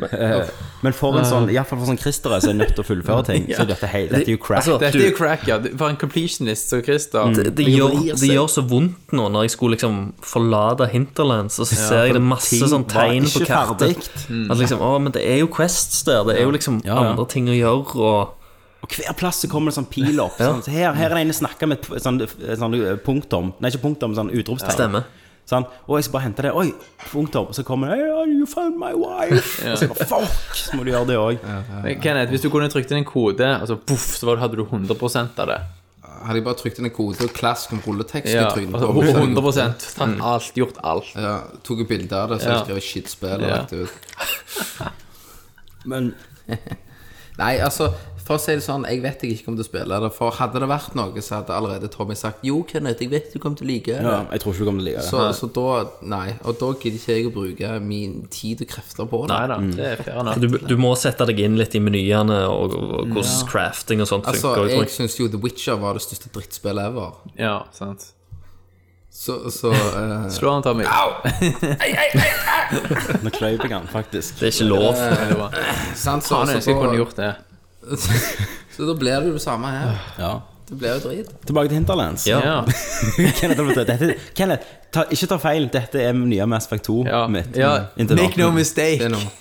[SPEAKER 1] Eh, Men for en sånn, i hvert fall for sånn Christer er, så er jeg nødt til å fullføre
[SPEAKER 7] <laughs>
[SPEAKER 1] ting. Så dette, er hei, dette er jo crap.
[SPEAKER 7] Altså,
[SPEAKER 2] Dette
[SPEAKER 7] du-
[SPEAKER 2] er jo crack, ja. Du- For en completionist som Christer.
[SPEAKER 7] det, det, gjør, det gjør så vondt nå når jeg skulle liksom forlate Hinterlands, og så ser jeg det masse sånn
[SPEAKER 1] var
[SPEAKER 7] tegn på
[SPEAKER 1] ikke
[SPEAKER 7] kartet.
[SPEAKER 1] ferdigt.
[SPEAKER 7] At liksom, å, men det er jo Quests der, det er jo liksom
[SPEAKER 1] Ja, ja.
[SPEAKER 7] andre ting å gjøre, og
[SPEAKER 1] Og hver plass så kommer det sånn pil opp. Sånn, så her, her er det en jeg snakker med et sånn, et sånn punktum. Nei, ikke punktum, sånn utropstegn.
[SPEAKER 7] stemmer.
[SPEAKER 1] Sånn. Og jeg skal bare hente det. Oi, punktum. Og så kommer det hey, You found my wife. Og så bare, fuck! Så må du gjøre det òg.
[SPEAKER 2] Men Kenneth, hvis du kunne trykt inn en kode, og så poff, så var det- hadde du 100 av det.
[SPEAKER 6] Hadde jeg bare trykt inn en kode og klask om rulletekst
[SPEAKER 2] Ja,
[SPEAKER 6] i trynet
[SPEAKER 2] altså,
[SPEAKER 6] på ham, så hadde jeg
[SPEAKER 2] 100 tatt alt, gjort alt.
[SPEAKER 6] Ja, tok jo bilde av det, så
[SPEAKER 2] Ja.
[SPEAKER 6] jeg skrev shitspill og
[SPEAKER 2] Ja.
[SPEAKER 6] lagt det ut.
[SPEAKER 1] Men
[SPEAKER 6] Nei, altså, for å si det sånn, jeg vet jeg ikke om du spiller det. For hadde det vært noe, så hadde allerede Tommy sagt Jo, Kenneth, jeg vet du kommer til å like det.
[SPEAKER 1] ja, jeg tror ikke du kommer til å like det.
[SPEAKER 6] Så, så da Nei. Og da gidder ikke jeg å bruke min tid og krefter på det.
[SPEAKER 2] Nei da, det er fair nok.
[SPEAKER 7] Du, du må sette deg inn litt i menyene og, og, og hvordan crafting og sånt
[SPEAKER 6] Altså,
[SPEAKER 7] funker.
[SPEAKER 6] jeg
[SPEAKER 7] Jeg,
[SPEAKER 6] syns jo The Witcher var det største drittspillet ever.
[SPEAKER 2] Ja, sant.
[SPEAKER 6] Så, så eh,
[SPEAKER 2] <laughs> Slå han, Tommy.
[SPEAKER 1] Nå kløyv jeg den, faktisk.
[SPEAKER 7] det er ikke lov.
[SPEAKER 2] Eh, Det var-
[SPEAKER 6] sant, så,
[SPEAKER 2] Faen, jeg ønsker
[SPEAKER 6] så,
[SPEAKER 2] jeg kunne
[SPEAKER 6] da-
[SPEAKER 2] gjort det.
[SPEAKER 6] <laughs> så da blir det jo det samme her.
[SPEAKER 1] Ja.
[SPEAKER 6] Det blir jo drit.
[SPEAKER 1] Tilbake til Hinterlands.
[SPEAKER 7] Ja.
[SPEAKER 2] Ja,
[SPEAKER 1] <laughs> Kenneth, dette, Kenneth ta, ikke ta feil. Dette er nye Mass Effect 2 <laughs>
[SPEAKER 2] ja.
[SPEAKER 1] mitt.
[SPEAKER 2] ja.
[SPEAKER 1] Inntil
[SPEAKER 2] Make no
[SPEAKER 1] nå.
[SPEAKER 6] Det er
[SPEAKER 2] mistake.
[SPEAKER 6] noe.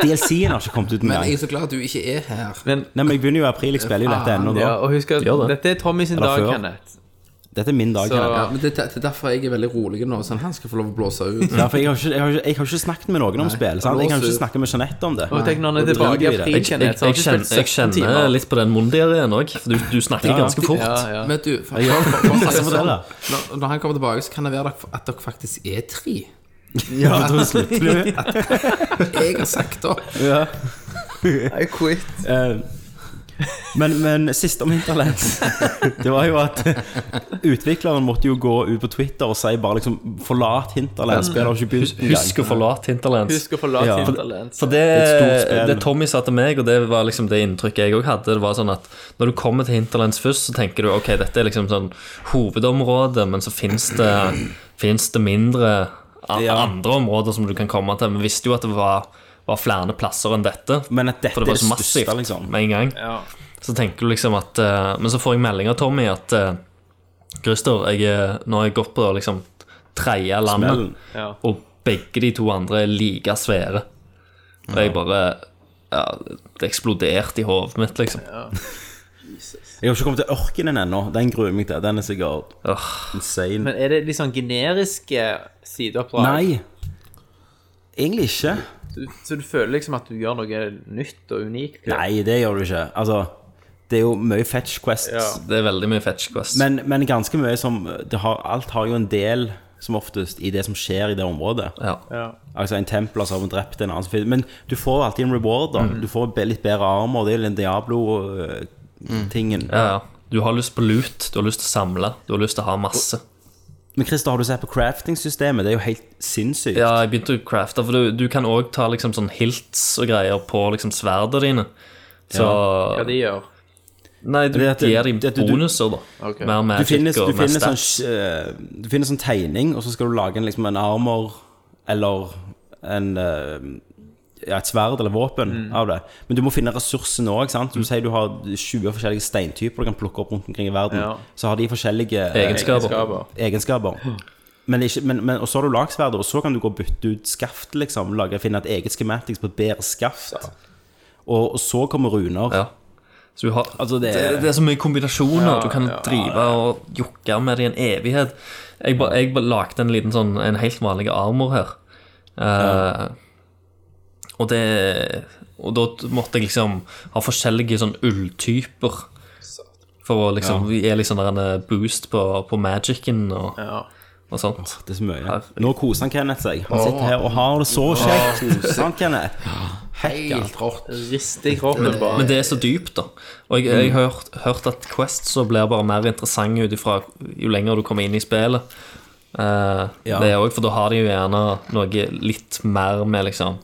[SPEAKER 1] DLC-en har ikke kommet ut
[SPEAKER 6] Men
[SPEAKER 1] engang.
[SPEAKER 6] jeg er så glad at du ikke er her.
[SPEAKER 2] Men
[SPEAKER 1] Nei, men jeg begynner jo i april. Jeg spiller jo dette ennå da.
[SPEAKER 2] ja, og husk at
[SPEAKER 7] Gjør det.
[SPEAKER 2] dette er Tommy sin
[SPEAKER 1] Eller
[SPEAKER 2] dag,
[SPEAKER 1] før.
[SPEAKER 2] Kenneth.
[SPEAKER 1] Dette er min dag.
[SPEAKER 2] Så-
[SPEAKER 1] her.
[SPEAKER 6] Ja, men det, det er derfor jeg er veldig rolig nå. Sånn, han skal få lov å blåse ut.
[SPEAKER 1] Ja, for jeg har, ikke, jeg, har ikke, jeg har ikke snakket med noen om spill. Sant? Jeg har ikke
[SPEAKER 6] Blåser.
[SPEAKER 1] snakket med Jeanette om det.
[SPEAKER 2] Og tenk når han er
[SPEAKER 1] Og
[SPEAKER 2] tilbake i
[SPEAKER 1] driter i
[SPEAKER 2] april,
[SPEAKER 1] det.
[SPEAKER 2] kjenner
[SPEAKER 7] Jeg,
[SPEAKER 2] jeg. så har
[SPEAKER 7] jeg,
[SPEAKER 2] han
[SPEAKER 7] kjenner,
[SPEAKER 2] ikke
[SPEAKER 7] jeg
[SPEAKER 2] spilt 17
[SPEAKER 7] kjenner
[SPEAKER 2] timer.
[SPEAKER 7] litt på den mondieren òg, for du, du snakker ganske fort.
[SPEAKER 2] Ja, ja.
[SPEAKER 6] Men du, for,
[SPEAKER 1] Ja,
[SPEAKER 6] for, for,
[SPEAKER 1] masse
[SPEAKER 6] for,
[SPEAKER 1] modeller.
[SPEAKER 6] når, når han kommer tilbake, så kan det være dere- at dere faktisk er tre.
[SPEAKER 1] <laughs> Ja, da slutter du.
[SPEAKER 6] Jeg har sagt opp.
[SPEAKER 1] Ja.
[SPEAKER 2] I quit.
[SPEAKER 1] Eh, Men, men sist om Interlands <laughs> Det var jo at utvikleren måtte jo gå ut på Twitter og si bare liksom Forlat Hinterlands, spillet har ikke begynt engang.
[SPEAKER 7] Husk å forlate Hinterlands.
[SPEAKER 2] Husk å forlate
[SPEAKER 1] Ja.
[SPEAKER 2] ja.
[SPEAKER 7] For det,
[SPEAKER 1] et stort spill.
[SPEAKER 7] det Tommy sa til meg, og det var liksom det inntrykket jeg òg hadde, det var sånn at når du kommer til Hinterlands først, så tenker du ok, dette er liksom sånn hovedområdet, men så fins det, finnes det mindre a-
[SPEAKER 1] Ja.
[SPEAKER 7] andre områder som du kan komme til. Vi visste jo at det var, var flere plasser enn dette.
[SPEAKER 1] Men at dette
[SPEAKER 7] for
[SPEAKER 1] er
[SPEAKER 7] det
[SPEAKER 1] det
[SPEAKER 7] var så
[SPEAKER 1] største,
[SPEAKER 7] massivt
[SPEAKER 1] liksom.
[SPEAKER 7] med en gang.
[SPEAKER 2] Ja.
[SPEAKER 7] Så tenker du liksom at eh, Men så får jeg melding av Tommy at eh, Christer, jeg, er- nå har jeg gått på liksom tredje landet.
[SPEAKER 1] Smellen.
[SPEAKER 2] Ja.
[SPEAKER 7] Og begge de to andre er like svære. Og jeg bare ja, Det eksploderte i hodet mitt, liksom.
[SPEAKER 1] Jeg har ikke kommet til ørkenen ennå. Den gruer jeg meg til. Den er sikkert
[SPEAKER 7] Åh,
[SPEAKER 1] insane.
[SPEAKER 2] Men er det litt sånn generiske sideoppdrag?
[SPEAKER 1] Nei. Egentlig ikke.
[SPEAKER 2] Du, så du føler liksom at du gjør noe nytt og unikt?
[SPEAKER 1] Nei, det gjør du ikke. Altså, det er jo mye fetch quests.
[SPEAKER 2] Ja.
[SPEAKER 7] det er veldig mye fetch quest.
[SPEAKER 1] Men, men ganske mye som det har, Alt har jo en del, som oftest, i det som skjer i det området.
[SPEAKER 7] ja.
[SPEAKER 2] Ja.
[SPEAKER 1] Altså En templer som har drept en annen som finner- Men du får alltid en reward. da
[SPEAKER 7] Mm.
[SPEAKER 1] Du får be- litt bedre armer. Det er jo den eh, Diablo-tingen.
[SPEAKER 7] Mm. Ja, ja. Du har lyst på loot, du har lyst til å samle, du har lyst til å ha masse.
[SPEAKER 1] Men Christer, har du sett på crafting-systemet? Det er jo helt sinnssykt.
[SPEAKER 7] Ja, jeg begynte å crafte, for du, du kan òg ta liksom sånn hilts og greier på liksom sverdene dine. Så
[SPEAKER 2] Hva de gjør?
[SPEAKER 7] Nei, du
[SPEAKER 1] Det er at-
[SPEAKER 7] gir dem
[SPEAKER 1] det er at du- du-
[SPEAKER 7] bonuser, da.
[SPEAKER 2] Ok.
[SPEAKER 7] Mer
[SPEAKER 1] Du
[SPEAKER 7] magic
[SPEAKER 1] finner, du,
[SPEAKER 7] og mer
[SPEAKER 1] finner sånn,
[SPEAKER 7] stats.
[SPEAKER 1] eh, du finner sånn tegning, og så skal du lage en, liksom, en armor eller en, eh, ja, et sverd eller våpen
[SPEAKER 2] Mm.
[SPEAKER 1] av det. Men du må finne ressursene òg. Du sier du har 20 forskjellige steintyper du kan plukke opp rundt omkring i verden.
[SPEAKER 2] Ja.
[SPEAKER 1] Så har de forskjellige eh,
[SPEAKER 7] Egenskaper.
[SPEAKER 2] Skaper.
[SPEAKER 1] egenskaper. Men, ikke, men, men, og så har du lagsverdet, og så kan du gå og bytte ut skaft. liksom lage, Finne et eget skematics på et bedre skaft. Og, og så kommer runer.
[SPEAKER 7] Ja. Så du har,
[SPEAKER 1] Altså, det
[SPEAKER 7] det,
[SPEAKER 1] er-
[SPEAKER 7] det, er så mye kombinasjoner. du kan drive og jokke med det i en evighet. Jeg, ba, jeg ba lagde en liten sånn En helt vanlig armor her. Eh, Og det Og da måtte jeg liksom ha forskjellige sånn ulltyper. For å liksom gi litt sånn der en boost på, på magicen og,
[SPEAKER 2] Ja.
[SPEAKER 7] og sånt.
[SPEAKER 1] Det er så mye.
[SPEAKER 7] Herregud.
[SPEAKER 1] Nå koser han Kenneth seg. Han sitter her og har det så kjekt. Sant, Kenneth? altså.
[SPEAKER 6] Helt rått.
[SPEAKER 2] Riste i kroppen bare.
[SPEAKER 7] Men det Mm. er så dypt, da. Og jeg, jeg har hørt, hørt at Quest så blir bare mer interessante ut ifra jo lenger du kommer inn i spillet. Eh,
[SPEAKER 1] Ja.
[SPEAKER 7] Det er også, For da har de jo gjerne noe litt mer med liksom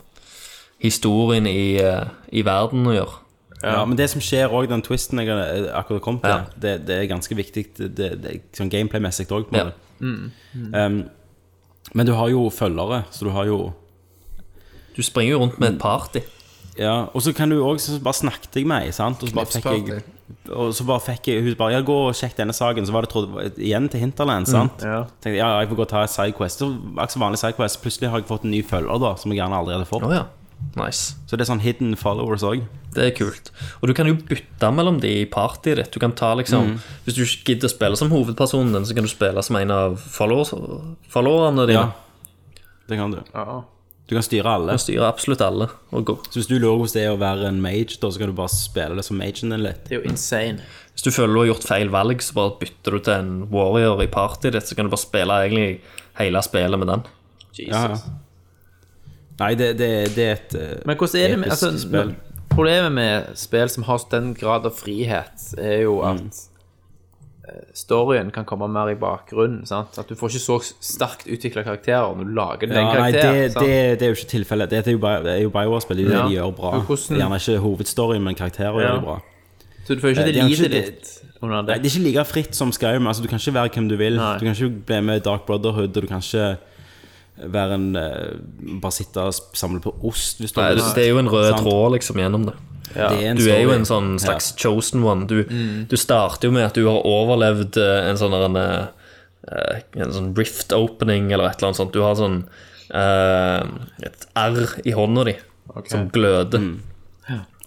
[SPEAKER 7] historien i, eh, i verden å gjøre.
[SPEAKER 1] Ja, men det som skjer òg, den twisten jeg har eh, akkurat kom til,
[SPEAKER 7] Ja.
[SPEAKER 1] det, det er ganske viktig det, det, er sånn gameplay-messig òg.
[SPEAKER 7] Ja.
[SPEAKER 1] Um, men du har jo følgere, så du har jo
[SPEAKER 7] Du springer jo rundt med et party.
[SPEAKER 1] Ja, og så kan du òg Så bare snakket jeg med ei, sant, og så bare fikk jeg og så bare fikk jeg Hun bare Ja, gå og sjekk denne saken. Så var det trodde, igjen til Hinterland. sant?
[SPEAKER 2] Mm, Ja.
[SPEAKER 1] Tenkte jeg, ja, ja, jeg får gå og ta en sidequest. Så var det ikke så vanlig sidequest. Plutselig har jeg fått en ny følger, da, som jeg gjerne aldri hadde fått.
[SPEAKER 7] Å ja. Nice.
[SPEAKER 1] Så det er sånn hidden followers òg.
[SPEAKER 7] Det er kult. Og du kan jo bytte mellom de i partyet ditt. Du kan ta liksom Hvis du ikke gidder å spille som hovedpersonen din, så kan du spille som en av followers, followerne dine.
[SPEAKER 1] Ja. Det kan du.
[SPEAKER 2] Ja.
[SPEAKER 1] Du kan styre alle.
[SPEAKER 7] Du styrer absolutt alle og går.
[SPEAKER 1] Så hvis du lurer hvordan det er å være en mage, da, så kan du bare spille det som magen din litt.
[SPEAKER 2] Det er jo insane.
[SPEAKER 7] Hvis du føler du har gjort feil valg, så bare bytter du til en warrior i partyet ditt, så kan du bare spille egentlig hele spillet med den.
[SPEAKER 2] Jesus.
[SPEAKER 1] Ja, ja. Nei, det, det, det er et eh,
[SPEAKER 2] Men hvordan er det med
[SPEAKER 1] episk
[SPEAKER 2] altså,
[SPEAKER 1] spill.
[SPEAKER 2] Problemet med spill som har den grad av frihet, er jo
[SPEAKER 1] Mm.
[SPEAKER 2] at eh, storyen kan komme mer i bakgrunnen. Sant? At du får ikke så sterkt utvikla karakterer når du lager din
[SPEAKER 1] Ja,
[SPEAKER 2] egen
[SPEAKER 1] nei, det,
[SPEAKER 2] karakter.
[SPEAKER 1] det,
[SPEAKER 2] sant?
[SPEAKER 1] det er jo ikke tilfellet. Det er jo Bio- det er jo Bioware-spill. Det er jo
[SPEAKER 2] Ja.
[SPEAKER 1] det de gjør bra.
[SPEAKER 2] Men hvordan-
[SPEAKER 1] Gjerne ikke hovedstoryen, men karakterer
[SPEAKER 2] Ja.
[SPEAKER 1] gjør det bra.
[SPEAKER 2] Så du føler
[SPEAKER 1] Eh,
[SPEAKER 2] ikke
[SPEAKER 1] det
[SPEAKER 2] det
[SPEAKER 1] er jo
[SPEAKER 2] lider
[SPEAKER 1] ikke-
[SPEAKER 2] litt under
[SPEAKER 1] Nei,
[SPEAKER 2] det.
[SPEAKER 1] det er ikke like fritt som Skyrim. Altså, du kan ikke være hvem du vil.
[SPEAKER 2] Nei.
[SPEAKER 1] Du kan ikke bli med i Dark Brotherhood, og du kan ikke være en eh, Bare sitte og samle på ost, hvis du
[SPEAKER 7] Nei,
[SPEAKER 1] har
[SPEAKER 7] det,
[SPEAKER 1] lyst.
[SPEAKER 7] det er jo en rød
[SPEAKER 1] Sant.
[SPEAKER 7] tråd liksom gjennom det.
[SPEAKER 1] Det en
[SPEAKER 7] Du er
[SPEAKER 1] story.
[SPEAKER 7] jo
[SPEAKER 1] Mm.
[SPEAKER 7] en sånn slags chosen one. Du, du starter jo med at du har overlevd eh, en sånn der en, eh, en sånn rift opening eller et eller annet sånt. Du har sånn
[SPEAKER 1] Mm.
[SPEAKER 7] eh, et R i hånda di som gløder.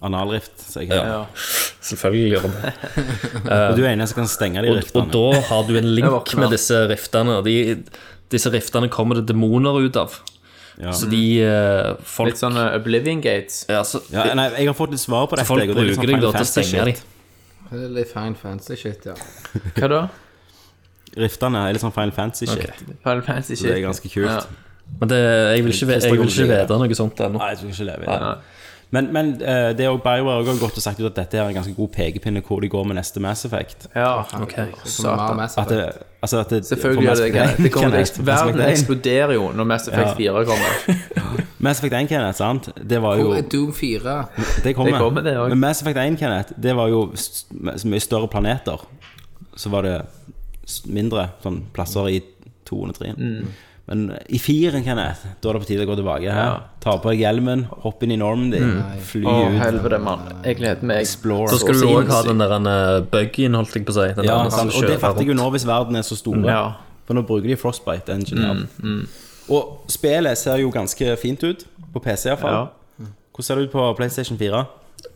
[SPEAKER 1] Analrift, sier jeg.
[SPEAKER 7] Ja. <laughs> Selvfølgelig gjør det.
[SPEAKER 1] Og du er enig som kan stenge de
[SPEAKER 7] Og, og
[SPEAKER 1] riftene.
[SPEAKER 7] da har du
[SPEAKER 1] <laughs>
[SPEAKER 2] Jeg
[SPEAKER 7] en link
[SPEAKER 2] våkner.
[SPEAKER 7] med disse riftene. og De, disse riftene kommer det demoner ut av.
[SPEAKER 1] Ja.
[SPEAKER 7] Så de eh, folk,
[SPEAKER 2] Litt sånn eh, Oblivion Gates.
[SPEAKER 7] ja, så,
[SPEAKER 1] Ja, nei, jeg har fått et svar på dette.
[SPEAKER 7] folk
[SPEAKER 1] jeg, og det er litt
[SPEAKER 7] bruker
[SPEAKER 1] sånn
[SPEAKER 7] deg da til å
[SPEAKER 1] Final
[SPEAKER 7] stenge
[SPEAKER 1] Fantasy-shit.
[SPEAKER 7] dem.
[SPEAKER 6] Det er litt fine fancy shit, ja.
[SPEAKER 2] Hva da?
[SPEAKER 1] Riftene er litt sånn Final Fantasy-shit.
[SPEAKER 2] Final Fantasy
[SPEAKER 1] Det er
[SPEAKER 2] shit.
[SPEAKER 1] ganske kult.
[SPEAKER 2] Ja.
[SPEAKER 7] Men det, jeg vil ikke, ve- jeg vil ikke vite noe sånt ennå.
[SPEAKER 1] Nei, jeg tror ikke leve i det. Men, men eh, det er jo BioWare også har gått og sagt ut at dette er en ganske god pekepinne hvor de går med neste Mass Effect.
[SPEAKER 2] Ja.
[SPEAKER 7] Ok.
[SPEAKER 6] Som
[SPEAKER 2] Satan.
[SPEAKER 6] har mest
[SPEAKER 1] At det, altså at det,
[SPEAKER 2] Selvfølgelig
[SPEAKER 1] for
[SPEAKER 2] gjør
[SPEAKER 1] Mass
[SPEAKER 2] det
[SPEAKER 1] Effect
[SPEAKER 2] det. det
[SPEAKER 1] 1,
[SPEAKER 2] kommer,
[SPEAKER 1] Kenneth,
[SPEAKER 2] det-
[SPEAKER 1] Mass
[SPEAKER 2] verden
[SPEAKER 1] Effect 1.
[SPEAKER 2] eksploderer jo når Mass Effect
[SPEAKER 1] Ja.
[SPEAKER 2] 4 kommer.
[SPEAKER 1] Mass Effect 1, Kenneth, sant? Det var jo
[SPEAKER 6] Hvor er Doom 4?
[SPEAKER 1] Det kommer.
[SPEAKER 2] Det kommer, det også.
[SPEAKER 1] Men Mass Effect 1, Kenneth, det var jo s- så mye større planeter. Så var det s- mindre sånn, plasser i 2 og 3.
[SPEAKER 2] Mm.
[SPEAKER 1] Men i firen, Kenneth, da er det på tide å gå tilbake. her. Ta på deg hjelmen, hopp inn i Normandy,
[SPEAKER 2] Mm.
[SPEAKER 1] fly
[SPEAKER 2] Å,
[SPEAKER 1] ut.
[SPEAKER 2] helvete, mann. Jeg gleder meg.
[SPEAKER 1] Explore.
[SPEAKER 7] Så skal du
[SPEAKER 2] så
[SPEAKER 7] òg ha
[SPEAKER 2] sinnssykt.
[SPEAKER 7] den der eh, buggen, holdt jeg på å si. Den
[SPEAKER 1] Ja,
[SPEAKER 7] der som
[SPEAKER 1] sant. Og det
[SPEAKER 7] sånn kjører
[SPEAKER 1] fatter jeg jo
[SPEAKER 7] rundt.
[SPEAKER 1] nå hvis verden er så store.
[SPEAKER 2] Ja. Mm,
[SPEAKER 1] For nå bruker de Frostbite Engine. ja. Og spillet ser jo ganske fint ut, på PC
[SPEAKER 2] Ja.
[SPEAKER 1] iallfall. Hvordan ser det ut på PlayStation 4?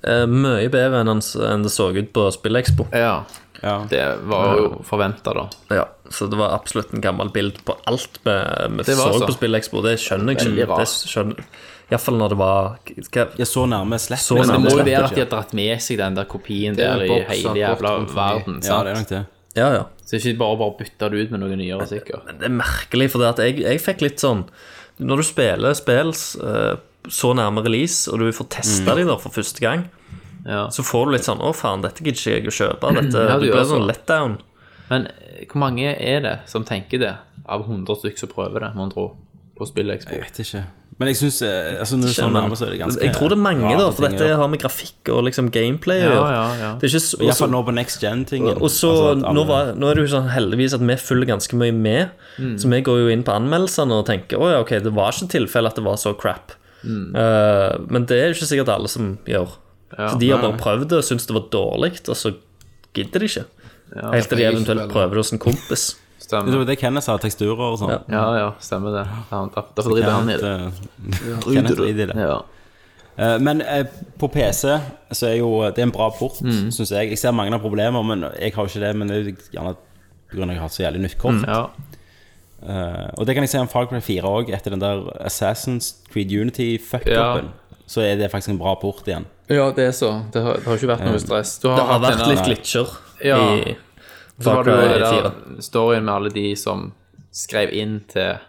[SPEAKER 7] Eh, Mye bedre enn, hans- enn det så ut på Spillekspo.
[SPEAKER 2] Ja,
[SPEAKER 1] Ja.
[SPEAKER 2] det var jo forventa, da.
[SPEAKER 7] Ja, så det var absolutt en gammel bild på alt vi vi
[SPEAKER 2] Det
[SPEAKER 7] så
[SPEAKER 2] var
[SPEAKER 1] altså
[SPEAKER 2] så.
[SPEAKER 7] på Spillekspo. Det skjønner jeg
[SPEAKER 2] Veldig
[SPEAKER 7] ikke.
[SPEAKER 2] rart.
[SPEAKER 7] Det skjønner Iallfall når det var hva,
[SPEAKER 1] Jeg så nærme slett. liksom.
[SPEAKER 7] Så
[SPEAKER 2] Men det
[SPEAKER 7] nærme
[SPEAKER 2] må jo
[SPEAKER 7] slett
[SPEAKER 2] være at de har dratt med seg den der kopien
[SPEAKER 6] er
[SPEAKER 2] der
[SPEAKER 6] en
[SPEAKER 2] i
[SPEAKER 6] boks som
[SPEAKER 2] hele
[SPEAKER 6] har
[SPEAKER 2] jævla
[SPEAKER 6] gått rundt i.
[SPEAKER 2] verden.
[SPEAKER 1] Ja,
[SPEAKER 2] sant?
[SPEAKER 1] det er nok det.
[SPEAKER 7] Ja, ja.
[SPEAKER 2] Så ikke bare bare bytte det ut med noe nyere, sikkert.
[SPEAKER 7] Det er merkelig, for det at jeg, jeg fikk litt sånn Når du spiller spill eh, så nærme release, og du får testa de da for første gang,
[SPEAKER 2] Ja.
[SPEAKER 7] så får du litt sånn 'Å, faen, dette gidder ikke jeg å kjøpe'. Dette,
[SPEAKER 2] Ja,
[SPEAKER 7] du
[SPEAKER 2] du
[SPEAKER 7] blir
[SPEAKER 2] gjør så.
[SPEAKER 7] sånn letdown.
[SPEAKER 2] Men eh, hvor mange er det som tenker det, av 100 stykker som prøver det, mon tro, på
[SPEAKER 1] Jeg
[SPEAKER 2] SpillExpo?
[SPEAKER 1] vet ikke. Men jeg syns eh, altså, Når du så nærme, så er det ganske
[SPEAKER 7] jeg tror det er mange,
[SPEAKER 1] rare
[SPEAKER 7] da, for
[SPEAKER 1] ting,
[SPEAKER 7] dette
[SPEAKER 1] ja.
[SPEAKER 7] har med grafikk og liksom gameplay å
[SPEAKER 2] Ja,
[SPEAKER 7] gjøre.
[SPEAKER 2] ja, ja.
[SPEAKER 7] Det er ikke så, altså,
[SPEAKER 1] I hvert fall
[SPEAKER 7] også,
[SPEAKER 1] nå på next Altså, gen-tingen.
[SPEAKER 7] og så,
[SPEAKER 2] altså
[SPEAKER 7] nå, var, nå er det jo sånn heldigvis at vi følger ganske mye med,
[SPEAKER 2] Mm.
[SPEAKER 7] så vi går jo inn på anmeldelsene og tenker å ja, ok, det var ikke tilfelle at det var så crap.
[SPEAKER 2] Mm.
[SPEAKER 7] Eh, men det er jo ikke sikkert alle som gjør. så de har bare prøvd det og syntes det var dårlig, og så gidder de ikke. Helt til de
[SPEAKER 6] jeg er ikke
[SPEAKER 7] eventuelt
[SPEAKER 6] spiller.
[SPEAKER 7] prøver det hos en kompis.
[SPEAKER 1] Det
[SPEAKER 2] Stemmer.
[SPEAKER 1] var det Kenneth sa, teksturer og sånn.
[SPEAKER 2] Ja, ja, stemmer det. Han- da- Derfor driver han i det.
[SPEAKER 1] <laughs> Kenneth, eh, Kenneth driter i det.
[SPEAKER 2] Ja.
[SPEAKER 1] Eh, Men eh, på PC så er jo eh, det er en bra port, synes syns jeg. Jeg ser mange har problemer, men jeg har jo ikke det. Men det er jo gjerne pga. at jeg har så jævlig nytt kort.
[SPEAKER 2] Mm, ja.
[SPEAKER 1] Eh, og det kan jeg si om Far Cry 4 òg. Etter den der Assassin's Creed Unity-fuckupen, så er det faktisk en bra port igjen. <laughs>
[SPEAKER 2] Ja, det er så. Det har, det har ikke vært noe stress. Du har,
[SPEAKER 7] Det har
[SPEAKER 2] hatt
[SPEAKER 7] vært
[SPEAKER 2] denne-
[SPEAKER 7] litt glitcher
[SPEAKER 2] Ja.
[SPEAKER 7] i
[SPEAKER 2] Så
[SPEAKER 7] Far
[SPEAKER 2] var det jo
[SPEAKER 7] Cry
[SPEAKER 2] det
[SPEAKER 7] 4.
[SPEAKER 2] der storyen med alle de som skrev inn til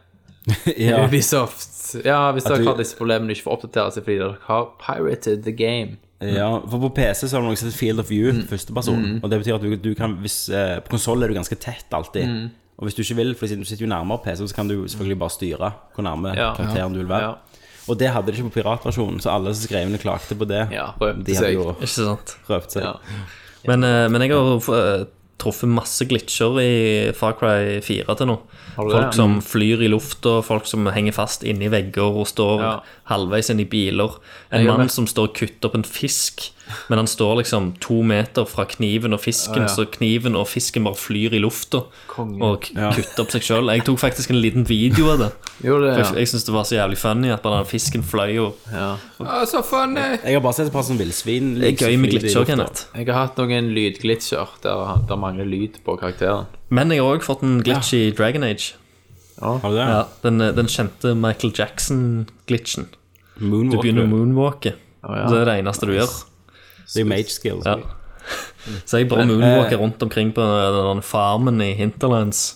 [SPEAKER 1] ja.
[SPEAKER 2] Ubisoft. Ja, hvis dere
[SPEAKER 1] du-
[SPEAKER 2] har disse problemene du ikke får oppdatere seg fordi dere har pirated the game.
[SPEAKER 1] Ja, for på PC så har du noe som heter Field of View,
[SPEAKER 2] Mm.
[SPEAKER 1] førsteperson. Og det betyr at du, du kan hvis, eh, På konsoll er du ganske tett alltid.
[SPEAKER 2] Mm.
[SPEAKER 1] Og hvis du ikke vil, for siden du sitter jo nærmere PC, så kan du selvfølgelig bare styre hvor nærme
[SPEAKER 2] Ja.
[SPEAKER 1] karakteren du vil være.
[SPEAKER 2] Ja.
[SPEAKER 1] Og det hadde de ikke på piratversjonen, så alle som skrev inn og klagde på det,
[SPEAKER 2] Ja, røpte
[SPEAKER 1] de hadde
[SPEAKER 2] seg.
[SPEAKER 1] jo
[SPEAKER 7] Ikke sant?
[SPEAKER 1] prøvd seg.
[SPEAKER 2] Ja.
[SPEAKER 7] Men, eh, men jeg har eh, truffet masse glitcher i Far Cry 4 til nå.
[SPEAKER 2] Har du
[SPEAKER 7] Folk
[SPEAKER 2] det? Mm.
[SPEAKER 7] som flyr i lufta, folk som henger fast inni vegger og står
[SPEAKER 2] Ja.
[SPEAKER 7] halvveis inn i biler. En
[SPEAKER 2] Jeg har
[SPEAKER 7] mann
[SPEAKER 2] vært-
[SPEAKER 7] som står og kutter opp en fisk, men han står liksom to meter fra kniven og fisken,
[SPEAKER 2] Ja, ja.
[SPEAKER 7] så kniven og fisken bare flyr i lufta
[SPEAKER 2] Konge.
[SPEAKER 7] og k- kutter opp seg sjøl. Jeg tok faktisk en liten video av det.
[SPEAKER 2] Jo, det,
[SPEAKER 7] For
[SPEAKER 2] ja.
[SPEAKER 7] Jeg, jeg syns det var så jævlig funny at bare den fisken fløy og
[SPEAKER 2] ja.
[SPEAKER 6] Å, så funny!
[SPEAKER 1] Jeg har bare sett et par sånne villsvin.
[SPEAKER 7] Det er
[SPEAKER 1] liksom,
[SPEAKER 7] gøy med
[SPEAKER 1] fly i
[SPEAKER 7] glitcher,
[SPEAKER 1] lufta.
[SPEAKER 7] Kenneth.
[SPEAKER 2] Jeg har hatt noen lydglitcher der der mangler lyd på karakteren.
[SPEAKER 7] Men jeg har òg fått en glitch i Dragon Age.
[SPEAKER 1] Har du det?
[SPEAKER 7] Ja, den, eh, den kjente Michael Jackson-glitchen. Du
[SPEAKER 1] Moonwalker.
[SPEAKER 7] begynner å moonwalke.
[SPEAKER 2] ja.
[SPEAKER 7] Det er det eneste du gjør.
[SPEAKER 1] Det er jo mage skill.
[SPEAKER 7] Ja. Så jeg bare
[SPEAKER 1] eh,
[SPEAKER 7] moonwalker rundt omkring på den den farmen i Hinterlands.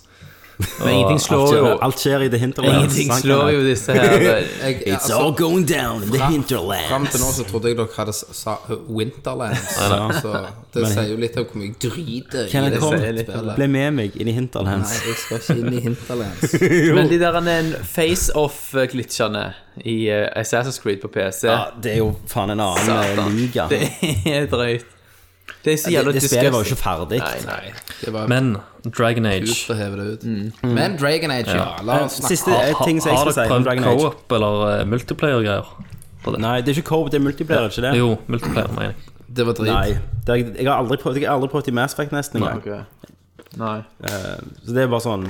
[SPEAKER 2] Men ingenting
[SPEAKER 1] Alt
[SPEAKER 2] slår jo
[SPEAKER 1] skjer, alt skjer i det hinterland.
[SPEAKER 2] Ingenting slår jo altså-
[SPEAKER 1] <laughs>
[SPEAKER 2] disse her.
[SPEAKER 6] eh, Jeg,
[SPEAKER 1] It's all going down in the
[SPEAKER 6] Fram
[SPEAKER 1] hinterland.
[SPEAKER 6] til nå så trodde jeg dere hadde sa Winterlands. så det sier jo litt om hvor mye drit det er i
[SPEAKER 1] Kenneth,
[SPEAKER 6] det
[SPEAKER 1] kom.
[SPEAKER 6] spillet.
[SPEAKER 1] Ble med meg inn i hinterlands.
[SPEAKER 6] Nei, jeg skal ikke inn i Hinterlands.
[SPEAKER 2] Men de der face-off-glitchene eh, i eh, Assassin's Creed på PC
[SPEAKER 1] Ja, det er jo faen en annen eh,
[SPEAKER 2] Satan.
[SPEAKER 1] liga.
[SPEAKER 2] <laughs> Det er drøyt. Det er så
[SPEAKER 1] Det,
[SPEAKER 2] jævla
[SPEAKER 1] det spillet var jo
[SPEAKER 2] disgusting.
[SPEAKER 1] ikke ferdig.
[SPEAKER 2] Nei, nei.
[SPEAKER 6] Det var
[SPEAKER 7] Men Dragon
[SPEAKER 6] ut
[SPEAKER 7] Age
[SPEAKER 6] å heve det ut. Mm. Men Dragon Age, ja. La oss snakke
[SPEAKER 1] Siste Mm. eh,
[SPEAKER 7] Ha-
[SPEAKER 1] ting som jeg
[SPEAKER 7] Har
[SPEAKER 1] skal si om
[SPEAKER 7] dere prøvd
[SPEAKER 1] Dragon Age
[SPEAKER 7] co-op eller eh, multiplayer-greier? på det?
[SPEAKER 1] Nei, det er ikke co-op, det er multiplayer, er det ikke det?
[SPEAKER 7] Jo, multiplayer, mener jeg.
[SPEAKER 6] Det var drit.
[SPEAKER 1] Nei. Det er, jeg, har aldri prøvd, jeg har aldri prøvd i Mass Effect nesten engang.
[SPEAKER 2] Ok. Nei.
[SPEAKER 1] Så det er bare sånn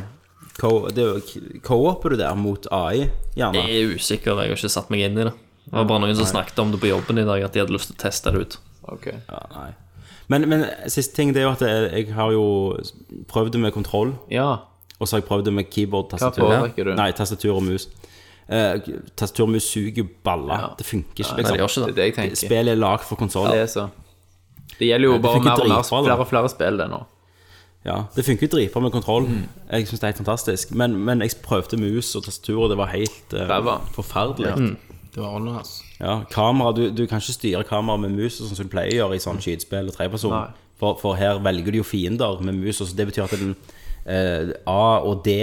[SPEAKER 1] co- det er jo- Co-oper du der mot AI, gjerne?
[SPEAKER 7] Jeg er usikker, jeg har ikke satt meg inn i det. Det var bare noen som snakket om det på jobben i dag, at de hadde lyst til å teste det ut.
[SPEAKER 2] Ok.
[SPEAKER 1] Ja, nei. Men, men siste ting det er jo at jeg, jeg har jo prøvd det med kontroll,
[SPEAKER 2] Ja.
[SPEAKER 1] og så har jeg prøvd det med keyboard, tastatur.
[SPEAKER 2] foretrekker du?
[SPEAKER 1] Nei, tastatur og mus. Eh, tastatur og mus suger baller. Det funker ikke,
[SPEAKER 7] Nei, de
[SPEAKER 1] liksom.
[SPEAKER 7] gjør ikke
[SPEAKER 2] Det er
[SPEAKER 7] det.
[SPEAKER 2] det jeg tenker.
[SPEAKER 1] Spillet er lag for konsoll.
[SPEAKER 2] Det er så. Det gjelder jo
[SPEAKER 1] det
[SPEAKER 2] bare
[SPEAKER 1] funker
[SPEAKER 2] mer og mer,
[SPEAKER 1] dritbra, da.
[SPEAKER 2] flere og flere spill det nå.
[SPEAKER 1] Ja, det funker jo dritbra med kontroll.
[SPEAKER 2] Mm.
[SPEAKER 1] Jeg synes det er helt fantastisk. Men, men jeg prøvde mus og tastatur, og det var helt eh,
[SPEAKER 2] Ræva. Mm.
[SPEAKER 1] forferdelig.
[SPEAKER 6] Det var noe, altså.
[SPEAKER 1] Ja, kamera, du, du kan ikke styre kamera med mus sånn som du pleier å gjøre i sånn skytespill og treperson.
[SPEAKER 2] Nei.
[SPEAKER 1] For, for her velger du jo fiender med mus, og så det betyr at den, eh, A og D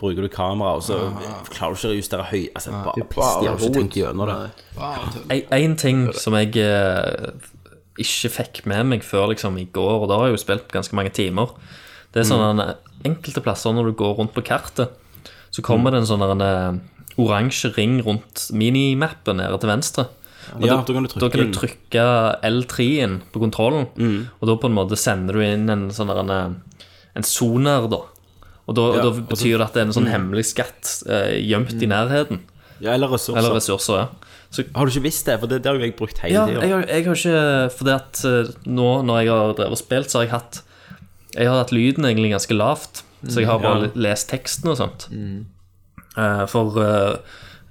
[SPEAKER 1] bruker du kamera, og så
[SPEAKER 2] Ah.
[SPEAKER 1] klarer du ikke å justere høy Altså, bare piss, de har ikke tenkt gjennom det.
[SPEAKER 7] Én ting som jeg eh, ikke fikk med meg før liksom i går, og da har jeg jo spilt ganske mange timer, det er
[SPEAKER 1] Mm.
[SPEAKER 7] sånne enkelte plasser når du går rundt på kartet, så
[SPEAKER 1] Mm.
[SPEAKER 7] kommer det en sånn der, eh, oransje ring rundt minimappen nede til venstre. Og
[SPEAKER 1] Ja,
[SPEAKER 7] da,
[SPEAKER 1] da kan du trykke
[SPEAKER 7] da kan
[SPEAKER 1] inn.
[SPEAKER 7] du trykke L3-en på kontrollen,
[SPEAKER 1] Mm.
[SPEAKER 7] og da på en måte sender du inn en sånn der, en, en soner, da. Og da,
[SPEAKER 1] Ja,
[SPEAKER 7] da
[SPEAKER 1] og så- Mm.
[SPEAKER 7] betyr det at det er en sånn hemmelig skatt eh, gjemt i nærheten.
[SPEAKER 1] Ja, eller ressurser.
[SPEAKER 7] Eller ressurser, ja. Så
[SPEAKER 1] Har du ikke visst det? For det, det har jo jeg brukt hele
[SPEAKER 7] ja,
[SPEAKER 1] tiden.
[SPEAKER 7] jeg har, jeg har ikke Fordi at eh, nå når jeg har drevet og spilt, så har jeg hatt Jeg har hatt lyden egentlig ganske lavt. Så jeg har bare
[SPEAKER 1] Mm, Ja. Mm.
[SPEAKER 7] le- lest teksten og sånt. Eh, for eh,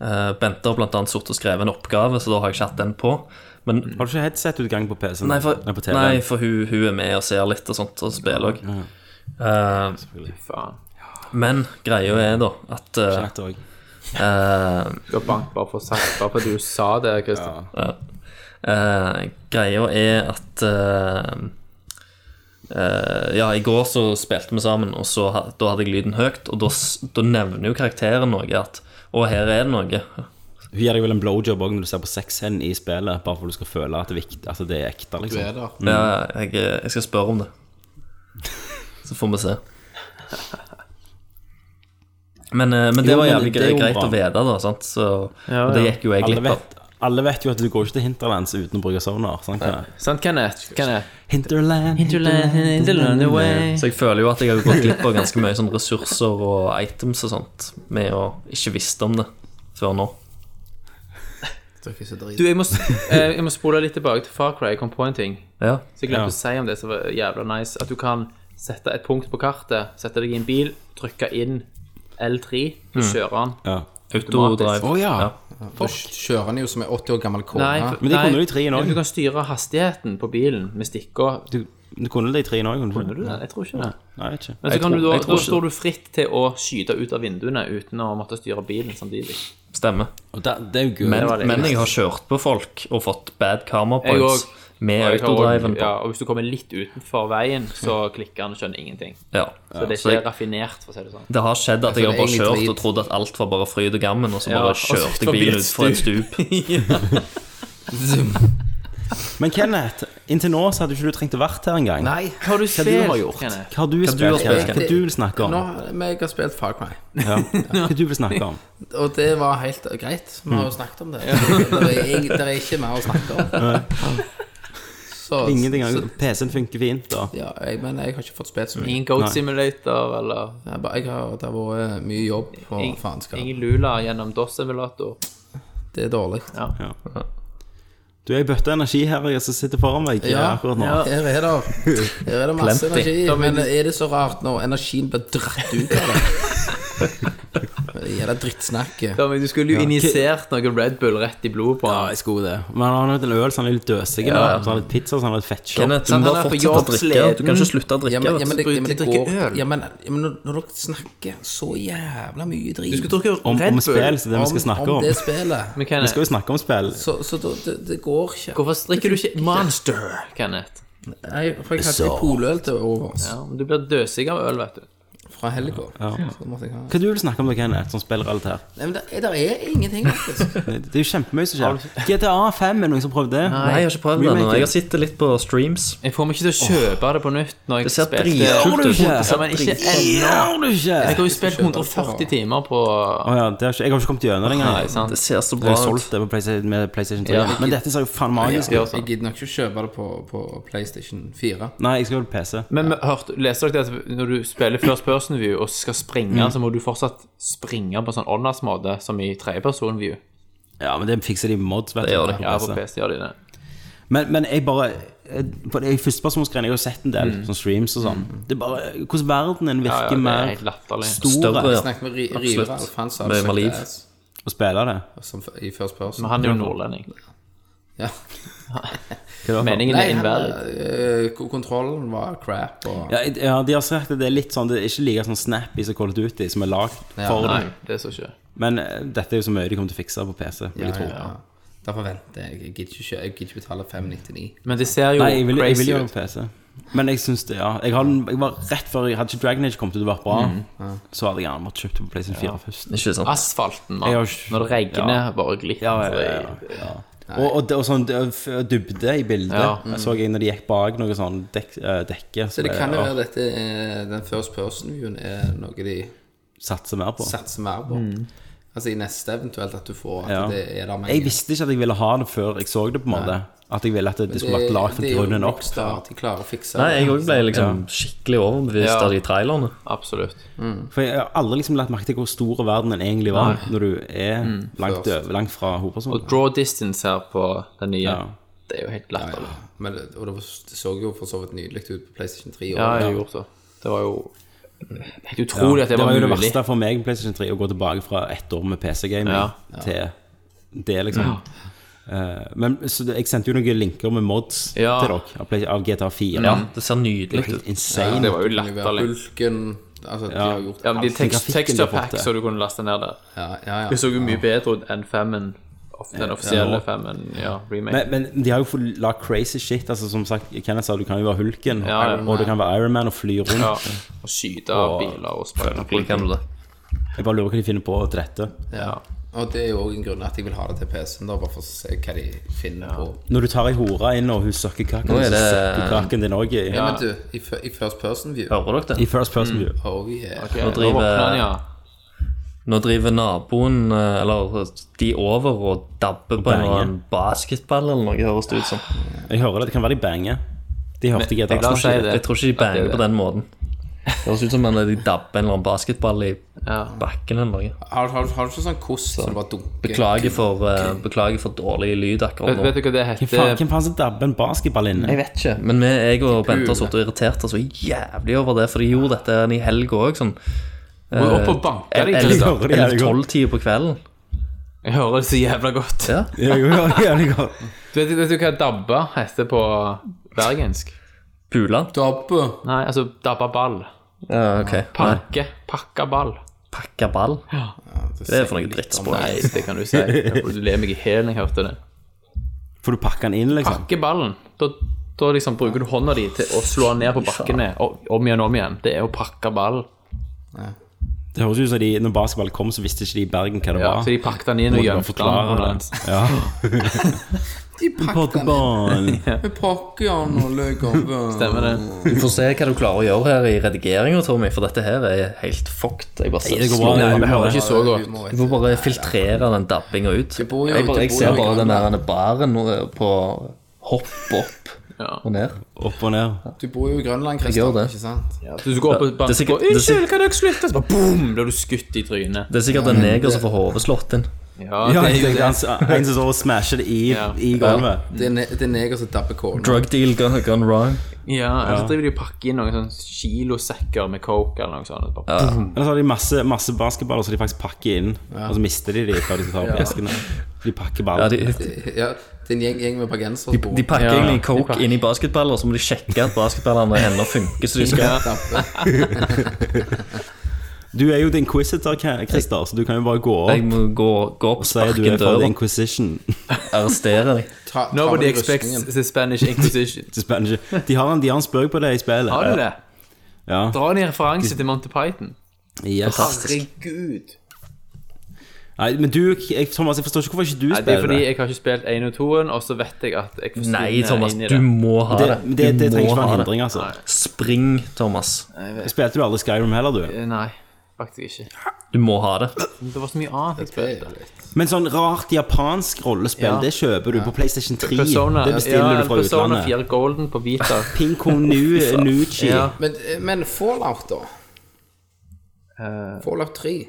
[SPEAKER 7] eh, Bente har blant annet sittet og skrevet en oppgave, så da har jeg ikke hatt den på. Men
[SPEAKER 1] Har du ikke headset-utgang på PC-en?
[SPEAKER 7] nei, for,
[SPEAKER 1] Mm. på TV-en?
[SPEAKER 7] nei, for hun, hun er med og ser litt og sånt, og spiller òg.
[SPEAKER 2] Faen.
[SPEAKER 7] men greia er da at eh,
[SPEAKER 1] Nett også.
[SPEAKER 7] eh,
[SPEAKER 2] Du har bank bare for sagt, bare fordi du sa det, Christian.
[SPEAKER 7] Eh, greia er at eh, eh, Ja, i går så spilte vi sammen, og så, ha- da hadde jeg lyden høyt, og da, s- da nevner jo karakteren noe at Å, her er det noe.
[SPEAKER 1] Hun gir deg vel en blowjob også når du ser på sexscenen i spillet, bare for du skal føle at det er, viktig, at det er ekte,
[SPEAKER 6] Du er
[SPEAKER 1] liksom.
[SPEAKER 6] der.
[SPEAKER 7] Ja, jeg, jeg skal spørre om det. Så får vi se. Men, eh, men det
[SPEAKER 1] Jo,
[SPEAKER 7] var
[SPEAKER 1] men
[SPEAKER 7] jævlig
[SPEAKER 1] det er jo
[SPEAKER 7] greit
[SPEAKER 1] bra.
[SPEAKER 7] å vite, da. Sant? Så, Og det gikk jo jeg
[SPEAKER 1] Alle
[SPEAKER 7] glipp av.
[SPEAKER 1] vet, alle vet jo at du går ikke til hinterlands uten å bruke sonar. Sant? Kenneth?
[SPEAKER 2] Sant, Kenneth? Kenneth?
[SPEAKER 1] Hinterland,
[SPEAKER 7] Så jeg føler jo at jeg har gått glipp av ganske mye sånn ressurser og items og sånt med å ikke visste om det før nå.
[SPEAKER 6] Dere er så drit.
[SPEAKER 2] Du, jeg må, s- eh, jeg må spole litt tilbake til Far Cry. Jeg kom på en ting.
[SPEAKER 7] Ja.
[SPEAKER 2] Så jeg glemte å si om det som var jævla nice. At du kan sette et punkt på kartet, sette deg i en bil, trykke inn L3, så kjører han.
[SPEAKER 1] Mm. Ja.
[SPEAKER 7] Autodrive.
[SPEAKER 6] Å ja. Da kjører han jo som en 80 år gammel kone.
[SPEAKER 2] Nei,
[SPEAKER 6] <laughs>
[SPEAKER 2] for-
[SPEAKER 1] Men de
[SPEAKER 2] nei,
[SPEAKER 1] kunne jo i treen også.
[SPEAKER 2] Du kan styre hastigheten på bilen med stikker.
[SPEAKER 1] Du, du kunne det i treen òg, kunne
[SPEAKER 2] Gjør
[SPEAKER 1] du
[SPEAKER 2] du
[SPEAKER 1] ikke?
[SPEAKER 2] det? Jeg tror ikke det.
[SPEAKER 1] Nei, ikke.
[SPEAKER 2] Men så kan
[SPEAKER 7] tror-
[SPEAKER 2] du da,
[SPEAKER 7] jeg tror
[SPEAKER 2] da
[SPEAKER 7] ikke
[SPEAKER 2] står du fritt til å skyte ut av vinduene uten å måtte styre bilen samtidig.
[SPEAKER 7] Stemmer.
[SPEAKER 1] Og det, det er jo gøy.
[SPEAKER 7] Men,
[SPEAKER 2] var litt
[SPEAKER 7] men jeg
[SPEAKER 2] nice.
[SPEAKER 7] har kjørt på folk og fått bad karma
[SPEAKER 2] Jeg
[SPEAKER 7] points
[SPEAKER 2] òg.
[SPEAKER 7] med
[SPEAKER 2] Og jeg har også-
[SPEAKER 7] autodriven på.
[SPEAKER 2] Ja, og hvis du kommer litt utenfor veien, så klikker han og skjønner ingenting.
[SPEAKER 7] Ja.
[SPEAKER 2] Så det
[SPEAKER 7] Så
[SPEAKER 2] er ikke
[SPEAKER 7] jeg,
[SPEAKER 2] raffinert, for å si det sånn.
[SPEAKER 7] det har skjedd at
[SPEAKER 6] Ja, for
[SPEAKER 7] jeg har
[SPEAKER 6] det er
[SPEAKER 7] bare
[SPEAKER 6] egentlig
[SPEAKER 7] kjørt og
[SPEAKER 6] drit.
[SPEAKER 7] trodd at alt var bare fryd og gammen, og så
[SPEAKER 2] Ja,
[SPEAKER 7] bare
[SPEAKER 2] og så
[SPEAKER 7] kjørte jeg
[SPEAKER 2] forbi et
[SPEAKER 7] bilen ut fra et
[SPEAKER 2] stup.
[SPEAKER 7] stup.
[SPEAKER 1] Men Kenneth, inntil nå så hadde ikke du trengt å vært her engang.
[SPEAKER 6] Nei.
[SPEAKER 2] Hva har du
[SPEAKER 1] Hva du har
[SPEAKER 2] spilt,
[SPEAKER 1] gjort?
[SPEAKER 2] Kenneth?
[SPEAKER 1] Hva har du
[SPEAKER 7] du har
[SPEAKER 1] spilt? Kenneth? Hva
[SPEAKER 6] spilt?
[SPEAKER 1] du vil snakke om?
[SPEAKER 6] Nå, men jeg har spilt Far Cry.
[SPEAKER 1] Ja. Hva du vil snakke om?
[SPEAKER 6] Og det var helt greit. Vi har jo snakket om det. Det er, ing- det er ikke mer å snakke om. Så,
[SPEAKER 1] Ingenting. annet. PC-en funker fint, da.
[SPEAKER 6] Ja, jeg, men jeg har ikke fått spilt så mye.
[SPEAKER 2] Ingen Goat Simulator eller
[SPEAKER 6] Jeg, bare- jeg har, det har vært mye jobb og faenskap.
[SPEAKER 2] ingen Lula gjennom DOS-emulator.
[SPEAKER 6] Det er dårlig.
[SPEAKER 1] Du er i bøtte energi her jeg som sitter foran meg
[SPEAKER 6] Ja.
[SPEAKER 1] akkurat nå.
[SPEAKER 6] Her er det, her er det masse
[SPEAKER 7] Plenty.
[SPEAKER 6] energi, men er det så rart når energien blir dratt ut av det? Det Jævla drittsnakket.
[SPEAKER 2] du skulle jo injisert noe Red Bull rett i blodet på
[SPEAKER 1] Ja, jeg skulle det. Men han har hatt en øl, så han er litt døsig i dag. Så han har litt pizza, så han har litt fettkjøtt.
[SPEAKER 7] Kenneth, du må
[SPEAKER 6] han er
[SPEAKER 7] bare
[SPEAKER 6] på
[SPEAKER 7] fortsette å
[SPEAKER 6] jobb,
[SPEAKER 7] drikke. Du kan ikke
[SPEAKER 6] sliten.
[SPEAKER 7] slutte å drikke.
[SPEAKER 6] Ja, men,
[SPEAKER 7] vet
[SPEAKER 6] ja, men,
[SPEAKER 7] du.
[SPEAKER 6] det, ja, men, det
[SPEAKER 2] Drikke
[SPEAKER 6] går,
[SPEAKER 2] øl.
[SPEAKER 6] ja, men, ja, men når, når dere snakker så jævla mye drit
[SPEAKER 1] Om, om spill, så det vi skal snakke om.
[SPEAKER 6] det spillet,
[SPEAKER 2] Men Kenneth,
[SPEAKER 1] Vi skal jo snakke om spill.
[SPEAKER 6] så, så da, det, det går ikke.
[SPEAKER 2] hvorfor drikker du ikke Monster, Kenneth?
[SPEAKER 6] Jeg, for jeg hadde litt poløl til overs
[SPEAKER 2] Ja, men du blir døsig av øl, vet du.
[SPEAKER 6] fra helga. Så måtte jeg ha
[SPEAKER 1] Hva du vil snakke om, da, Kenneth, som spillrelatert?
[SPEAKER 6] Nei, men det, det er ingenting,
[SPEAKER 2] <laughs>
[SPEAKER 6] faktisk.
[SPEAKER 1] Det er jo kjempemye som skjer. GTA 5 er noen som har prøvd det.
[SPEAKER 7] Nei, jeg har ikke prøvd det ennå. Jeg har sittet litt på streams.
[SPEAKER 2] Jeg får meg ikke til å kjøpe det på nytt når jeg
[SPEAKER 7] Det ser dritkult
[SPEAKER 1] ut.
[SPEAKER 2] Ja, men ikke ennå.
[SPEAKER 1] Gjør du ikke?
[SPEAKER 2] Jeg har jo spilt 140 timer på
[SPEAKER 1] Å ja, det har ikke, jeg har ikke kommet gjennom det
[SPEAKER 2] Nei,
[SPEAKER 1] engang.
[SPEAKER 7] Det
[SPEAKER 2] sant?
[SPEAKER 7] ser så
[SPEAKER 1] Jeg
[SPEAKER 7] bra
[SPEAKER 1] har
[SPEAKER 7] ut.
[SPEAKER 1] solgt det på PlayStation, med PlayStation 3.
[SPEAKER 2] Ja.
[SPEAKER 1] Men dette ser jo faen magisk ut.
[SPEAKER 2] gjør
[SPEAKER 6] Jeg,
[SPEAKER 2] sånn.
[SPEAKER 6] gidder nok ikke kjøpe det på, på PlayStation 4.
[SPEAKER 1] Nei, jeg skal jo på PC.
[SPEAKER 2] Men hørte, leste dere det at når du spiller first person view
[SPEAKER 1] Mm.
[SPEAKER 2] og skal springe, så må du fortsatt springe på en sånn åndas måte som i tredjeperson view?
[SPEAKER 1] Ja, men det fikser de med mods, vet du. altså.
[SPEAKER 7] Det gjør de.
[SPEAKER 2] Ja, på PC gjør de det.
[SPEAKER 1] Men, men jeg bare eh, På de førstepersonsgreiene Jeg har jo sett en del sånn streams og sånn. Det er bare Hvordan verdenen
[SPEAKER 2] Mm. Ja,
[SPEAKER 1] virker
[SPEAKER 2] ja, det er helt
[SPEAKER 1] mer
[SPEAKER 2] latterlig.
[SPEAKER 1] stor
[SPEAKER 7] Større, ja.
[SPEAKER 6] Snakk med Ri-
[SPEAKER 7] Absolutt.
[SPEAKER 6] Riveralf, han sa
[SPEAKER 7] Med
[SPEAKER 6] det
[SPEAKER 7] Maliv.
[SPEAKER 6] ass,
[SPEAKER 1] å spille det.
[SPEAKER 6] som f- i First Person.
[SPEAKER 2] Men han er jo nordlending. <laughs>
[SPEAKER 6] ja.
[SPEAKER 2] Meningen
[SPEAKER 6] Nei,
[SPEAKER 2] er
[SPEAKER 6] han,
[SPEAKER 2] invalid.
[SPEAKER 6] eh, k- kontrollen var crap, og
[SPEAKER 1] Ja, ja, de har sagt at det er litt sånn Det er ikke like sånn snappy som Call of Duty, som er lagd
[SPEAKER 6] Ja,
[SPEAKER 1] for
[SPEAKER 2] Nei,
[SPEAKER 1] det.
[SPEAKER 2] det så ikke.
[SPEAKER 1] Men eh, dette er jo så mye de kommer til å fikse på PC. Vil jeg tro.
[SPEAKER 6] ja. Derfor venter jeg. Jeg gidder ikke, kjø- jeg gidder ikke betale 599.
[SPEAKER 2] Men det ser jo
[SPEAKER 1] Nei, jeg vil, jeg vil
[SPEAKER 2] crazy
[SPEAKER 1] jo ha
[SPEAKER 2] ut.
[SPEAKER 1] PC. Men jeg syns det, ja. Jeg, har den- jeg var rett før jeg hadde ikke Dragon Age kommet ut og vært bra,
[SPEAKER 6] Mhm,
[SPEAKER 1] så hadde jeg gjerne måttet kjøpt det på PlayStation 4 først.
[SPEAKER 7] Ikke sant?
[SPEAKER 2] Asfalten,
[SPEAKER 1] Jeg
[SPEAKER 2] mann.
[SPEAKER 1] har ikke-
[SPEAKER 2] Når det regner,
[SPEAKER 1] Ja.
[SPEAKER 2] bare glitter.
[SPEAKER 1] Ja, ja, ja, ja. Og, og, det- og sånn det- f- dybde i bildet
[SPEAKER 2] Ja.
[SPEAKER 1] så jeg når de gikk bak noe sånn dek, eh, dekke
[SPEAKER 6] Så
[SPEAKER 1] som
[SPEAKER 6] det kan jo
[SPEAKER 1] jeg
[SPEAKER 6] være dette eh, den First Person-viewen er noe de
[SPEAKER 1] satser mer på.
[SPEAKER 6] satser mer på. Altså i neste eventuelt at du får at
[SPEAKER 1] Ja.
[SPEAKER 6] det er der mange
[SPEAKER 1] Jeg visste ikke at jeg ville ha det før jeg så det, på en måte. At jeg ville at det, det skulle vært lagd fra
[SPEAKER 6] det er jo
[SPEAKER 1] grunnen opp.
[SPEAKER 6] Rockstar, De klarer å fikse
[SPEAKER 7] Nei,
[SPEAKER 6] det.
[SPEAKER 7] jeg òg ble liksom skikkelig
[SPEAKER 2] Ja.
[SPEAKER 7] overbevist av de trailerne.
[SPEAKER 2] Absolutt.
[SPEAKER 1] For jeg har aldri liksom lagt merke til hvor stor verdenen egentlig var, når du er langt,
[SPEAKER 6] Først.
[SPEAKER 1] over, langt fra
[SPEAKER 2] Mm.
[SPEAKER 1] sånn.
[SPEAKER 2] Og
[SPEAKER 1] hovedpersonen.
[SPEAKER 2] draw distance her på den nye,
[SPEAKER 1] Ja.
[SPEAKER 2] det er jo helt latterlig.
[SPEAKER 6] Men, det- og det, var, det så jo for så vidt nydelig ut på PlayStation 3.
[SPEAKER 2] Ja, jeg har gjort det. Det var jo helt utrolig at det, var,
[SPEAKER 1] jo det
[SPEAKER 2] mulig.
[SPEAKER 1] verste for meg på PlayStation 3, å gå tilbake fra ett år med PC-gaming
[SPEAKER 2] Ja.
[SPEAKER 1] til det, liksom. Eh, men så det, jeg sendte jo noen linker med mods
[SPEAKER 2] Ja.
[SPEAKER 1] til dere av, Play- av GTA 4.
[SPEAKER 7] Ja, det ser nydelig
[SPEAKER 1] Helt
[SPEAKER 7] ut.
[SPEAKER 1] Insane.
[SPEAKER 2] det var jo
[SPEAKER 6] Latterlig.
[SPEAKER 2] latterlig.
[SPEAKER 6] Bulken Altså, de har gjort
[SPEAKER 2] Ja, men de
[SPEAKER 6] alt.
[SPEAKER 2] tekst,
[SPEAKER 1] grafikken
[SPEAKER 2] texture
[SPEAKER 1] de har fått
[SPEAKER 2] packs som du kunne laste ned der.
[SPEAKER 6] Ja, ja, ja.
[SPEAKER 2] Det så jo mye bedre ut enn femmen. of- Den offisielle femmen, ja, remake.
[SPEAKER 1] Men, men de har jo fått lagd crazy shit. Altså Som sagt, Kenneth sa du kan jo være hulken,
[SPEAKER 2] Ja, ja.
[SPEAKER 1] og du kan være Iron Man og fly rundt.
[SPEAKER 2] Ja, og skyte av biler og sparke
[SPEAKER 7] Hvordan kan du det?
[SPEAKER 1] Jeg bare lurer hva de finner på til dette.
[SPEAKER 2] Ja.
[SPEAKER 6] Og det er jo òg en grunn at jeg vil ha det til PC-en, da, bare for å se hva de finner på.
[SPEAKER 1] Når du tar ei hore inn, og hun søkker kaken,
[SPEAKER 7] Nå er
[SPEAKER 1] så
[SPEAKER 7] det-
[SPEAKER 1] søkker kaken din òg i,
[SPEAKER 6] Ja, men du, i, fir- i First Person View
[SPEAKER 7] Hører dere
[SPEAKER 1] i
[SPEAKER 7] det?
[SPEAKER 1] first
[SPEAKER 2] Mm.
[SPEAKER 1] person view.
[SPEAKER 6] Oh, yeah.
[SPEAKER 2] Ok, Nå
[SPEAKER 7] driver-
[SPEAKER 2] våkner han, ja.
[SPEAKER 7] Nå driver naboen, eh, eller de over, og dabber på en eller annen basketball eller noe, høres det ut som.
[SPEAKER 1] Jeg hører det, det kan være de banger. De hørte ikke
[SPEAKER 2] La oss si
[SPEAKER 1] etter.
[SPEAKER 2] det.
[SPEAKER 7] Jeg tror ikke de banger
[SPEAKER 2] det.
[SPEAKER 7] på den måten. Det høres ut som om de dabber en eller annen basketball i
[SPEAKER 2] Ja.
[SPEAKER 7] bakken eller noe.
[SPEAKER 6] Har, har, har du ikke sånn kost som bare dunker?
[SPEAKER 7] Beklager for, eh, beklager for dårlig lyd akkurat
[SPEAKER 2] Vet,
[SPEAKER 7] nå.
[SPEAKER 2] vet du hva det
[SPEAKER 1] Hvem faen-
[SPEAKER 2] heter?
[SPEAKER 1] Hvem faen som dabber en basketball inne?
[SPEAKER 7] Jeg vet ikke, men vi, jeg og Bente har sittet og irritert oss så jævlig over det, for de gjorde dette en i helga òg, sånn
[SPEAKER 2] Må jo opp og banke deg til det. da.
[SPEAKER 1] Hører det jævlig godt.
[SPEAKER 7] 11-12-tida på kvelden.
[SPEAKER 2] Jeg hører det så jævla godt.
[SPEAKER 7] Ja.
[SPEAKER 1] Ja, jeg hører det jævlig godt.
[SPEAKER 2] Du vet, vet du hva dabba heter på bergensk?
[SPEAKER 7] Pula.
[SPEAKER 6] Dabbe.
[SPEAKER 2] Nei, altså dabba ball.
[SPEAKER 7] Ja, ok. Nei,
[SPEAKER 2] Pakke. Pakka ball.
[SPEAKER 7] Pakka ball. Det er for noe drittspråk.
[SPEAKER 2] Nei, det kan du si. Du ler meg i hælen, jeg hørte det.
[SPEAKER 1] Får du pakke den inn, liksom?
[SPEAKER 2] Pakke ballen. Da, da liksom bruker du hånda di til å slå den ned på bakken med, og- om igjen om igjen. Det er å pakke ball.
[SPEAKER 1] Det høres ut som de, når basketball kom, så visste ikke de i Bergen hva det
[SPEAKER 2] Ja,
[SPEAKER 1] var.
[SPEAKER 2] så de pakket den inn og
[SPEAKER 1] Må du bare
[SPEAKER 2] gjemte den.
[SPEAKER 1] forklare
[SPEAKER 2] under den.
[SPEAKER 1] det.
[SPEAKER 2] <laughs>
[SPEAKER 1] Ja.
[SPEAKER 6] De pakker den
[SPEAKER 1] Basketball.
[SPEAKER 6] med pakken og eh. løker.
[SPEAKER 2] Stemmer det?
[SPEAKER 7] Du får se hva du klarer å gjøre her i redigeringa, Tommy, for dette her er helt fucked. Jeg bare
[SPEAKER 1] Nei, det går bra.
[SPEAKER 7] slår
[SPEAKER 1] Nei,
[SPEAKER 7] meg.
[SPEAKER 1] vi
[SPEAKER 2] Det
[SPEAKER 1] hører
[SPEAKER 2] var ikke så godt.
[SPEAKER 7] Du får bare filtrere den dabbinga ut. Jeg,
[SPEAKER 6] bor jo-
[SPEAKER 7] bare,
[SPEAKER 6] det
[SPEAKER 7] jeg
[SPEAKER 6] bor
[SPEAKER 7] ser
[SPEAKER 6] jo-
[SPEAKER 7] bare den der baren og- på hopp opp og ned.
[SPEAKER 1] Opp og ned.
[SPEAKER 6] Du bor jo i Grønland,
[SPEAKER 7] gjør
[SPEAKER 6] Kristian.
[SPEAKER 7] det.
[SPEAKER 6] Ikke sant?
[SPEAKER 2] Ja, Du går opp og
[SPEAKER 7] Det er
[SPEAKER 2] banker på
[SPEAKER 7] sikkert- det er sikkert-
[SPEAKER 2] Unnskyld, kan dere slutte? Så bare boom, blir du skutt i trynet.
[SPEAKER 7] Det er sikkert en neger som får hodet slått inn.
[SPEAKER 1] Ja,
[SPEAKER 2] Ja,
[SPEAKER 1] jeg
[SPEAKER 2] det er jo
[SPEAKER 1] tenkte
[SPEAKER 2] det.
[SPEAKER 1] han s- han som står og smasher det i,
[SPEAKER 2] Ja.
[SPEAKER 1] i gulvet.
[SPEAKER 6] Det er ne- det er neger som dabber kålen.
[SPEAKER 7] Drug deal gone, gone wrong.
[SPEAKER 2] Ja, og så driver de og pakker inn noen sånn kilosekker med coke eller noe sånt. og Bare,
[SPEAKER 1] Eller så har de masse, masse basketballer som de faktisk pakker inn, og så mister de de før de skal ta opp eskene. De pakker
[SPEAKER 7] Ja,
[SPEAKER 1] ballen.
[SPEAKER 7] de,
[SPEAKER 6] Ja, det er en gjeng, gjeng med bergensere som bor
[SPEAKER 7] de pakker
[SPEAKER 2] Ja.
[SPEAKER 7] egentlig
[SPEAKER 2] De
[SPEAKER 7] coke
[SPEAKER 2] pakker.
[SPEAKER 7] inn i basketballer, så må de sjekke at basketballene ennå funker som de skal.
[SPEAKER 2] Ja.
[SPEAKER 6] Dabbe.
[SPEAKER 1] Du er jo the inquisitor, Ke- Christer, så du kan jo bare gå
[SPEAKER 7] Jeg
[SPEAKER 1] opp
[SPEAKER 7] må gå, gå opp,
[SPEAKER 1] og si at du
[SPEAKER 7] sparke
[SPEAKER 1] er
[SPEAKER 7] en
[SPEAKER 1] fra
[SPEAKER 7] dør
[SPEAKER 1] the
[SPEAKER 2] <laughs>
[SPEAKER 7] og
[SPEAKER 1] inquisition.
[SPEAKER 7] arrestere dem.
[SPEAKER 6] Ta, ta med
[SPEAKER 2] Nobody
[SPEAKER 6] de
[SPEAKER 2] expects
[SPEAKER 6] rustningen.
[SPEAKER 2] the Spanish Inquisition.
[SPEAKER 1] Det er spennende. De har en, de har en spøk på det i spillet.
[SPEAKER 2] Har du det?
[SPEAKER 1] Ja.
[SPEAKER 2] Dra ned referanse til Monty Python.
[SPEAKER 1] Yes.
[SPEAKER 2] Herregud.
[SPEAKER 1] Nei, men du, jeg, Thomas, jeg forstår ikke hvorfor ikke du
[SPEAKER 2] Nei, det er
[SPEAKER 1] spiller
[SPEAKER 2] fordi jeg har ikke spilt 1 og 2-en, og så vet jeg at jeg forsvinner
[SPEAKER 7] <laughs> Nei, Thomas,
[SPEAKER 2] inn i
[SPEAKER 7] du
[SPEAKER 2] det.
[SPEAKER 7] må ha
[SPEAKER 1] Det,
[SPEAKER 7] det.
[SPEAKER 1] det, det,
[SPEAKER 7] Du
[SPEAKER 1] trenger
[SPEAKER 7] må
[SPEAKER 1] ikke være
[SPEAKER 7] ha
[SPEAKER 1] en
[SPEAKER 7] det.
[SPEAKER 1] hindring, altså.
[SPEAKER 7] Spring, Thomas.
[SPEAKER 1] Spilte du aldri Skyrim heller, du?
[SPEAKER 2] Nei, faktisk ikke.
[SPEAKER 7] Du må ha det.
[SPEAKER 2] Men Det var så mye annet jeg
[SPEAKER 6] Det er
[SPEAKER 2] spilte.
[SPEAKER 6] jo litt-
[SPEAKER 1] Men sånn rart japansk rollespill,
[SPEAKER 2] Ja.
[SPEAKER 1] det kjøper du på PlayStation 3.
[SPEAKER 2] Persona,
[SPEAKER 1] det bestiller
[SPEAKER 2] ja,
[SPEAKER 1] du fra
[SPEAKER 2] Persona
[SPEAKER 1] utlandet.
[SPEAKER 2] 4 Golden på
[SPEAKER 1] <laughs>
[SPEAKER 2] Vita.
[SPEAKER 1] Ping Kong
[SPEAKER 2] <laughs>
[SPEAKER 1] Nu, Nuchi.
[SPEAKER 2] Ja.
[SPEAKER 6] Men, eh, men Fallout, da? Fallout 3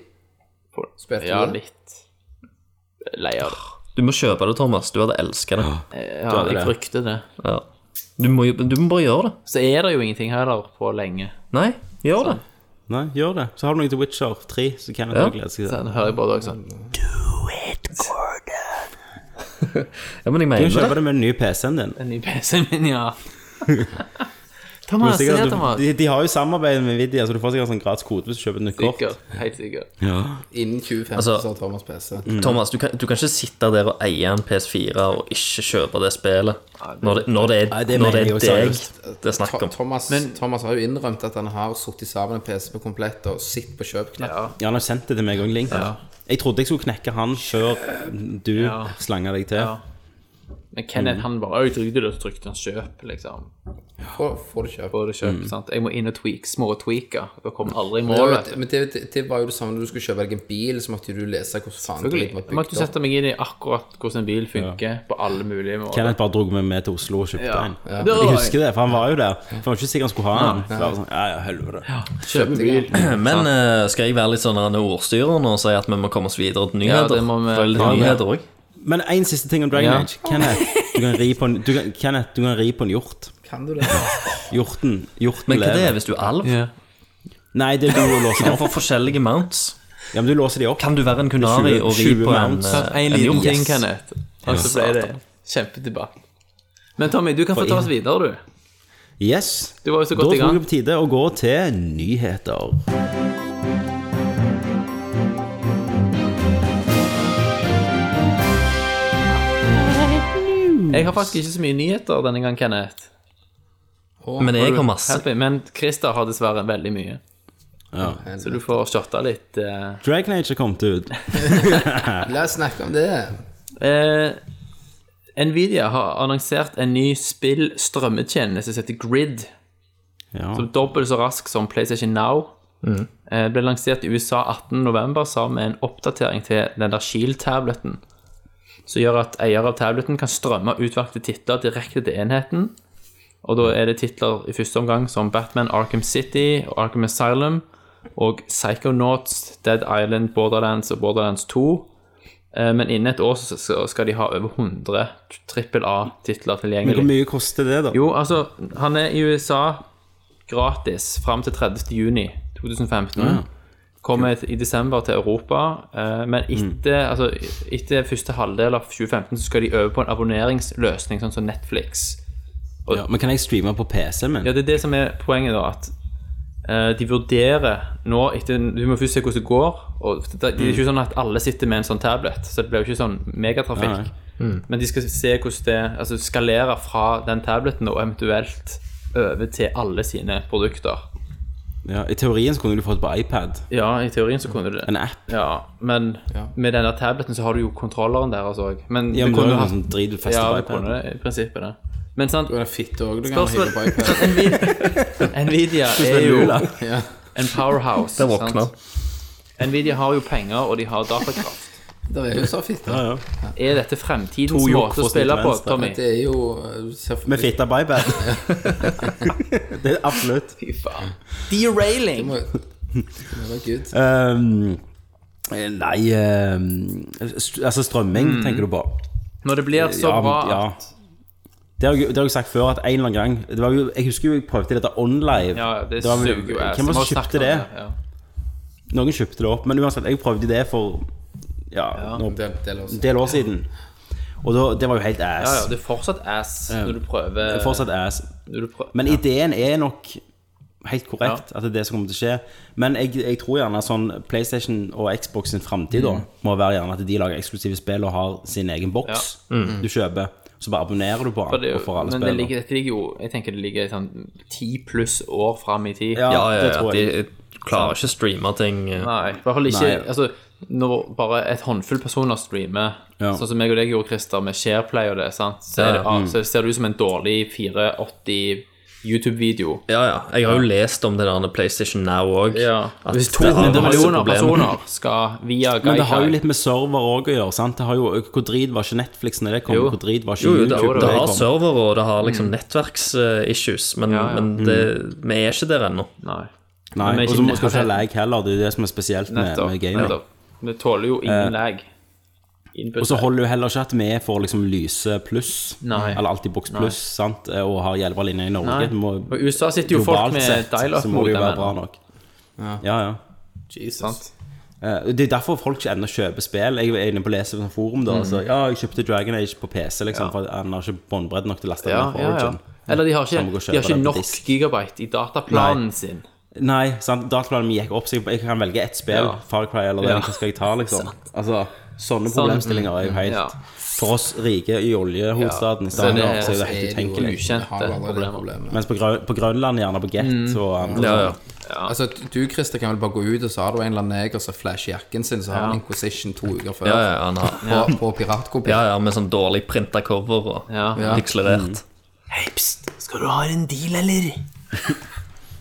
[SPEAKER 2] Fall-
[SPEAKER 6] spilte
[SPEAKER 2] Eh. Ja,
[SPEAKER 6] du? det?
[SPEAKER 2] litt lei av det.
[SPEAKER 7] Du må kjøpe det, Thomas. Du hadde elska det.
[SPEAKER 2] Ja,
[SPEAKER 1] Ah, hadde
[SPEAKER 2] jeg
[SPEAKER 1] det.
[SPEAKER 2] frykter det.
[SPEAKER 7] Ja. Du, må, jo- du må bare gjøre det.
[SPEAKER 2] Så er det jo ingenting heller på lenge.
[SPEAKER 7] Nei, gjør det.
[SPEAKER 1] Nei, gjør det. Så har du noe til Witcher 3, så kan jeg
[SPEAKER 7] Ja.
[SPEAKER 1] ja. glede seg til.
[SPEAKER 2] Så nå hører jeg bare dere sånn
[SPEAKER 1] Mm.
[SPEAKER 7] Ja, men jeg
[SPEAKER 1] Du kan
[SPEAKER 7] mener
[SPEAKER 1] kjøpe
[SPEAKER 7] det.
[SPEAKER 1] det med den nye PC-en din.
[SPEAKER 2] Den nye PC-en min,
[SPEAKER 1] <laughs>
[SPEAKER 2] ja. Thomas, se,
[SPEAKER 1] Sikkert,
[SPEAKER 2] Thomas.
[SPEAKER 1] du, de, de har jo samarbeid med Nvidia, så du får sikkert sånn gratis kode hvis du kjøper et nytt kort.
[SPEAKER 2] Sikker. Helt sikker.
[SPEAKER 6] Innen 2015
[SPEAKER 7] Altså-
[SPEAKER 6] så har Thomas PC.
[SPEAKER 7] Thomas, du kan, du kan ikke sitte der og eie en PS4 og ikke kjøpe det spillet. Når det, når det er,
[SPEAKER 1] Nei, det
[SPEAKER 7] når
[SPEAKER 1] mener
[SPEAKER 7] det er
[SPEAKER 1] jeg jo
[SPEAKER 7] deg det er snakk
[SPEAKER 6] Tho-
[SPEAKER 7] om.
[SPEAKER 6] Thomas, Thomas har jo innrømt at han har sittet sammen en PC på komplett og sitt på kjøpknapp.
[SPEAKER 2] Ja.
[SPEAKER 1] Ja, han har sendt det til meg òg, Link. Jeg trodde jeg skulle knekke han før du
[SPEAKER 2] Ja.
[SPEAKER 1] slanga deg til.
[SPEAKER 2] Ja. Men Kenneth
[SPEAKER 1] Mm.
[SPEAKER 2] han bare «Øy, trykte det, så trykte han kjøp, liksom.
[SPEAKER 6] Får, får du kjøpt.
[SPEAKER 2] Får det
[SPEAKER 1] Mm.
[SPEAKER 2] kjøp, sant? Jeg må inn og tweak, små tweaker. Da kommer jeg aldri i
[SPEAKER 6] Det, var
[SPEAKER 2] mål.
[SPEAKER 6] jo- men det, det, det var jo det samme når du skulle kjøpe deg en bil, så måtte du lese hvordan faen bilen var
[SPEAKER 2] Jeg måtte
[SPEAKER 6] bygd opp.
[SPEAKER 2] sette meg inn i akkurat hvordan en bil funker, på alle mulige måter.
[SPEAKER 1] Kenneth bare dro meg med til Oslo og kjøpte
[SPEAKER 2] Ja.
[SPEAKER 1] en.
[SPEAKER 2] Ja.
[SPEAKER 1] Jeg husker det, for han var jo der. For han var ikke sikker han skulle ha den. Så var det sånn, ja, ja, helvete.
[SPEAKER 2] Kjøpe bil.
[SPEAKER 7] <clears throat> Men eh, skal jeg være litt sånn en ordstyrer nå og si at vi må komme oss videre til
[SPEAKER 2] Ja,
[SPEAKER 7] nyheter?
[SPEAKER 2] det må vi-
[SPEAKER 7] For det er litt
[SPEAKER 2] Ja, ja.
[SPEAKER 7] nyheter også.
[SPEAKER 1] Men en siste ting om Dragon
[SPEAKER 2] Ja.
[SPEAKER 1] Age. Kenneth, du kan ri på en, du kan, Kenneth, du kan ri på en hjort.
[SPEAKER 6] Kan du det?
[SPEAKER 1] Hjorten. Hjorten
[SPEAKER 7] Men hva er det
[SPEAKER 1] lever.
[SPEAKER 7] hvis du er alv?
[SPEAKER 2] Ja.
[SPEAKER 1] Nei, det er du å
[SPEAKER 7] Du
[SPEAKER 1] låse
[SPEAKER 7] kan
[SPEAKER 1] opp.
[SPEAKER 7] få forskjellige mounts.
[SPEAKER 1] Ja, men du låser de opp.
[SPEAKER 7] Kan du være en kunari
[SPEAKER 1] 20
[SPEAKER 7] og ri på en,
[SPEAKER 1] mounts.
[SPEAKER 7] eh,
[SPEAKER 2] En
[SPEAKER 7] en
[SPEAKER 2] liten
[SPEAKER 7] hjort?
[SPEAKER 2] ting, Kenneth. Og så ble det kjempedebatt. Men Tommy, du kan få ta oss videre, du.
[SPEAKER 1] Yes.
[SPEAKER 2] Du var jo så
[SPEAKER 1] Da
[SPEAKER 2] godt i
[SPEAKER 1] tror
[SPEAKER 2] gang.
[SPEAKER 1] jeg på tide å gå til nyheter.
[SPEAKER 7] Mm.
[SPEAKER 2] Jeg har faktisk ikke så mye nyheter denne gang, Kenneth.
[SPEAKER 7] Men jeg har masse.
[SPEAKER 2] Help me. Men Christer har dessverre veldig mye. Så du får shotta litt. eh.
[SPEAKER 1] Dragon Age har kommet ut.
[SPEAKER 6] <laughs> La oss snakke om det.
[SPEAKER 2] Eh, Nvidia har annonsert en ny spill-strømmetjeneste som heter Grid.
[SPEAKER 1] Ja.
[SPEAKER 2] Som er dobbelt så rask som PlayStation Now. Eh, ble lansert i USA 18.11. sammen med en oppdatering til den der Shield-tableten. Som gjør at eier av tableten kan strømme utvalgte titler direkte til enheten. Og da er det titler i første omgang som Batman Arkham City og Arkham Asylum. Og Psychonauts, Dead Island, Borderlands og Borderlands 2. Eh, Men innen et år så så skal de ha over 100 trippel A-titler
[SPEAKER 1] Men
[SPEAKER 2] tilgjengelig.
[SPEAKER 1] hvor mye koster det, da?
[SPEAKER 2] Jo, altså, han er i USA gratis fram til 30. juni 2015. Kommer i desember til Europa, eh, men etter, altså, etter første halvdel av 2015 så skal de øve på en abonneringsløsning, sånn som Netflix.
[SPEAKER 1] Ja, men kan jeg streame på PC-en min?
[SPEAKER 2] Ja, det er det som er poenget da, at eh, de vurderer nå etter, Du må først se hvordan det går. Og det, det er ikke
[SPEAKER 1] Mm.
[SPEAKER 2] sånn at alle sitter med en sånn tablet, så det blir jo ikke sånn megatrafikk.
[SPEAKER 1] Nei,
[SPEAKER 2] Men de skal se hvordan det altså skalere fra den tableten og eventuelt over til alle sine produkter.
[SPEAKER 1] Ja, I teorien så kunne du fått på iPad.
[SPEAKER 2] Ja, i teorien så kunne du det.
[SPEAKER 1] En app.
[SPEAKER 2] Ja, men med denne tableten så har du jo kontrolleren der altså òg. Men
[SPEAKER 1] Ja,
[SPEAKER 2] du
[SPEAKER 1] men det
[SPEAKER 2] kunne
[SPEAKER 1] er jo
[SPEAKER 2] hatt-
[SPEAKER 1] noe sånn drit du fester
[SPEAKER 2] Ja,
[SPEAKER 1] på
[SPEAKER 2] du kunne
[SPEAKER 1] iPad.
[SPEAKER 2] det, i prinsippet det. Men sant,
[SPEAKER 6] Du er fitte òg, du kan
[SPEAKER 2] Spørsmål.
[SPEAKER 6] hive på iPad.
[SPEAKER 2] Nvidia er jo en powerhouse.
[SPEAKER 7] Der våkner han.
[SPEAKER 2] Nvidia har jo penger, og de har datakraft.
[SPEAKER 6] Det er jo så fitte.
[SPEAKER 1] Ja, ja.
[SPEAKER 2] Er dette fremtidens
[SPEAKER 1] To hjort
[SPEAKER 2] måte å
[SPEAKER 1] for
[SPEAKER 2] spille
[SPEAKER 1] snitt
[SPEAKER 2] på,
[SPEAKER 1] venstre.
[SPEAKER 2] Tommy?
[SPEAKER 6] Det er jo eh, se for-
[SPEAKER 1] Med fitta på
[SPEAKER 2] <laughs>
[SPEAKER 1] iPad. det er absolutt.
[SPEAKER 2] Fy faen. Derailing!
[SPEAKER 6] Må- Det var good.
[SPEAKER 1] Um, nei um, st Altså strømming, tenker du på.
[SPEAKER 2] Når det blir så
[SPEAKER 1] Ja,
[SPEAKER 2] bra
[SPEAKER 1] ja.
[SPEAKER 2] Mm. Altså, at
[SPEAKER 1] Det har, jeg- det har jeg sagt før, at en eller annen gang det var jo, Jeg husker jo jeg prøvde dette online.
[SPEAKER 2] Ja, det
[SPEAKER 1] var vel-
[SPEAKER 2] suger jo ass.
[SPEAKER 1] Hvem var det
[SPEAKER 2] Vi har
[SPEAKER 1] som
[SPEAKER 2] snakket om
[SPEAKER 1] kjøpte det?
[SPEAKER 2] Ja.
[SPEAKER 1] Noen kjøpte det opp, men uansett, jeg prøvde det for ja, nå-
[SPEAKER 6] Del, del også.
[SPEAKER 1] en del år siden. Og da, det var jo helt
[SPEAKER 2] ja, ja,
[SPEAKER 1] ass.
[SPEAKER 2] det er fortsatt ass når du
[SPEAKER 1] Det er
[SPEAKER 2] prøver
[SPEAKER 1] Fortsatt ass.
[SPEAKER 2] når du prøver.
[SPEAKER 1] Men ideen er nok helt korrekt, at det er det som kommer til å skje. Men jeg, jeg tror gjerne sånn PlayStation og Xbox sin framtid
[SPEAKER 2] Mm.
[SPEAKER 1] da må være gjerne at de lager eksklusive spill og har sin egen boks du kjøper. Så bare abonnerer du på
[SPEAKER 2] For det,
[SPEAKER 1] den og får alle
[SPEAKER 2] men det
[SPEAKER 1] spillene.
[SPEAKER 2] ligger, dette ligger jo Jeg tenker det ligger sånn ti pluss år fram i tid.
[SPEAKER 1] Ja,
[SPEAKER 7] Ja, ja,
[SPEAKER 1] det
[SPEAKER 7] ja.
[SPEAKER 1] tror jeg.
[SPEAKER 7] De de klarer ikke å streame ting. eh.
[SPEAKER 2] Nei, i hvert fall ikke
[SPEAKER 1] Nei.
[SPEAKER 2] Altså, når bare et håndfull personer streamer,
[SPEAKER 1] Ja.
[SPEAKER 2] sånn som meg og deg gjorde, Christer, med Shareplay og det, sant? Så, er det,
[SPEAKER 7] Ja,
[SPEAKER 2] så ser det ut som en dårlig 480 YouTube-video.
[SPEAKER 7] Ja, ja. Jeg har jo lest om det der med PlayStation Now òg.
[SPEAKER 2] Hvis 200 millioner personer skal via
[SPEAKER 1] Men det har jo
[SPEAKER 2] Gaikai
[SPEAKER 1] litt med server òg å gjøre. sant? Det har jo, Hvor drit var ikke Netflix når det kom?
[SPEAKER 2] Jo.
[SPEAKER 1] Hvor drit var ikke
[SPEAKER 7] Jo, jo, det,
[SPEAKER 1] YouTube? når
[SPEAKER 7] det har
[SPEAKER 1] kom?
[SPEAKER 7] server og det har liksom nettverksissues, men,
[SPEAKER 2] Ja, ja.
[SPEAKER 7] men det, vi er ikke der ennå.
[SPEAKER 2] Nei.
[SPEAKER 1] Nei,
[SPEAKER 2] Men
[SPEAKER 1] og
[SPEAKER 2] ikke
[SPEAKER 1] så må- skal du ikke ha
[SPEAKER 2] nettet.
[SPEAKER 1] lag heller. Det er det som er spesielt med,
[SPEAKER 2] Nettopp.
[SPEAKER 1] med gaming.
[SPEAKER 2] nettopp. Vi tåler jo ingen lag input.
[SPEAKER 1] Og så holder du heller ikke at vi får liksom lyse pluss,
[SPEAKER 2] Nei.
[SPEAKER 1] eller alltid boks pluss, sant? Eh, og har hjelperlinje i Norge.
[SPEAKER 2] Nei.
[SPEAKER 1] Du må-
[SPEAKER 2] Og i USA sitter jo folk
[SPEAKER 1] globalt
[SPEAKER 2] med
[SPEAKER 1] sett,
[SPEAKER 2] dial-up
[SPEAKER 1] Så må det jo være
[SPEAKER 2] modem.
[SPEAKER 1] bra nok. Ja, ja.
[SPEAKER 2] Jesus. Sant?
[SPEAKER 1] Eh, Det er derfor folk ikke ennå kjøper spill. Jeg er inne på leseforum
[SPEAKER 2] Mm.
[SPEAKER 1] da. Så, ja, jeg kjøpte Dragon Age på PC, liksom, for han har ikke båndbredde nok til å laste
[SPEAKER 2] Ja,
[SPEAKER 1] ned for
[SPEAKER 2] ja, ja.
[SPEAKER 1] Origin.
[SPEAKER 2] Eller de har
[SPEAKER 1] Så må
[SPEAKER 2] ikke,
[SPEAKER 1] gå og
[SPEAKER 2] de har
[SPEAKER 1] kjøpe
[SPEAKER 2] ikke
[SPEAKER 1] det på
[SPEAKER 2] nok
[SPEAKER 1] disk.
[SPEAKER 2] gigabyte i dataplanen
[SPEAKER 1] Nei.
[SPEAKER 2] sin.
[SPEAKER 1] Nei, sant? dataplanen min gikk opp, så jeg, jeg kan velge ett spill.
[SPEAKER 2] Ja.
[SPEAKER 1] Far Cry eller
[SPEAKER 2] Ja. Sånn-
[SPEAKER 1] den, hva skal jeg ta, liksom? Altså, sånne problemstillinger er jo helt
[SPEAKER 2] Ja.
[SPEAKER 1] For oss rike i oljehovedstaden i
[SPEAKER 2] Så det
[SPEAKER 1] Stavanger,
[SPEAKER 2] er-
[SPEAKER 1] så er det
[SPEAKER 6] er
[SPEAKER 1] helt
[SPEAKER 6] det jo-
[SPEAKER 1] utenkelig.
[SPEAKER 2] Ukjente
[SPEAKER 6] har jo allerede
[SPEAKER 2] problemer.
[SPEAKER 6] problemer.
[SPEAKER 1] Mens på, Grø- på Grønland, gjerne på Get
[SPEAKER 2] Mm.
[SPEAKER 1] og andre
[SPEAKER 7] Ja, ja.
[SPEAKER 6] Altså, du Christer, kan vel bare gå ut, og så har du en eller annen neger som flasher jakken sin, så har han Inquisition to uker før
[SPEAKER 7] Ja, ja, han har,
[SPEAKER 6] på, på piratkopi.
[SPEAKER 7] ja, ja, med sånn dårlig printa cover og
[SPEAKER 2] Ja.
[SPEAKER 6] Ja.
[SPEAKER 7] pikselerert.
[SPEAKER 2] Hei, pst, skal du ha en deal, eller?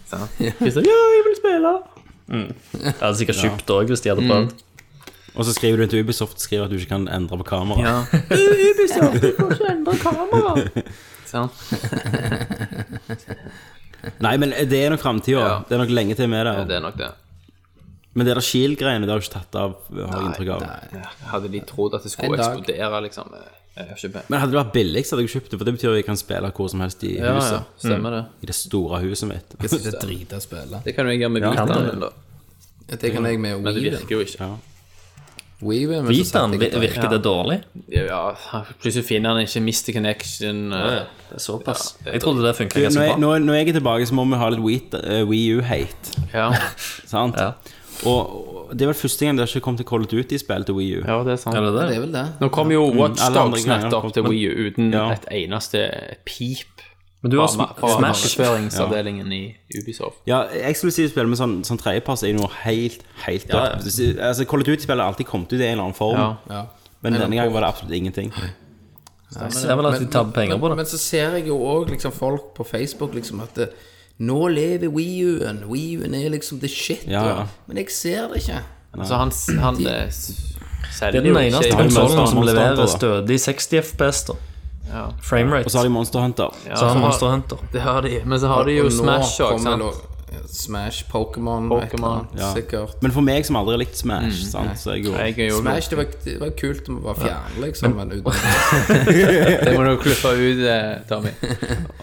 [SPEAKER 2] Sant? Christer, ja, jeg vil spille.
[SPEAKER 7] Jeg hadde sikkert kjøpt òg hvis de Mm. hadde prøvd.
[SPEAKER 1] sånn. Og så skriver du til Ubisoft skriver at du ikke kan endre på kamera.
[SPEAKER 2] <laughs> Ja. Ubisoft, du får ikke endre kamera. Sant?
[SPEAKER 1] Nei, men det er nok framtida.
[SPEAKER 2] Ja.
[SPEAKER 1] Det er nok lenge til med det.
[SPEAKER 2] Det er nok det.
[SPEAKER 1] Men det der Shield-greiene det har jo ikke tatt av, har jeg inntrykk av.
[SPEAKER 2] Hadde de trodd at det skulle
[SPEAKER 6] En dag.
[SPEAKER 2] eksplodere, liksom? Jeg har ikke
[SPEAKER 1] Men hadde det vært billig, så hadde jeg kjøpt det, for det betyr jo jeg kan spille hvor som helst i
[SPEAKER 2] Ja, Mm.
[SPEAKER 1] huset.
[SPEAKER 2] ja, stemmer det.
[SPEAKER 1] I det store huset mitt.
[SPEAKER 6] Hvis ikke drite å spille.
[SPEAKER 2] Det kan jo jeg gjøre med
[SPEAKER 1] Ja,
[SPEAKER 2] Vitaen
[SPEAKER 7] kan det.
[SPEAKER 2] min, da.
[SPEAKER 6] Det kan jeg med
[SPEAKER 2] Men det
[SPEAKER 6] Weaven.
[SPEAKER 2] virker jo ikke.
[SPEAKER 6] Weaven men så
[SPEAKER 7] Vitaen
[SPEAKER 6] satte jeg et-
[SPEAKER 7] virker det dårlig.
[SPEAKER 2] Ja, plutselig finner han ikke Mr. Connection. eh,
[SPEAKER 7] Det er såpass. Jeg trodde det funka
[SPEAKER 1] Når
[SPEAKER 7] ganske
[SPEAKER 1] jeg,
[SPEAKER 7] bra.
[SPEAKER 1] når, når jeg er tilbake, så må vi ha litt Wii- eh, Wii U-hate.
[SPEAKER 2] Ja,
[SPEAKER 1] Sant?
[SPEAKER 7] Ja.
[SPEAKER 1] Og og det er vel første gang det har ikke kommet til Collet ut i spill til Wii U.
[SPEAKER 2] <laughs> ja, det er sant.
[SPEAKER 7] Er det
[SPEAKER 6] Det
[SPEAKER 7] det?
[SPEAKER 6] er vel det.
[SPEAKER 2] Nå kom jo Watch
[SPEAKER 1] Mm, alle andre
[SPEAKER 2] Dogs
[SPEAKER 1] greier
[SPEAKER 2] nettopp
[SPEAKER 1] kom-
[SPEAKER 2] til
[SPEAKER 1] men-
[SPEAKER 2] Wii U uten
[SPEAKER 1] Ja.
[SPEAKER 2] et eneste pip
[SPEAKER 7] Men du har
[SPEAKER 2] fra
[SPEAKER 7] sm Smash.
[SPEAKER 2] markedsføringsavdelingen i Ubisoft.
[SPEAKER 1] Ja, eksklusive spill med sånn, sånn tredjepass er jo noe helt, helt
[SPEAKER 7] Ja, ja.
[SPEAKER 1] dødt. Altså, Collet ut-spill har alltid kommet ut i en eller annen form,
[SPEAKER 2] Ja.
[SPEAKER 6] Ja.
[SPEAKER 1] men denne gangen var det absolutt ingenting.
[SPEAKER 7] Det er vel at de tar penger på
[SPEAKER 6] Men,
[SPEAKER 7] det.
[SPEAKER 6] men så ser jeg jo òg liksom, folk på Facebook liksom at det, Nå lever WiiU-en. WiiU-en er liksom the shit.
[SPEAKER 1] Ja, ja.
[SPEAKER 6] og- Men jeg ser det ikke.
[SPEAKER 2] Så han, s- han eh, s-
[SPEAKER 7] Det
[SPEAKER 2] selger
[SPEAKER 7] er den
[SPEAKER 2] jo
[SPEAKER 7] eneste
[SPEAKER 2] ikke
[SPEAKER 1] konsolen
[SPEAKER 7] konsollen som
[SPEAKER 1] Monster Hunter,
[SPEAKER 7] leverer
[SPEAKER 1] da.
[SPEAKER 7] stødig 60 FPS, da.
[SPEAKER 2] Ja.
[SPEAKER 1] Og så har
[SPEAKER 7] Framerate.
[SPEAKER 1] de Monster Hunter.
[SPEAKER 2] Ja,
[SPEAKER 7] Så
[SPEAKER 2] så
[SPEAKER 7] har
[SPEAKER 2] har-
[SPEAKER 7] Monster Hunter.
[SPEAKER 2] Det har de, men så har de jo
[SPEAKER 6] Og nå
[SPEAKER 2] Smash òg,
[SPEAKER 6] kommer
[SPEAKER 2] sant?
[SPEAKER 6] det noe- Smash, Pokémon,
[SPEAKER 2] Pokémon,
[SPEAKER 6] et eller annet,
[SPEAKER 1] Ja.
[SPEAKER 6] sikkert.
[SPEAKER 1] Men for meg som aldri har likt Smash, sant? så er jeg jo
[SPEAKER 2] Jeg er jo
[SPEAKER 6] Smash, det var, det var kult om det var fjern, liksom, men uten
[SPEAKER 2] <laughs> Det må du klippe ut, eh, Tommy.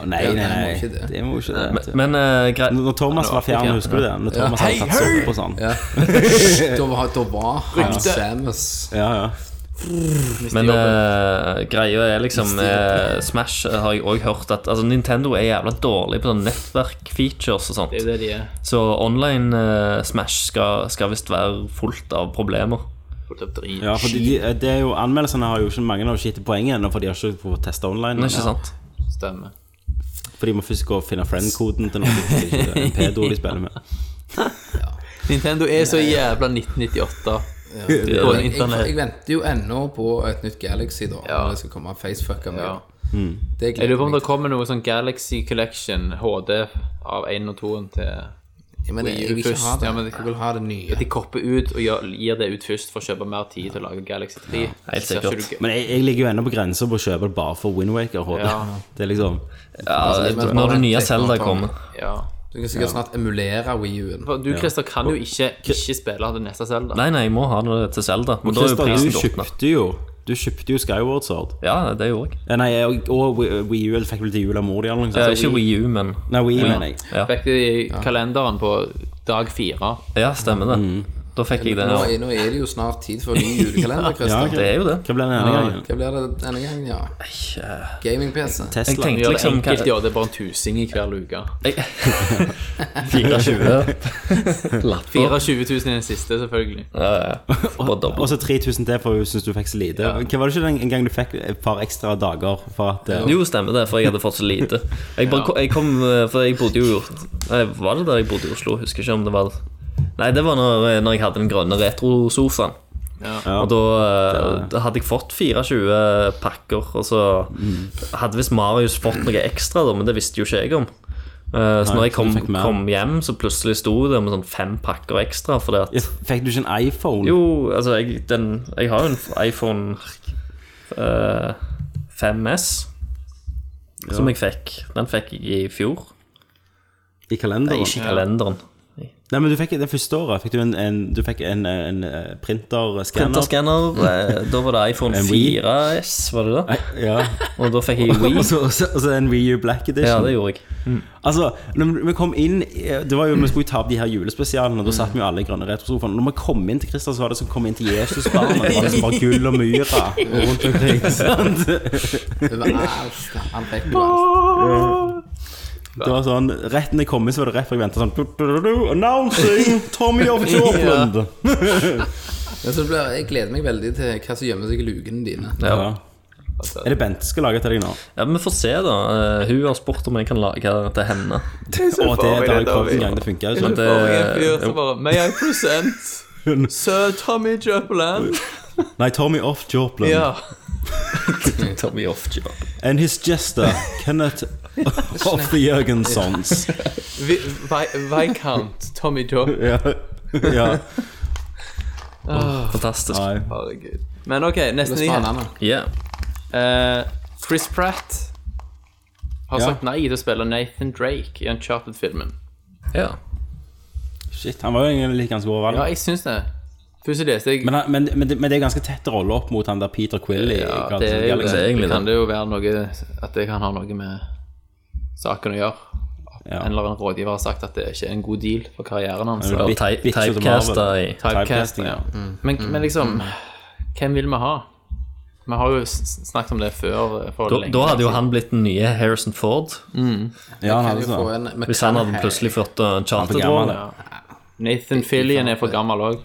[SPEAKER 1] Å, Nei,
[SPEAKER 6] Ja,
[SPEAKER 1] nei,
[SPEAKER 6] nei, må
[SPEAKER 1] nei.
[SPEAKER 6] ikke det.
[SPEAKER 1] Det må jo ikke det. vet du.
[SPEAKER 7] Men eh, grei-
[SPEAKER 1] Når Thomas var fjern, husker du det? Når Thomas hadde tatt sopp og sånn. Ja,
[SPEAKER 6] Da var, da var han Samus.
[SPEAKER 1] ja.
[SPEAKER 7] Men eh, greia er liksom eh, Smash har jeg òg hørt at altså, Nintendo er jævla dårlig på sånn nettverk-features
[SPEAKER 2] <laughs> Det
[SPEAKER 7] og
[SPEAKER 2] er
[SPEAKER 7] sånt.
[SPEAKER 2] det de er.
[SPEAKER 7] Så online eh, Smash skal, skal visst være fullt av problemer.
[SPEAKER 2] Fullt av drit.
[SPEAKER 1] ja for de, de, det er jo, anmeldelsene har jo ikke mange av skitt poeng ennå, for de har ikke fått testa online.
[SPEAKER 7] Men ikke sant?
[SPEAKER 2] Stemmer.
[SPEAKER 1] For de må først gå og finne friend-koden til noen. for det er ikke En pedo de spiller med.
[SPEAKER 2] Nintendo er så jævla 1998. På
[SPEAKER 6] Jeg, jeg,
[SPEAKER 2] internett.
[SPEAKER 6] jeg venter jo ennå på et nytt Galaxy, da.
[SPEAKER 2] Ja.
[SPEAKER 6] Når det skal komme facefucker med.
[SPEAKER 2] Ja.
[SPEAKER 1] Mm.
[SPEAKER 6] Det
[SPEAKER 2] Jeg lurer på
[SPEAKER 6] gleder
[SPEAKER 2] om det
[SPEAKER 6] meg.
[SPEAKER 2] kommer noe sånn Galaxy Collection HD av 1 og 2 til
[SPEAKER 6] til. Men jeg,
[SPEAKER 2] Wii U
[SPEAKER 6] jeg vil ikke
[SPEAKER 2] først.
[SPEAKER 6] ha det.
[SPEAKER 2] Ja, men det-
[SPEAKER 6] jeg vil ha det nye.
[SPEAKER 2] At de kopper ut og gjør, gir det ut først for å kjøpe mer tid til å lage Galaxy 3.
[SPEAKER 7] helt
[SPEAKER 2] Så er
[SPEAKER 7] sikkert.
[SPEAKER 2] ikke du gøy.
[SPEAKER 1] Men jeg, jeg ligger jo ennå på grensa på å kjøpe det bare for Windwaker.
[SPEAKER 2] Ja.
[SPEAKER 1] Det er liksom
[SPEAKER 7] Ja,
[SPEAKER 6] men-
[SPEAKER 7] når det nye Zelda kommer.
[SPEAKER 2] Ja.
[SPEAKER 6] Du kan sikkert snart emulere Wii U-en.
[SPEAKER 2] For Du, Christer, kan jo ikke ikke spille det neste Zelda.
[SPEAKER 7] Nei, nei, jeg må ha det til Zelda. Men da er jo
[SPEAKER 1] Christer,
[SPEAKER 7] prisen
[SPEAKER 1] du
[SPEAKER 7] åpna.
[SPEAKER 1] kjøpte jo Du kjøpte jo Skyward Sword.
[SPEAKER 7] Ja, det gjorde jeg.
[SPEAKER 1] Eh, Nei, og, og Wii U fikk vel til jul av mor di eller noe
[SPEAKER 7] Eh,
[SPEAKER 1] sånt.
[SPEAKER 7] Ikke Wii U, men
[SPEAKER 1] Nei, Wii, mener jeg.
[SPEAKER 7] ja.
[SPEAKER 2] Fikk det i kalenderen på dag fire.
[SPEAKER 7] ja, stemmer det. Da fikk jeg det.
[SPEAKER 6] Nå,
[SPEAKER 7] Ja.
[SPEAKER 6] er- nå er det jo snart tid for ny julekalender,
[SPEAKER 1] <laughs> Ja,
[SPEAKER 6] Christer.
[SPEAKER 7] Det er jo det.
[SPEAKER 1] Hva blir det denne gangen?
[SPEAKER 6] Hva blir det denne gangen, ja? Gaming-PC.
[SPEAKER 7] Jeg
[SPEAKER 1] Tesla.
[SPEAKER 2] Vi gjør
[SPEAKER 7] tenkte
[SPEAKER 2] det
[SPEAKER 7] liksom
[SPEAKER 2] enkelt i år. Det er bare en tusing i hver luke.
[SPEAKER 7] Jeg- <laughs>
[SPEAKER 1] <laughs>
[SPEAKER 7] 24 lapper.
[SPEAKER 2] 24 000 i den siste, selvfølgelig.
[SPEAKER 7] Ja, ja. Bare dobbelt.
[SPEAKER 1] Og så 3000 til, for hun syns du fikk så lite. Hva var det ikke den gang du fikk et par ekstra dager for at eh,
[SPEAKER 7] Jo, stemmer det, for jeg hadde fått så lite. Jeg, bare, jeg kom, eh, for jeg bodde jo nei, Var det der jeg bodde i Oslo? Husker ikke om det var Nei, det var når, eh, når jeg hadde den grønne retrosofaen. Og da, eh, da hadde jeg fått 24 pakker, og så
[SPEAKER 1] Mm.
[SPEAKER 7] hadde visst Marius fått noe ekstra, da, men det visste jo ikke jeg om. Eh, Så
[SPEAKER 1] Nei,
[SPEAKER 7] når jeg
[SPEAKER 1] så du
[SPEAKER 7] kom,
[SPEAKER 1] fikk mer.
[SPEAKER 7] kom hjem, så plutselig sto det med sånn fem pakker ekstra. Fordi at
[SPEAKER 1] Fikk du ikke en iPhone?
[SPEAKER 7] Jo, altså, jeg, den, jeg har jo en iPhone eh, 5S som jeg fikk. Den fikk jeg i fjor.
[SPEAKER 1] I kalenderen?
[SPEAKER 7] Ikke i kalenderen. I
[SPEAKER 1] Nei, men du fikk det første året fikk du en, en, du fikk en, en, en printerskanner.
[SPEAKER 7] Printerskanner. eh, Da var det iPhone
[SPEAKER 1] En Wii.
[SPEAKER 7] 4S, var det det?
[SPEAKER 1] <laughs> Ja.
[SPEAKER 7] Og da fikk jeg
[SPEAKER 1] <laughs> Og
[SPEAKER 7] Wii.
[SPEAKER 1] så- og så og så en Wii U Black Edition.
[SPEAKER 7] Ja, det gjorde jeg.
[SPEAKER 1] Altså, når vi kom inn eh, Det var jo, Vi skulle jo ta opp de her julespesialene, og da satt vi jo alle i grønne retrosofaen. Når vi kom inn til Christer, så var det som å komme inn til Jesusbarnet. Det var liksom bare gull og myra rundt <laughs> omkring. sant?
[SPEAKER 6] Overalt. Han fikk
[SPEAKER 1] <laughs>
[SPEAKER 6] jo alt.
[SPEAKER 1] Det var sånn, Rett når jeg kom inn, så var det rett før jeg venta sånn du, du, du, du, Announcing Tommy of Jorpland!
[SPEAKER 6] Men så blir, jeg gleder meg veldig til hva som gjemmer seg i lukene dine.
[SPEAKER 7] Ja.
[SPEAKER 1] Ja. Er det Bente som skal lage til deg nå?
[SPEAKER 7] Ja, men Vi får se, da. Eh, Hun har spurt om jeg kan lage det til henne.
[SPEAKER 1] Å, det, det har jeg prøvd en
[SPEAKER 2] David.
[SPEAKER 1] gang, det funka jo
[SPEAKER 7] Men
[SPEAKER 1] ikke.
[SPEAKER 7] det,
[SPEAKER 2] Og jeg fyr som bare May I present Sir Tommy Jopland?
[SPEAKER 1] Nei, Tommy of Jorpland.
[SPEAKER 2] Ja.
[SPEAKER 7] <laughs> tar vi ofte, ja.
[SPEAKER 1] And his jester, Kenneth of the Jørgensons.
[SPEAKER 2] Vi, vi, Viscount Tommy Jopland.
[SPEAKER 1] Ja. ja.
[SPEAKER 7] Fantastisk.
[SPEAKER 1] Nei.
[SPEAKER 2] Herregud. Men OK, neste
[SPEAKER 6] Det er
[SPEAKER 2] nyhet.
[SPEAKER 6] spennende.
[SPEAKER 7] Yeah.
[SPEAKER 2] Eh, Chris Pratt har
[SPEAKER 1] Ja.
[SPEAKER 2] sagt nei til å spille Nathan Drake i Uncharted-filmen.
[SPEAKER 7] Ja.
[SPEAKER 1] Shit, han var jo egentlig litt ganske overvalgt.
[SPEAKER 2] Ja, jeg syns det. Først leste jeg
[SPEAKER 1] Men, han- men, men, det, men det er ganske tett rolle opp mot han der Peter Quill i Guardians
[SPEAKER 2] Ja, det
[SPEAKER 1] of the
[SPEAKER 2] er jo
[SPEAKER 1] Galaxy.
[SPEAKER 7] det er
[SPEAKER 2] det.
[SPEAKER 7] egentlig
[SPEAKER 2] Det kan
[SPEAKER 7] det.
[SPEAKER 2] det jo være noe At det kan ha noe med saken å gjøre.
[SPEAKER 1] Ja.
[SPEAKER 2] En eller annen rådgiver har sagt at det ikke er en god deal for karrieren hans.
[SPEAKER 1] Ja.
[SPEAKER 7] Og
[SPEAKER 1] Bit-
[SPEAKER 7] type-
[SPEAKER 1] bitch of the
[SPEAKER 7] Typecasta
[SPEAKER 1] Marvel.
[SPEAKER 7] i
[SPEAKER 2] Typecasting,
[SPEAKER 1] Typecasting, ja.
[SPEAKER 2] ja. Men, men liksom Hvem vil vi ha? Vi har jo s- snakket om det før. eh, For
[SPEAKER 7] da,
[SPEAKER 2] lenge
[SPEAKER 7] da hadde jo
[SPEAKER 2] siden.
[SPEAKER 7] han blitt den nye Harrison Ford.
[SPEAKER 1] Ja, han
[SPEAKER 6] Kan
[SPEAKER 1] hadde
[SPEAKER 6] jo få
[SPEAKER 1] sånn.
[SPEAKER 6] en- vi
[SPEAKER 7] Hvis han
[SPEAKER 6] kan
[SPEAKER 7] hadde
[SPEAKER 6] ha-
[SPEAKER 7] plutselig fått eh,
[SPEAKER 1] for gammel,
[SPEAKER 7] Charter-rollen.
[SPEAKER 1] ja.
[SPEAKER 2] Nathan Fillion er for gammel òg.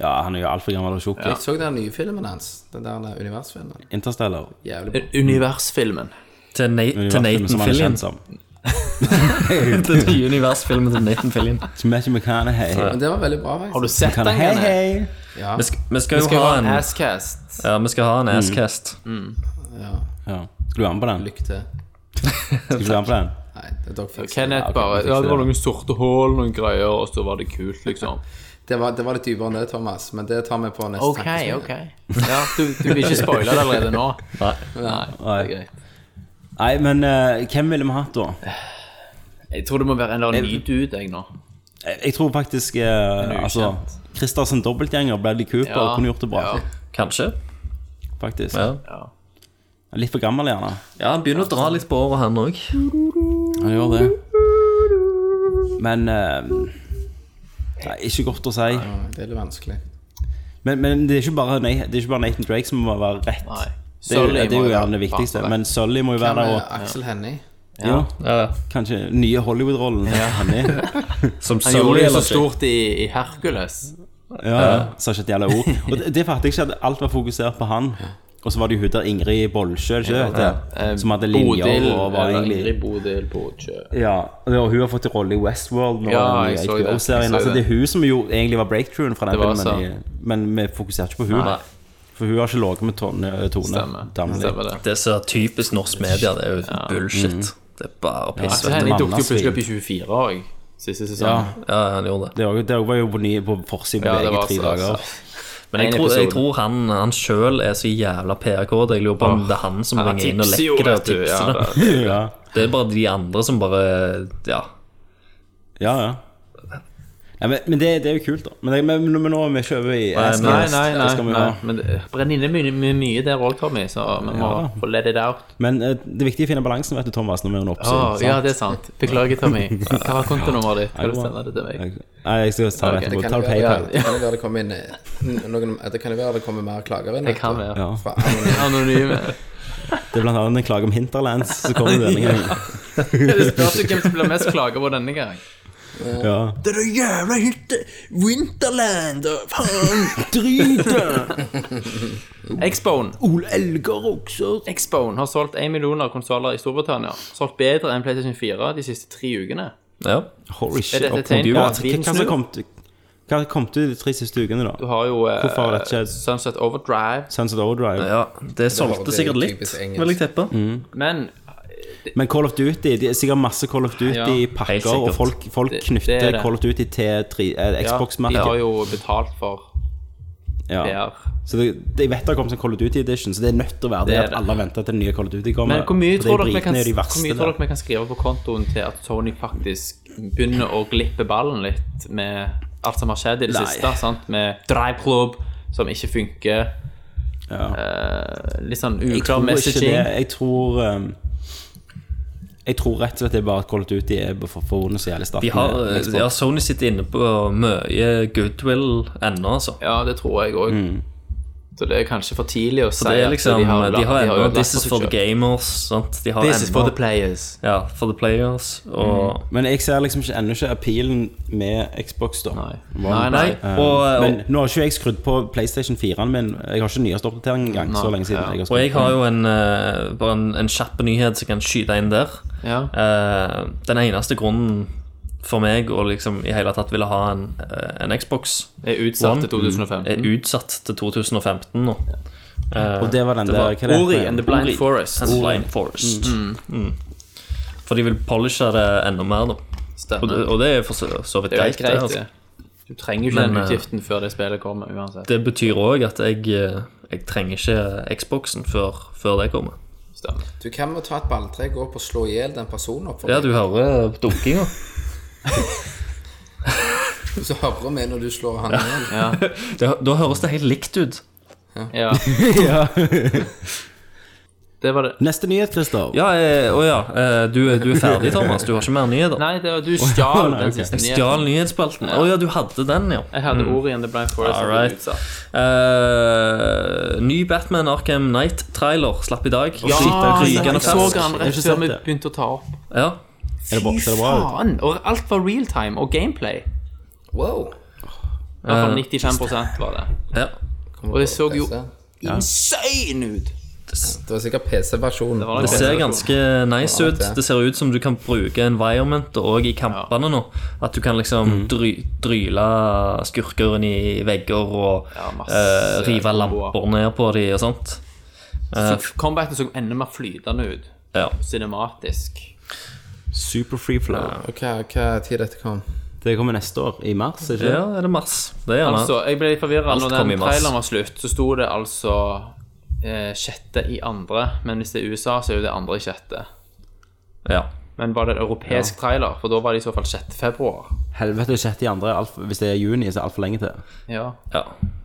[SPEAKER 1] ja, han er jo altfor gammel og tjukk.
[SPEAKER 6] Jeg så den nye filmen hans. Den der eh, universfilmen.
[SPEAKER 1] Interstellar.
[SPEAKER 6] Jævlig bra.
[SPEAKER 2] Universfilmen.
[SPEAKER 7] Til, Na til
[SPEAKER 1] Universfilmen
[SPEAKER 7] Nathan
[SPEAKER 1] som han er
[SPEAKER 7] Fillion.
[SPEAKER 1] kjent som.
[SPEAKER 7] Til den nye universfilmen til Nathan Fillion.
[SPEAKER 1] Som Matthew McConaughey.
[SPEAKER 6] Men det var veldig bra, faktisk.
[SPEAKER 2] Har du sett den?
[SPEAKER 1] Hei,
[SPEAKER 2] Hei,
[SPEAKER 1] hei.
[SPEAKER 6] Ja.
[SPEAKER 7] Vi skal, vi skal jo
[SPEAKER 2] Skal
[SPEAKER 7] ha
[SPEAKER 2] ha
[SPEAKER 7] en,
[SPEAKER 2] en asscast.
[SPEAKER 7] ja, vi skal ha en asscast.
[SPEAKER 1] Ja. Skal du være med på den?
[SPEAKER 6] Lykke til.
[SPEAKER 1] Skal du være med på den?
[SPEAKER 6] Nei, det er dog fikser det.
[SPEAKER 2] Kenneth
[SPEAKER 1] ok,
[SPEAKER 2] bare
[SPEAKER 1] vi fikser
[SPEAKER 2] Ja, det var
[SPEAKER 1] det.
[SPEAKER 2] noen sorte hull, noen greier, og så var det kult, liksom.
[SPEAKER 6] Det var, det var litt dypere enn det, Thomas, men det tar vi på neste
[SPEAKER 2] OK,
[SPEAKER 6] tankesmie.
[SPEAKER 2] OK. Ja, du, du vil ikke spoile det allerede nå?
[SPEAKER 7] Nei.
[SPEAKER 2] Nei, det er greit.
[SPEAKER 1] Nei, men eh, hvem ville vi hatt da?
[SPEAKER 2] Jeg tror det må være en eller annen ny dude, jeg, nå.
[SPEAKER 1] Jeg, jeg tror faktisk eh, altså, Christer som dobbeltgjenger, Bradley Cooper,
[SPEAKER 2] Ja,
[SPEAKER 1] kunne gjort det bra.
[SPEAKER 2] ja.
[SPEAKER 7] Kanskje.
[SPEAKER 1] Faktisk.
[SPEAKER 7] Ja.
[SPEAKER 1] Litt for gammel, gjerne.
[SPEAKER 7] ja, han begynner å dra litt på året, han òg.
[SPEAKER 1] Han gjør det. Men eh, Nei, ikke godt å si.
[SPEAKER 6] Ja, Det er litt vanskelig.
[SPEAKER 1] Men, men det, er ikke bare, nei, det er ikke bare Nathan Drake som må være rett.
[SPEAKER 2] Nei.
[SPEAKER 1] Det er, jo-
[SPEAKER 2] Sully
[SPEAKER 1] det er
[SPEAKER 2] må
[SPEAKER 1] jo
[SPEAKER 2] jo
[SPEAKER 1] gjerne det
[SPEAKER 2] være
[SPEAKER 1] viktigste.
[SPEAKER 2] faen
[SPEAKER 1] Men Sully må jo være der
[SPEAKER 6] Men, eh,
[SPEAKER 1] og
[SPEAKER 6] Aksel Hennie
[SPEAKER 1] jo,
[SPEAKER 7] Ja.
[SPEAKER 1] Kanskje den nye Hollywood-rollen. Ja.
[SPEAKER 7] Som
[SPEAKER 2] Han gjorde det
[SPEAKER 7] eller
[SPEAKER 2] jo så
[SPEAKER 7] Drake.
[SPEAKER 2] stort i, i Hercules.
[SPEAKER 1] Ja, ja. Sa ikke et jævla ord. Og det, det fattet jeg ikke, at alt var fokusert på han. Og så var det jo hun der Ingrid Bolsjø, ikke det?
[SPEAKER 2] Eh,
[SPEAKER 1] Som hadde linjer
[SPEAKER 2] Bodil,
[SPEAKER 1] og var
[SPEAKER 2] eller
[SPEAKER 1] egentlig
[SPEAKER 2] Ingrid Bodil Bodsjø.
[SPEAKER 1] ja, og Hun har fått en rolle i Westworld nå.
[SPEAKER 2] Ja,
[SPEAKER 1] i
[SPEAKER 2] jeg så det. Jeg
[SPEAKER 1] HBO-serien
[SPEAKER 2] så
[SPEAKER 1] altså, Det
[SPEAKER 2] det.
[SPEAKER 1] er hun som jo egentlig var breakthroughen fra den
[SPEAKER 2] Det var altså-
[SPEAKER 1] filmen, i, men vi fokuserte ikke på hun
[SPEAKER 7] Nei.
[SPEAKER 1] For hun har ikke ligget med Tone. eh, tone
[SPEAKER 2] Stemmer.
[SPEAKER 1] Damli.
[SPEAKER 2] Stemmer det.
[SPEAKER 7] Det er så typisk norsk media. Det er jo bullshit. Det er bare piss.
[SPEAKER 2] Aksel
[SPEAKER 7] vet du.
[SPEAKER 2] Hennie dukket jo
[SPEAKER 1] Mandagsvin.
[SPEAKER 2] plutselig opp i 24 òg, siste
[SPEAKER 1] Ja.
[SPEAKER 2] sesong.
[SPEAKER 7] Ja, han gjorde det.
[SPEAKER 1] Det, var- det var jo på, ny- på forsiden
[SPEAKER 2] Ja,
[SPEAKER 1] på
[SPEAKER 2] det
[SPEAKER 1] VG
[SPEAKER 2] var altså-
[SPEAKER 1] tre
[SPEAKER 2] så-
[SPEAKER 1] dager.
[SPEAKER 7] Men jeg
[SPEAKER 2] En
[SPEAKER 7] tror, jeg
[SPEAKER 2] episode.
[SPEAKER 7] tror han, han sjøl er så jævla PRK. at Jeg lurer på om det er han som
[SPEAKER 2] han
[SPEAKER 7] ringer inn og
[SPEAKER 2] tipser jo,
[SPEAKER 7] lekker det og
[SPEAKER 2] vet du, ja,
[SPEAKER 7] tipser
[SPEAKER 1] <laughs>
[SPEAKER 7] det.
[SPEAKER 1] ja.
[SPEAKER 7] Det er bare de andre som bare Ja.
[SPEAKER 1] ja, ja. Nei, men men det, det er jo kult, da. Men, det, men, men nå er vi ikke over i
[SPEAKER 7] Nei,
[SPEAKER 1] Ask
[SPEAKER 7] nei,
[SPEAKER 2] Nei,
[SPEAKER 1] Next.
[SPEAKER 2] nei,
[SPEAKER 1] Det
[SPEAKER 2] nei,
[SPEAKER 1] skal vi
[SPEAKER 2] nei.
[SPEAKER 1] ha.
[SPEAKER 2] men det- brenner inne mye, mye, mye der òg, Tommy, så vi må
[SPEAKER 1] Ja.
[SPEAKER 2] få let it out.
[SPEAKER 1] Men eh, det er viktig å finne balansen, vet du, Thomas, når vi er en oppsyn.
[SPEAKER 2] Å,
[SPEAKER 1] Sånn, sant?
[SPEAKER 2] Ah, ja, det er sant. Beklager, Tommy. Hva var kontonummeret ditt? Kan du
[SPEAKER 1] det var-
[SPEAKER 2] sende det til meg?
[SPEAKER 1] Jeg- Nei, jeg skal ta det
[SPEAKER 2] Ok,
[SPEAKER 1] etterpå.
[SPEAKER 6] Kan
[SPEAKER 1] Ta det
[SPEAKER 6] det være-
[SPEAKER 1] PayPal.
[SPEAKER 6] Det kan jo være det kommer inn eh, noen, Det kan jo være det kommer mer klager inn.
[SPEAKER 2] Det kan
[SPEAKER 6] vet du.
[SPEAKER 2] være.
[SPEAKER 6] Fra anonyme.
[SPEAKER 2] Anonyme.
[SPEAKER 1] Det er blant annet en klage om Hinterlands som kommer denne gangen.
[SPEAKER 2] Det spørs jo hvem som blir mest klager på denne gang.
[SPEAKER 1] Ja.
[SPEAKER 2] Det er jævla hytte Winterland og faen Drite Xbone Ole Elger også Xbone har solgt 1 million konsoler i Storbritannia Solgt bedre enn Playstation 4 de siste tre ukene
[SPEAKER 7] ja.
[SPEAKER 1] Holy shit.
[SPEAKER 2] dette
[SPEAKER 1] opp
[SPEAKER 2] et tegn
[SPEAKER 1] mot jul.
[SPEAKER 2] på
[SPEAKER 1] Ja,
[SPEAKER 2] at vinden
[SPEAKER 1] Hva hva som
[SPEAKER 2] snur?
[SPEAKER 1] kom til hva kom til de tre siste ukene,
[SPEAKER 2] Du
[SPEAKER 1] da?
[SPEAKER 2] har jo eh,
[SPEAKER 1] Hvorfor har det skjedd?
[SPEAKER 2] Sunset Overdrive
[SPEAKER 1] Sunset Overdrive.
[SPEAKER 7] ja. Det
[SPEAKER 6] det er
[SPEAKER 7] solgte sikkert litt,
[SPEAKER 6] typisk engelsk.
[SPEAKER 7] vil jeg tippe.
[SPEAKER 2] Men
[SPEAKER 1] Men Call of Duty Det er sikkert masse Call of
[SPEAKER 7] helt
[SPEAKER 1] Duty-pakker,
[SPEAKER 7] sikkert.
[SPEAKER 1] og folk, folk
[SPEAKER 2] Det- det er
[SPEAKER 1] knytter
[SPEAKER 2] det.
[SPEAKER 1] Call of Duty til tre- eh,
[SPEAKER 2] ja, de har
[SPEAKER 1] Xbox-merket.
[SPEAKER 2] jo betalt for
[SPEAKER 1] Ja.
[SPEAKER 2] VR.
[SPEAKER 1] Så det, det- jeg vet det har kommet en Call of Duty Edition, så det er nødt til å være det,
[SPEAKER 2] Det er
[SPEAKER 1] at
[SPEAKER 2] det.
[SPEAKER 1] alle venter til den nye Call of Duty kommer.
[SPEAKER 2] Men hvor mye,
[SPEAKER 1] For det er
[SPEAKER 2] tror dere,
[SPEAKER 1] britene
[SPEAKER 2] vi kan,
[SPEAKER 1] er jo de
[SPEAKER 2] hvor
[SPEAKER 1] verste
[SPEAKER 2] mye tror
[SPEAKER 1] der.
[SPEAKER 2] dere vi kan skrive på kontoen til at Sony faktisk begynner å glippe ballen litt med alt som har skjedd i det
[SPEAKER 1] Nei.
[SPEAKER 2] siste? sant? Med Drive Club som ikke funker. eh, litt sånn
[SPEAKER 1] Jeg tror
[SPEAKER 2] uklar
[SPEAKER 1] ikke det.
[SPEAKER 2] messaging.
[SPEAKER 1] Jeg tror ehm, Jeg tror rett og slett det er bare at Call of Duty er for- forbundet så jævlig sterkt.
[SPEAKER 7] De har, eh,
[SPEAKER 1] med- med eksport.
[SPEAKER 7] ja, Sony sitter inne på mye goodwill ennå, altså.
[SPEAKER 2] Ja, det tror jeg òg.
[SPEAKER 1] Mm.
[SPEAKER 2] Så det er kanskje for tidlig å si
[SPEAKER 7] Så det er liksom, de har,
[SPEAKER 2] la- har
[SPEAKER 7] ennå
[SPEAKER 2] ødelagt
[SPEAKER 7] This is
[SPEAKER 2] seg
[SPEAKER 7] for the
[SPEAKER 2] selv.
[SPEAKER 7] gamers. Sant? De har
[SPEAKER 2] This is
[SPEAKER 7] ennå-
[SPEAKER 2] for the players.
[SPEAKER 7] Ja, for the players. Og,
[SPEAKER 1] Men jeg ser liksom ikke, ennå ikke appealen med Xbox, da.
[SPEAKER 2] Nei.
[SPEAKER 1] One.
[SPEAKER 2] Nei, nei.
[SPEAKER 1] Eh,
[SPEAKER 7] Og, og-
[SPEAKER 1] men nå har ikke jeg skrudd på PlayStation 4-en min. Jeg har ikke nyeste oppdatering engang. Så lenge siden jeg har
[SPEAKER 7] Og
[SPEAKER 1] skrudd
[SPEAKER 7] jeg har jo en, eh, bare en, en kjapp nyhet som kan skyte inn der.
[SPEAKER 2] Ja.
[SPEAKER 7] Eh, den eneste grunnen for meg å liksom i hele tatt ville ha en, eh, en Xbox,
[SPEAKER 2] Det er utsatt
[SPEAKER 7] One. mm,
[SPEAKER 2] til 2015.
[SPEAKER 7] er utsatt til 2015 nå.
[SPEAKER 1] Og det var den der hva er det?
[SPEAKER 2] Ori and
[SPEAKER 1] <laughs>
[SPEAKER 2] the Blind
[SPEAKER 7] Ori
[SPEAKER 2] Forest.
[SPEAKER 7] and the Blind Forest. Mm. For de vil polishe det enda mer, da. Og det,
[SPEAKER 2] Stemmer.
[SPEAKER 7] og det er for så, så vidt
[SPEAKER 2] Det er jo
[SPEAKER 7] greit.
[SPEAKER 2] helt greit,
[SPEAKER 7] altså.
[SPEAKER 2] det. Du trenger jo ikke den
[SPEAKER 7] Men, eh,
[SPEAKER 2] utgiften før det spillet kommer uansett.
[SPEAKER 7] Det betyr òg at jeg, eh, jeg trenger ikke Xboxen før, før det kommer.
[SPEAKER 2] Stemmer.
[SPEAKER 6] Du kan jo ta et balltre, gå opp og slå i hjel den personen opp for
[SPEAKER 7] Ja, du hører dunkinga.
[SPEAKER 6] meg, så hører vi når du slår han igjen.
[SPEAKER 7] <laughs> Det, da høres det helt likt ut.
[SPEAKER 2] Ja. det var det.
[SPEAKER 1] Neste nyhet, Christer.
[SPEAKER 7] Ja, eh, å ja. eh, Du, du er ferdig, Thomas. Du har ikke mer nyheter?
[SPEAKER 2] Nei, det var, du stjal
[SPEAKER 1] nei,
[SPEAKER 2] den
[SPEAKER 1] ok.
[SPEAKER 2] siste
[SPEAKER 7] Jeg
[SPEAKER 2] nyheten.
[SPEAKER 7] stjal nyhetsspalten. Å ja, du hadde den, ja.
[SPEAKER 2] Jeg hadde ordet igjen. Det ble Forest
[SPEAKER 7] All
[SPEAKER 2] og
[SPEAKER 7] right.
[SPEAKER 2] utsatt.
[SPEAKER 7] Eh, ny Batman Arkham Knight-trailer slapp i dag.
[SPEAKER 2] Ja,
[SPEAKER 1] Shit, det er
[SPEAKER 2] jeg
[SPEAKER 7] Rykende
[SPEAKER 1] ikke
[SPEAKER 2] så
[SPEAKER 1] sant.
[SPEAKER 7] fersk.
[SPEAKER 2] han
[SPEAKER 1] Jeg har ikke
[SPEAKER 2] rett før
[SPEAKER 1] sett
[SPEAKER 2] vi
[SPEAKER 1] det.
[SPEAKER 2] begynte å ta opp.
[SPEAKER 7] Ja.
[SPEAKER 1] Er det bra? Ser det bra ut?
[SPEAKER 2] Faen! Og alt var real time og gameplay.
[SPEAKER 6] Wow.
[SPEAKER 2] I hvert fall 95 var det.
[SPEAKER 7] ja.
[SPEAKER 2] Og det så jo
[SPEAKER 6] PC.
[SPEAKER 2] insane ut!
[SPEAKER 6] Det var sikkert PC-versjonen.
[SPEAKER 2] var nok
[SPEAKER 7] Det ser ganske nice
[SPEAKER 6] Ja,
[SPEAKER 7] ut.
[SPEAKER 6] det.
[SPEAKER 7] Det ser ut som du kan bruke environment òg i kampene nå. At du kan
[SPEAKER 2] Mm.
[SPEAKER 7] liksom dry, dryle skurker inn i vegger og
[SPEAKER 2] Ja, masse
[SPEAKER 7] eh, rive
[SPEAKER 2] komboer.
[SPEAKER 7] lamper ned på de og sånt. Eh,
[SPEAKER 2] Så Combaten så enda mer flytende ut.
[SPEAKER 7] ja.
[SPEAKER 2] Cinematisk.
[SPEAKER 1] Super free flow.
[SPEAKER 6] Ok, hva tid dette kom?
[SPEAKER 1] Det kommer neste år, i mars. Ikke?
[SPEAKER 7] ja, er det mars? Det er gjerne
[SPEAKER 2] Altså, jeg ble litt forvirra
[SPEAKER 7] Alt
[SPEAKER 2] når
[SPEAKER 7] kom i
[SPEAKER 2] den
[SPEAKER 7] mars.
[SPEAKER 2] traileren var slutt. Så sto det altså eh, sjette i andre, men hvis det er USA, så er jo det andre i sjette.
[SPEAKER 7] ja.
[SPEAKER 2] Men var det en europeisk trailer? For da var det i så fall 6. februar.
[SPEAKER 1] Helvete, 6. i andre. er alt- Hvis det er juni, så er det altfor lenge til.
[SPEAKER 2] Ja.
[SPEAKER 7] ja.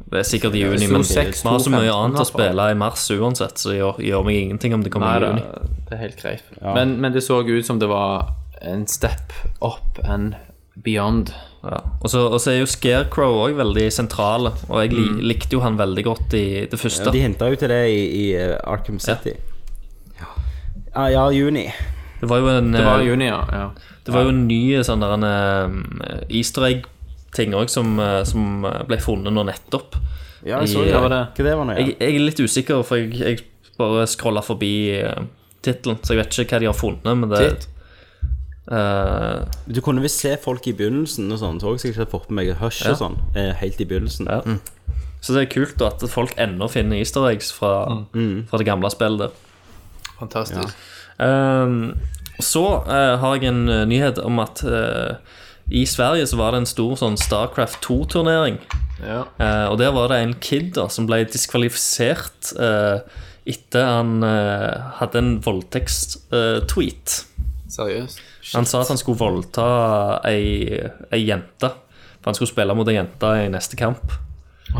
[SPEAKER 7] Det er sikkert i juni,
[SPEAKER 2] Så
[SPEAKER 7] men vi
[SPEAKER 2] seks,
[SPEAKER 7] har så
[SPEAKER 2] to,
[SPEAKER 7] mye
[SPEAKER 2] femten,
[SPEAKER 7] annet å
[SPEAKER 2] i hvert fall.
[SPEAKER 7] spille i mars uansett, så gjør, gjør meg ingenting om det kommer i
[SPEAKER 2] Nei,
[SPEAKER 7] juni.
[SPEAKER 2] det, det er helt greit. Men, men det så ut som det var en step up and beyond.
[SPEAKER 7] Ja. Og så og så er jo Scarecrow òg veldig sentral, og jeg li,
[SPEAKER 2] Mm.
[SPEAKER 7] likte jo han veldig godt i det første.
[SPEAKER 1] De hinta jo til det i, i eh, Arkham City. Ja, Ah, ja, juni.
[SPEAKER 7] Det var jo en
[SPEAKER 2] Det var
[SPEAKER 7] eh,
[SPEAKER 2] i juni, ja. ja.
[SPEAKER 7] Det var jo en ny sånn der en eh, easter egg-ting òg som, eh, som ble funnet nå nettopp.
[SPEAKER 1] Ja,
[SPEAKER 7] jeg så det.
[SPEAKER 1] Hva var det? eh, Hva det var nå, ja.
[SPEAKER 7] Jeg, jeg er litt usikker, for jeg, jeg bare scrolla forbi uh, tittelen, så jeg vet ikke hva de har funnet, men det
[SPEAKER 2] Titt.
[SPEAKER 7] Eh,
[SPEAKER 1] Du kunne visst se folk i begynnelsen og sånn. Så jeg ikke hadde fått med meg Hush og sånn eh, helt i begynnelsen.
[SPEAKER 7] ja.
[SPEAKER 2] Mm.
[SPEAKER 7] Så det er kult da, at folk ennå finner easter eggs fra,
[SPEAKER 2] Mm.
[SPEAKER 7] fra det gamle spillet der.
[SPEAKER 2] Fantastisk.
[SPEAKER 7] Ehm, så eh, har jeg en eh, nyhet om at eh, i Sverige så var det en stor sånn Starcraft 2-turnering.
[SPEAKER 2] Ja.
[SPEAKER 7] Eh, og der var det en kid da, som ble diskvalifisert eh, etter han eh, hadde en voldtektstweet.
[SPEAKER 2] Seriøst.
[SPEAKER 7] han sa at han skulle voldta ei, ei jente. For han skulle spille mot ei jente i neste kamp.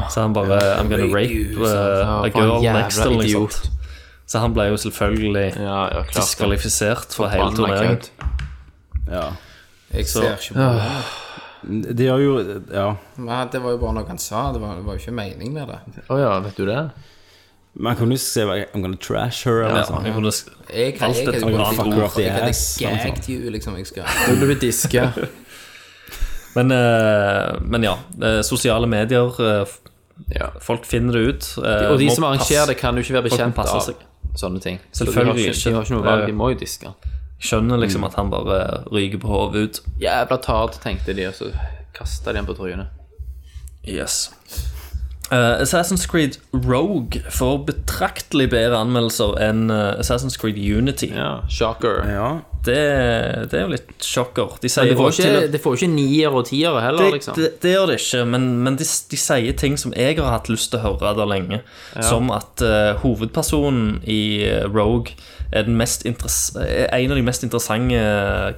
[SPEAKER 7] Så han bare I'm gonna rape uh, a
[SPEAKER 2] for en altså.
[SPEAKER 7] girl
[SPEAKER 2] jævla
[SPEAKER 7] next eller noe
[SPEAKER 2] idiot.
[SPEAKER 7] sånt. Så han ble jo selvfølgelig
[SPEAKER 2] Ja, ja, klart.
[SPEAKER 7] diskvalifisert fra hele
[SPEAKER 2] Forbanna
[SPEAKER 7] turneringen.
[SPEAKER 2] kødd.
[SPEAKER 1] Ja.
[SPEAKER 6] Jeg ser ikke på det.
[SPEAKER 1] Det gjør jo Ja.
[SPEAKER 6] Men det var jo bare noe han sa. Det var, det var jo ikke mening med det.
[SPEAKER 2] Å ja, vet du det?
[SPEAKER 1] Man kunne jo se I'm gonna trash her, eller sånn.
[SPEAKER 7] Ja,
[SPEAKER 1] noe sånt.
[SPEAKER 7] jeg
[SPEAKER 6] Jeg, jeg,
[SPEAKER 7] kunne sk- Alt
[SPEAKER 6] jeg,
[SPEAKER 7] dette
[SPEAKER 6] hadde
[SPEAKER 7] var
[SPEAKER 6] gått
[SPEAKER 7] fucker
[SPEAKER 6] litt-
[SPEAKER 1] up the
[SPEAKER 6] jeg hadde
[SPEAKER 1] ass, sånn.
[SPEAKER 6] gagged you, liksom. Jeg skal
[SPEAKER 2] Du blir diska.
[SPEAKER 7] men, eh, men ja. eh, Sosiale medier eh, f-
[SPEAKER 2] <laughs> Ja.
[SPEAKER 7] Folk finner det ut. eh,
[SPEAKER 2] Og de
[SPEAKER 7] må
[SPEAKER 2] som arrangerer
[SPEAKER 7] passe-
[SPEAKER 2] det, kan jo ikke være
[SPEAKER 7] Folk må
[SPEAKER 2] bekjent
[SPEAKER 7] passe
[SPEAKER 2] av
[SPEAKER 7] seg.
[SPEAKER 2] sånne ting.
[SPEAKER 7] Selvfølgelig
[SPEAKER 2] så de har ikke. De har ikke noe
[SPEAKER 7] ikke.
[SPEAKER 2] valg, de må jo diske.
[SPEAKER 7] skjønner
[SPEAKER 2] Mm.
[SPEAKER 7] liksom at han bare ryker på hodet ut.
[SPEAKER 2] Jævla tard, tenkte de, og så kasta de den på trynet.
[SPEAKER 7] Yes. Eh, Assassin's Creed Rogue får betraktelig bedre anmeldelser enn eh, Assassin's Creed Unity.
[SPEAKER 2] Ja, shocker.
[SPEAKER 1] Ja.
[SPEAKER 7] Det, det er jo litt sjokker. De sier
[SPEAKER 2] Det får jo
[SPEAKER 7] til og-
[SPEAKER 2] ikke, det får jo ikke nier og tiere heller,
[SPEAKER 7] det,
[SPEAKER 2] liksom.
[SPEAKER 7] det, det gjør det ikke, men, men de, de sier ting som jeg har hatt lyst til å høre der lenge. Som at eh, hovedpersonen i eh, Rogue er, den mest interess- er en av de mest interessante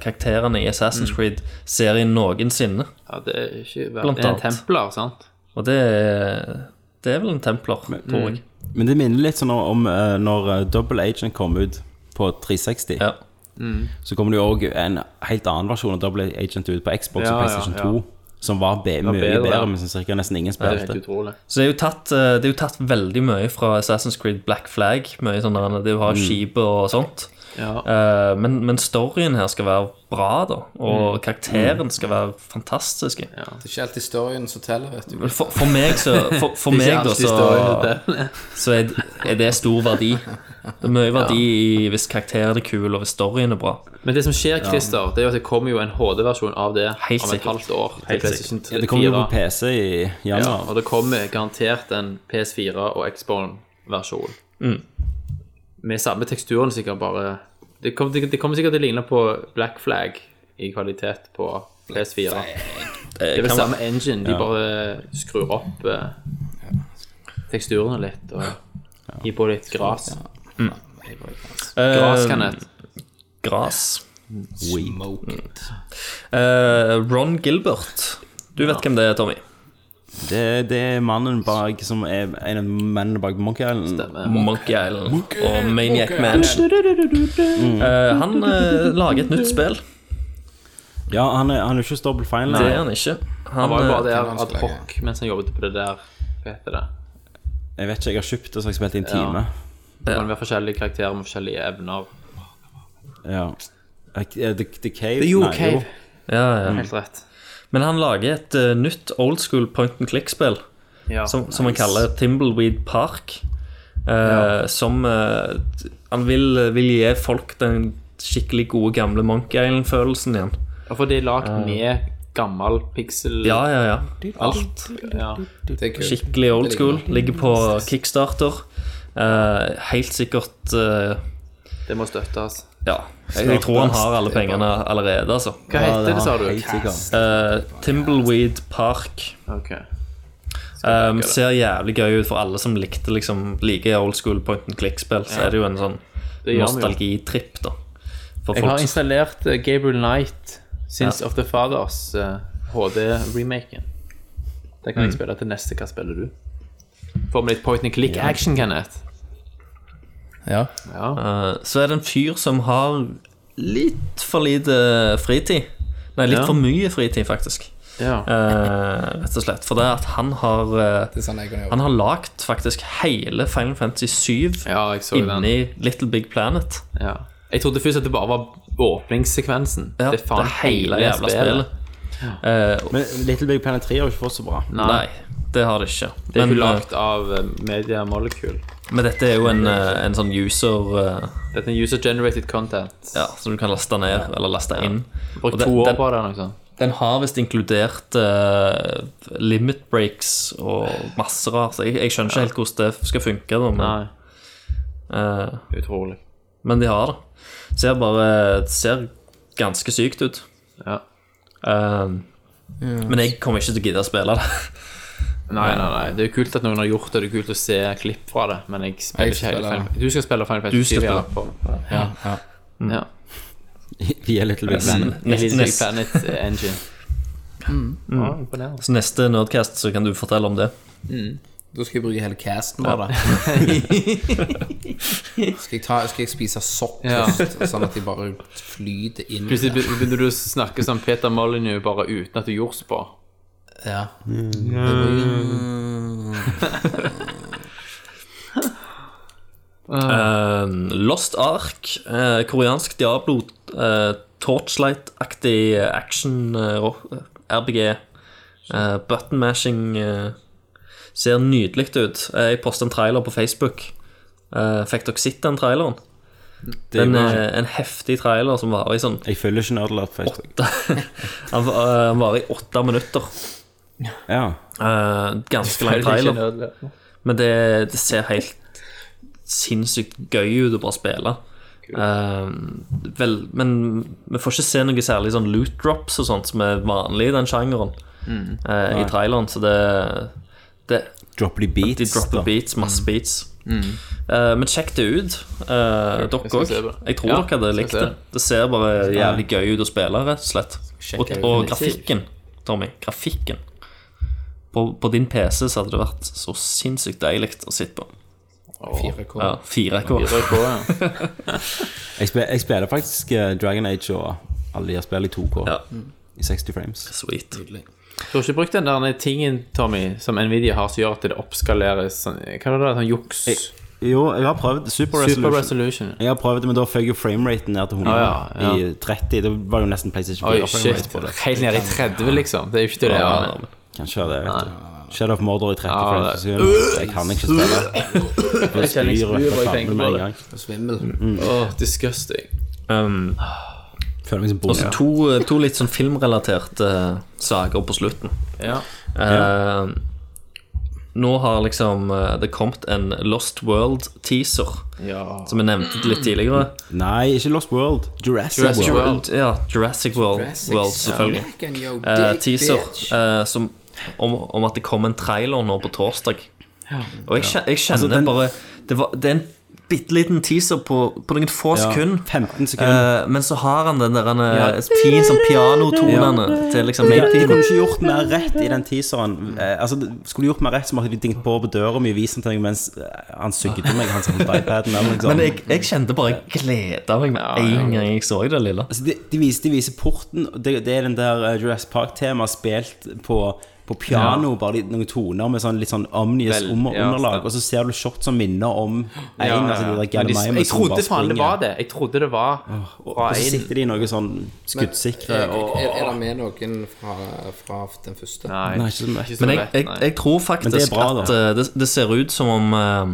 [SPEAKER 7] karakterene i
[SPEAKER 2] Mm.
[SPEAKER 7] Assassin's Creed-serien noensinne.
[SPEAKER 2] Ja, det er ikke
[SPEAKER 7] Blant
[SPEAKER 2] Det er
[SPEAKER 7] annet.
[SPEAKER 2] templer, sant?
[SPEAKER 7] Og det er, det er vel en templer, tror
[SPEAKER 2] Mm.
[SPEAKER 7] jeg.
[SPEAKER 1] Men det minner litt sånn om eh, når eh, Double Agent kom ut på 360.
[SPEAKER 7] Ja.
[SPEAKER 1] Så kommer det jo òg en helt annen versjon av Double Agent ut på Xbox
[SPEAKER 2] Ja,
[SPEAKER 1] og
[SPEAKER 2] ja,
[SPEAKER 1] PlayStation
[SPEAKER 2] ja.
[SPEAKER 1] 2. Som var be mye
[SPEAKER 2] bedre,
[SPEAKER 1] bedre,
[SPEAKER 2] ja.
[SPEAKER 1] men som sikkert nesten ingen
[SPEAKER 2] Det er
[SPEAKER 1] spilte.
[SPEAKER 2] helt utrolig.
[SPEAKER 7] Så det er, jo tatt, eh, det er jo tatt veldig mye fra Assassin's Creed Black Flag. Mye sånn der, Det å ha skipet og sånt.
[SPEAKER 2] Mm. Ja.
[SPEAKER 7] Eh, men, men storyen her skal være bra, da.
[SPEAKER 2] Mm.
[SPEAKER 7] Og karakteren skal være fantastisk.
[SPEAKER 6] Det er ikke alltid storyen som teller, vet du.
[SPEAKER 7] Men For, for meg, så, for,
[SPEAKER 2] <laughs>
[SPEAKER 7] for meg da, så, så er, er det stor verdi. Det er mye verdi i hvis karakteren er kul, og hvis storyen er bra.
[SPEAKER 2] Men det som skjer, Christer, det er jo at det kommer jo en HD-versjon av det
[SPEAKER 7] Helt
[SPEAKER 2] om et
[SPEAKER 7] sikkert.
[SPEAKER 2] halvt år. til PlayStation 3,
[SPEAKER 1] Ja, det kommer jo på
[SPEAKER 2] 4.
[SPEAKER 1] PC i
[SPEAKER 2] Ja,
[SPEAKER 1] januar.
[SPEAKER 2] og det kommer garantert en PS4 og Xbox-versjon. Med samme teksturen, sikkert bare Det kommer, det kommer sikkert til å ligne på Black Flag i kvalitet på PS4. Det er vel samme engine, de bare skrur opp eh, teksturene litt og gir på litt gras. Gras kan jeg
[SPEAKER 7] Gras.
[SPEAKER 6] Smoke it.
[SPEAKER 7] Eh, Ron Gilbert. Du vet hvem det er, Tommy.
[SPEAKER 1] Det, det er mannen bak som er en av mennene bak Monkey Island.
[SPEAKER 7] Monkey Island og Maniac Mansion. Eh, han eh, lager et nytt spill.
[SPEAKER 1] Ja, han er, han er jo ikke hos Double Fine.
[SPEAKER 7] Det er han ikke. Han,
[SPEAKER 2] var jo bare
[SPEAKER 7] eh,
[SPEAKER 2] der
[SPEAKER 6] kan
[SPEAKER 2] ad
[SPEAKER 6] vanskelig.
[SPEAKER 2] hoc mens han jobbet på det der. Hva heter det?
[SPEAKER 1] Jeg vet ikke, jeg har kjøpt det, så har jeg spilt i en
[SPEAKER 2] Ja.
[SPEAKER 1] time.
[SPEAKER 2] Det kan være forskjellige karakterer med forskjellige evner.
[SPEAKER 1] Ja. Eh, The, the Cave
[SPEAKER 2] The UK.
[SPEAKER 1] Nei, jo.
[SPEAKER 7] ja, ja.
[SPEAKER 2] Helt rett.
[SPEAKER 7] Men han lager et eh, nytt old school point and click-spill.
[SPEAKER 2] Ja.
[SPEAKER 7] som, som han kaller Timbleweed Park. eh, Som eh, han vil, eh, vil gi folk den skikkelig gode gamle Monkey Island-følelsen igjen.
[SPEAKER 2] Ja, for det er lagd med gammel pixel
[SPEAKER 7] Ja, ja, ja.
[SPEAKER 2] alt. Ja.
[SPEAKER 6] Det er kult.
[SPEAKER 7] Skikkelig old school. Ligger på kickstarter. Eh, helt sikkert eh,
[SPEAKER 2] Det må støttes.
[SPEAKER 7] Ja. Jeg, jeg tror han har alle pengene allerede, altså.
[SPEAKER 2] Hva heter det, sa du?
[SPEAKER 1] Ah, Helt sikkert.
[SPEAKER 7] Eh, Timbleweed Park.
[SPEAKER 2] Ok.
[SPEAKER 7] Um, ser jævlig gøy ut for alle som likte liksom, liker old school point and click-spill. Så er det jo en sånn
[SPEAKER 2] Det gjør vi jo.
[SPEAKER 7] nostalgitripp, da. For
[SPEAKER 2] Jeg har
[SPEAKER 7] som-
[SPEAKER 2] installert eh, Gabriel Knight, Sins of the Fathers, eh, HD-remaken. Det kan jeg spille til neste. Hva spiller du? Får vi litt point and click action, Kenneth?
[SPEAKER 6] Ja.
[SPEAKER 2] Ja.
[SPEAKER 7] Eh, Så er det en fyr som har litt for lite fritid. Nei, litt
[SPEAKER 2] Ja.
[SPEAKER 7] for mye fritid, faktisk.
[SPEAKER 2] ja.
[SPEAKER 7] Eh, rett og slett. For det at han har eh,
[SPEAKER 6] Det er sånn jeg kan gjøre.
[SPEAKER 7] Han har lagt faktisk hele Final Fantasy 7
[SPEAKER 2] Ja, jeg så den.
[SPEAKER 7] inni Little Big Planet.
[SPEAKER 2] Ja. Jeg trodde først at det bare var åpningssekvensen.
[SPEAKER 7] Ja,
[SPEAKER 2] det er faen hele,
[SPEAKER 7] jævla
[SPEAKER 2] spillet.
[SPEAKER 7] spillet. Eh,
[SPEAKER 1] Men Little Big Planet 3 har jo ikke fått så bra.
[SPEAKER 2] Nei.
[SPEAKER 7] Nei, det har det ikke.
[SPEAKER 2] Det er
[SPEAKER 7] Men,
[SPEAKER 2] jo
[SPEAKER 7] eh,
[SPEAKER 2] lagd av eh, Media Molecule.
[SPEAKER 7] men dette er jo en, eh, en sånn user eh,
[SPEAKER 2] Dette er user-generated content.
[SPEAKER 7] ja, som du kan laste ned eller laste inn. Og
[SPEAKER 2] Brukt
[SPEAKER 7] den-
[SPEAKER 2] to år
[SPEAKER 7] den-
[SPEAKER 2] på det liksom. eller noe sånt.
[SPEAKER 7] Den har visst inkludert eh, limit breaks og masse rart. så Jeg, jeg skjønner ikke helt hvordan det skal funke, da,
[SPEAKER 2] Nei,
[SPEAKER 7] men, eh,
[SPEAKER 2] utrolig.
[SPEAKER 7] men de har det. Ser bare ser ganske sykt ut.
[SPEAKER 2] Ja.
[SPEAKER 7] Eh, Men jeg kommer ikke til å gidde å spille det.
[SPEAKER 2] Nei, nei, nei. Det er jo kult at noen har gjort det. Det er kult å se klipp fra det, men jeg spiller
[SPEAKER 6] Jeg
[SPEAKER 2] ikke hele
[SPEAKER 6] spiller-
[SPEAKER 2] Final Du skal spille Final
[SPEAKER 7] Du
[SPEAKER 2] Fantasy Mm.
[SPEAKER 7] skal
[SPEAKER 2] 7, ja.
[SPEAKER 7] spille.
[SPEAKER 2] på-
[SPEAKER 6] Ja, ja.
[SPEAKER 2] Ja.
[SPEAKER 1] <laughs> Vi er Little Big
[SPEAKER 7] <laughs>
[SPEAKER 1] Planet.
[SPEAKER 7] Nest,
[SPEAKER 2] Little Big <laughs>
[SPEAKER 7] nest,
[SPEAKER 2] Planet eh, Engine. Ja, imponerende.
[SPEAKER 7] så neste Nerdcast så kan du fortelle om det.
[SPEAKER 6] Da skal jeg bruke hele casten
[SPEAKER 7] <laughs>
[SPEAKER 6] bare. skal, jeg ta, skal jeg spise sopp
[SPEAKER 2] Ja.
[SPEAKER 6] først, sånn at de bare flyter inn?
[SPEAKER 2] Plutselig be- begynner du å snakke som Peter Molyneux bare uten at du gjorde så bra.
[SPEAKER 6] Ja.
[SPEAKER 7] Eh, Lost Ark, eh, koreansk Diablo, eh, Torchlight-aktig action eh, ro- RBG. eh, button mashing eh, ser nydelig ut. Eh, jeg posta en trailer på Facebook. Eh, fikk dere sett den traileren?
[SPEAKER 1] Det
[SPEAKER 7] Den,
[SPEAKER 1] er
[SPEAKER 7] eh, en heftig trailer som varer i sånn <laughs>
[SPEAKER 1] Jeg følger ikke Nerdlert på Facebook.
[SPEAKER 7] Han var- eh, han varer i åtte minutter.
[SPEAKER 1] Ja.
[SPEAKER 7] Eh, ganske lang trailer.
[SPEAKER 2] Trailer.
[SPEAKER 7] Men det, det ser helt sinnssykt gøy ut å bare spille. Eh, vel, men vi får ikke se noe særlig sånn loot drops og sånt som er vanlig i den sjangeren eh, i traileren, så det, det
[SPEAKER 1] Dropper de beats?
[SPEAKER 7] De dropper
[SPEAKER 1] da?
[SPEAKER 7] beats, masse beats. Eh, men sjekk det ut, eh, dere
[SPEAKER 2] skal
[SPEAKER 7] òg.
[SPEAKER 2] se på det.
[SPEAKER 7] Jeg tror
[SPEAKER 2] Ja,
[SPEAKER 7] dere hadde
[SPEAKER 2] skal
[SPEAKER 7] likt
[SPEAKER 2] se
[SPEAKER 7] det.
[SPEAKER 2] det.
[SPEAKER 7] Det ser bare jævlig gøy ut å spille, rett og slett. Og,
[SPEAKER 6] ut.
[SPEAKER 7] og grafikken, Tommy. Grafikken. På, på din PC så hadde det vært så sinnssykt deilig å sitte på.
[SPEAKER 6] 4K.
[SPEAKER 7] Ja, 4K.
[SPEAKER 1] Jeg, spiller, jeg spiller faktisk eh, Dragon Age og alle de her spillene i 2K
[SPEAKER 7] Ja.
[SPEAKER 1] i 60 frames.
[SPEAKER 7] Sweet.
[SPEAKER 2] Du har ikke brukt den der tingen, Tommy, som Nvidia har som gjør at det oppskaleres sånn Hva var det, sånn juks?
[SPEAKER 1] Jo, jeg har prøvd Super Resolution.
[SPEAKER 2] Super resolution.
[SPEAKER 1] Jeg har prøvd, men da føk jo frameraten ned til 100
[SPEAKER 2] Ah, ja, ja.
[SPEAKER 1] i 30. Det var jo nesten PlayStation 4
[SPEAKER 2] Oi,
[SPEAKER 1] framerate
[SPEAKER 2] shit.
[SPEAKER 1] på det.
[SPEAKER 2] Helt ned i 30, liksom. Det er jo ikke det det
[SPEAKER 7] Ja,
[SPEAKER 2] er.
[SPEAKER 1] Kanskje det, vet du. Shadow of Mordor i 30
[SPEAKER 2] Ja,
[SPEAKER 1] frames
[SPEAKER 2] det-
[SPEAKER 1] per sekund. Jeg kan ikke spille. Jeg
[SPEAKER 2] kjenner jeg spyr bare jeg tenker på det.
[SPEAKER 6] Og svimmel.
[SPEAKER 2] Åh, disgusting.
[SPEAKER 7] Um,
[SPEAKER 1] Føler meg som bonde.
[SPEAKER 7] også to, to litt sånn filmrelaterte eh, saker på slutten.
[SPEAKER 2] Ja.
[SPEAKER 7] Eh, nå har liksom eh, det kommet en Lost World-teaser,
[SPEAKER 2] ja.
[SPEAKER 7] som jeg nevnte litt tidligere.
[SPEAKER 1] Nei, ikke Lost World. Jurassic,
[SPEAKER 7] Jurassic
[SPEAKER 1] World.
[SPEAKER 7] World. Ja, Jurassic World, World selvfølgelig. Eh, teaser eh, som, om, om at det kom en trailer nå på torsdag. Og jeg, kje- jeg kjenner bare det, var, det er en bitte liten teaser på, på noen få
[SPEAKER 1] Ja,
[SPEAKER 7] sekunder.
[SPEAKER 1] 15 sekunder.
[SPEAKER 7] Eh, men så har han den der han, eh, pi- sånn pianotonene til liksom
[SPEAKER 1] de, de
[SPEAKER 7] main-tiden.
[SPEAKER 1] kunne ikke gjort mer rett i den teaseren. Eh, altså, det- skulle de gjort mer rett, så måtte de dingt på på døra mi og vist den til meg mens eh, han sugde meg. Han satt på iPaden eller noe sånt.
[SPEAKER 7] Men jeg, jeg kjente bare jeg gleda meg med en gang jeg så det lille.
[SPEAKER 1] Altså, de, de, viser, de viser porten, og det, det er den der eh, Jurassic Park-temaet spilt på, på piano, bare litt, noen toner med sånn, litt sånn omnius
[SPEAKER 2] Vel,
[SPEAKER 1] om,
[SPEAKER 2] ja,
[SPEAKER 1] underlag,
[SPEAKER 2] stemmer.
[SPEAKER 1] og så ser du shot som minner om én. Altså, de der
[SPEAKER 2] Ja, de,
[SPEAKER 1] Gallimimus
[SPEAKER 2] jeg
[SPEAKER 1] som bare
[SPEAKER 2] trodde faen det
[SPEAKER 1] springer.
[SPEAKER 2] var det. Jeg trodde det eh, var fra
[SPEAKER 1] Og så
[SPEAKER 2] en
[SPEAKER 1] sitter de i noe sånn skuddsikre
[SPEAKER 6] Er,
[SPEAKER 1] og
[SPEAKER 6] eh, er, er det med noen fra, fra den første?
[SPEAKER 1] Nei, ikke så mye.
[SPEAKER 2] ikke så
[SPEAKER 7] Men jeg,
[SPEAKER 2] lett,
[SPEAKER 7] jeg,
[SPEAKER 2] nei.
[SPEAKER 7] jeg tror
[SPEAKER 1] Men det
[SPEAKER 7] faktisk
[SPEAKER 1] er bra,
[SPEAKER 7] at
[SPEAKER 1] da.
[SPEAKER 7] eh, det, det ser ut som om eh,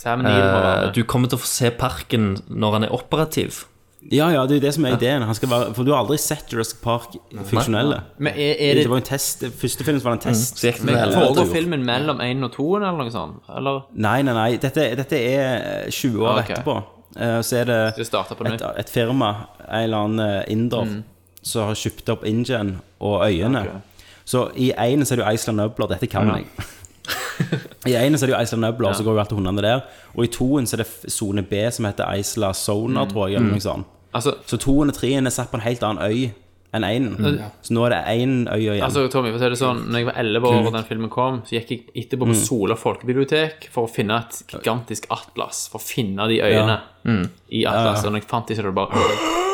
[SPEAKER 2] Sam Neill må være
[SPEAKER 7] eh,
[SPEAKER 2] med.
[SPEAKER 7] du kommer til å få se parken når han er operativ.
[SPEAKER 1] Ja, ja, det er jo det som er ideen. Han skal være, for du har aldri sett Jurassic Park funksjonelle.
[SPEAKER 2] Men er, er
[SPEAKER 1] Det
[SPEAKER 2] det
[SPEAKER 1] var jo en test. det Første filmen var en test.
[SPEAKER 2] Mm.
[SPEAKER 7] Så gikk det vel.
[SPEAKER 2] Foregår filmen mellom 1 og 2 eller noe sånt? Eller
[SPEAKER 1] Nei, nei, nei. Dette, dette er 20 år
[SPEAKER 2] Ah, ok.
[SPEAKER 1] etterpå. Eh, Så er det
[SPEAKER 2] det starter på
[SPEAKER 1] et,
[SPEAKER 2] nytt?
[SPEAKER 1] et firma, en eller annen eh, inder, som har kjøpt opp Ingen og øyene.
[SPEAKER 2] Ok.
[SPEAKER 1] Så i én så er det jo Iceland Nubler. Dette kan jeg. <laughs> I én så er det jo Iceland Nubler, så går jo alltid hundene der. Og i toen så er det sone B, som heter Isla Sona,
[SPEAKER 2] Mm.
[SPEAKER 1] tror jeg. eller noe sånt.
[SPEAKER 2] Altså,
[SPEAKER 1] Så toen og treen er satt på en helt annen øy enn einen. Så nå er det én øy igjen.
[SPEAKER 2] Mm. altså Tommy, for å si det sånn, når jeg var 11 år og den filmen kom, så gikk jeg etterpå
[SPEAKER 7] Mm.
[SPEAKER 2] på Sola folkebibliotek for å finne et gigantisk atlas. For å finne de øyene Mm. i atlaset. Og når jeg fant de, så var det
[SPEAKER 7] <gasps>
[SPEAKER 2] bare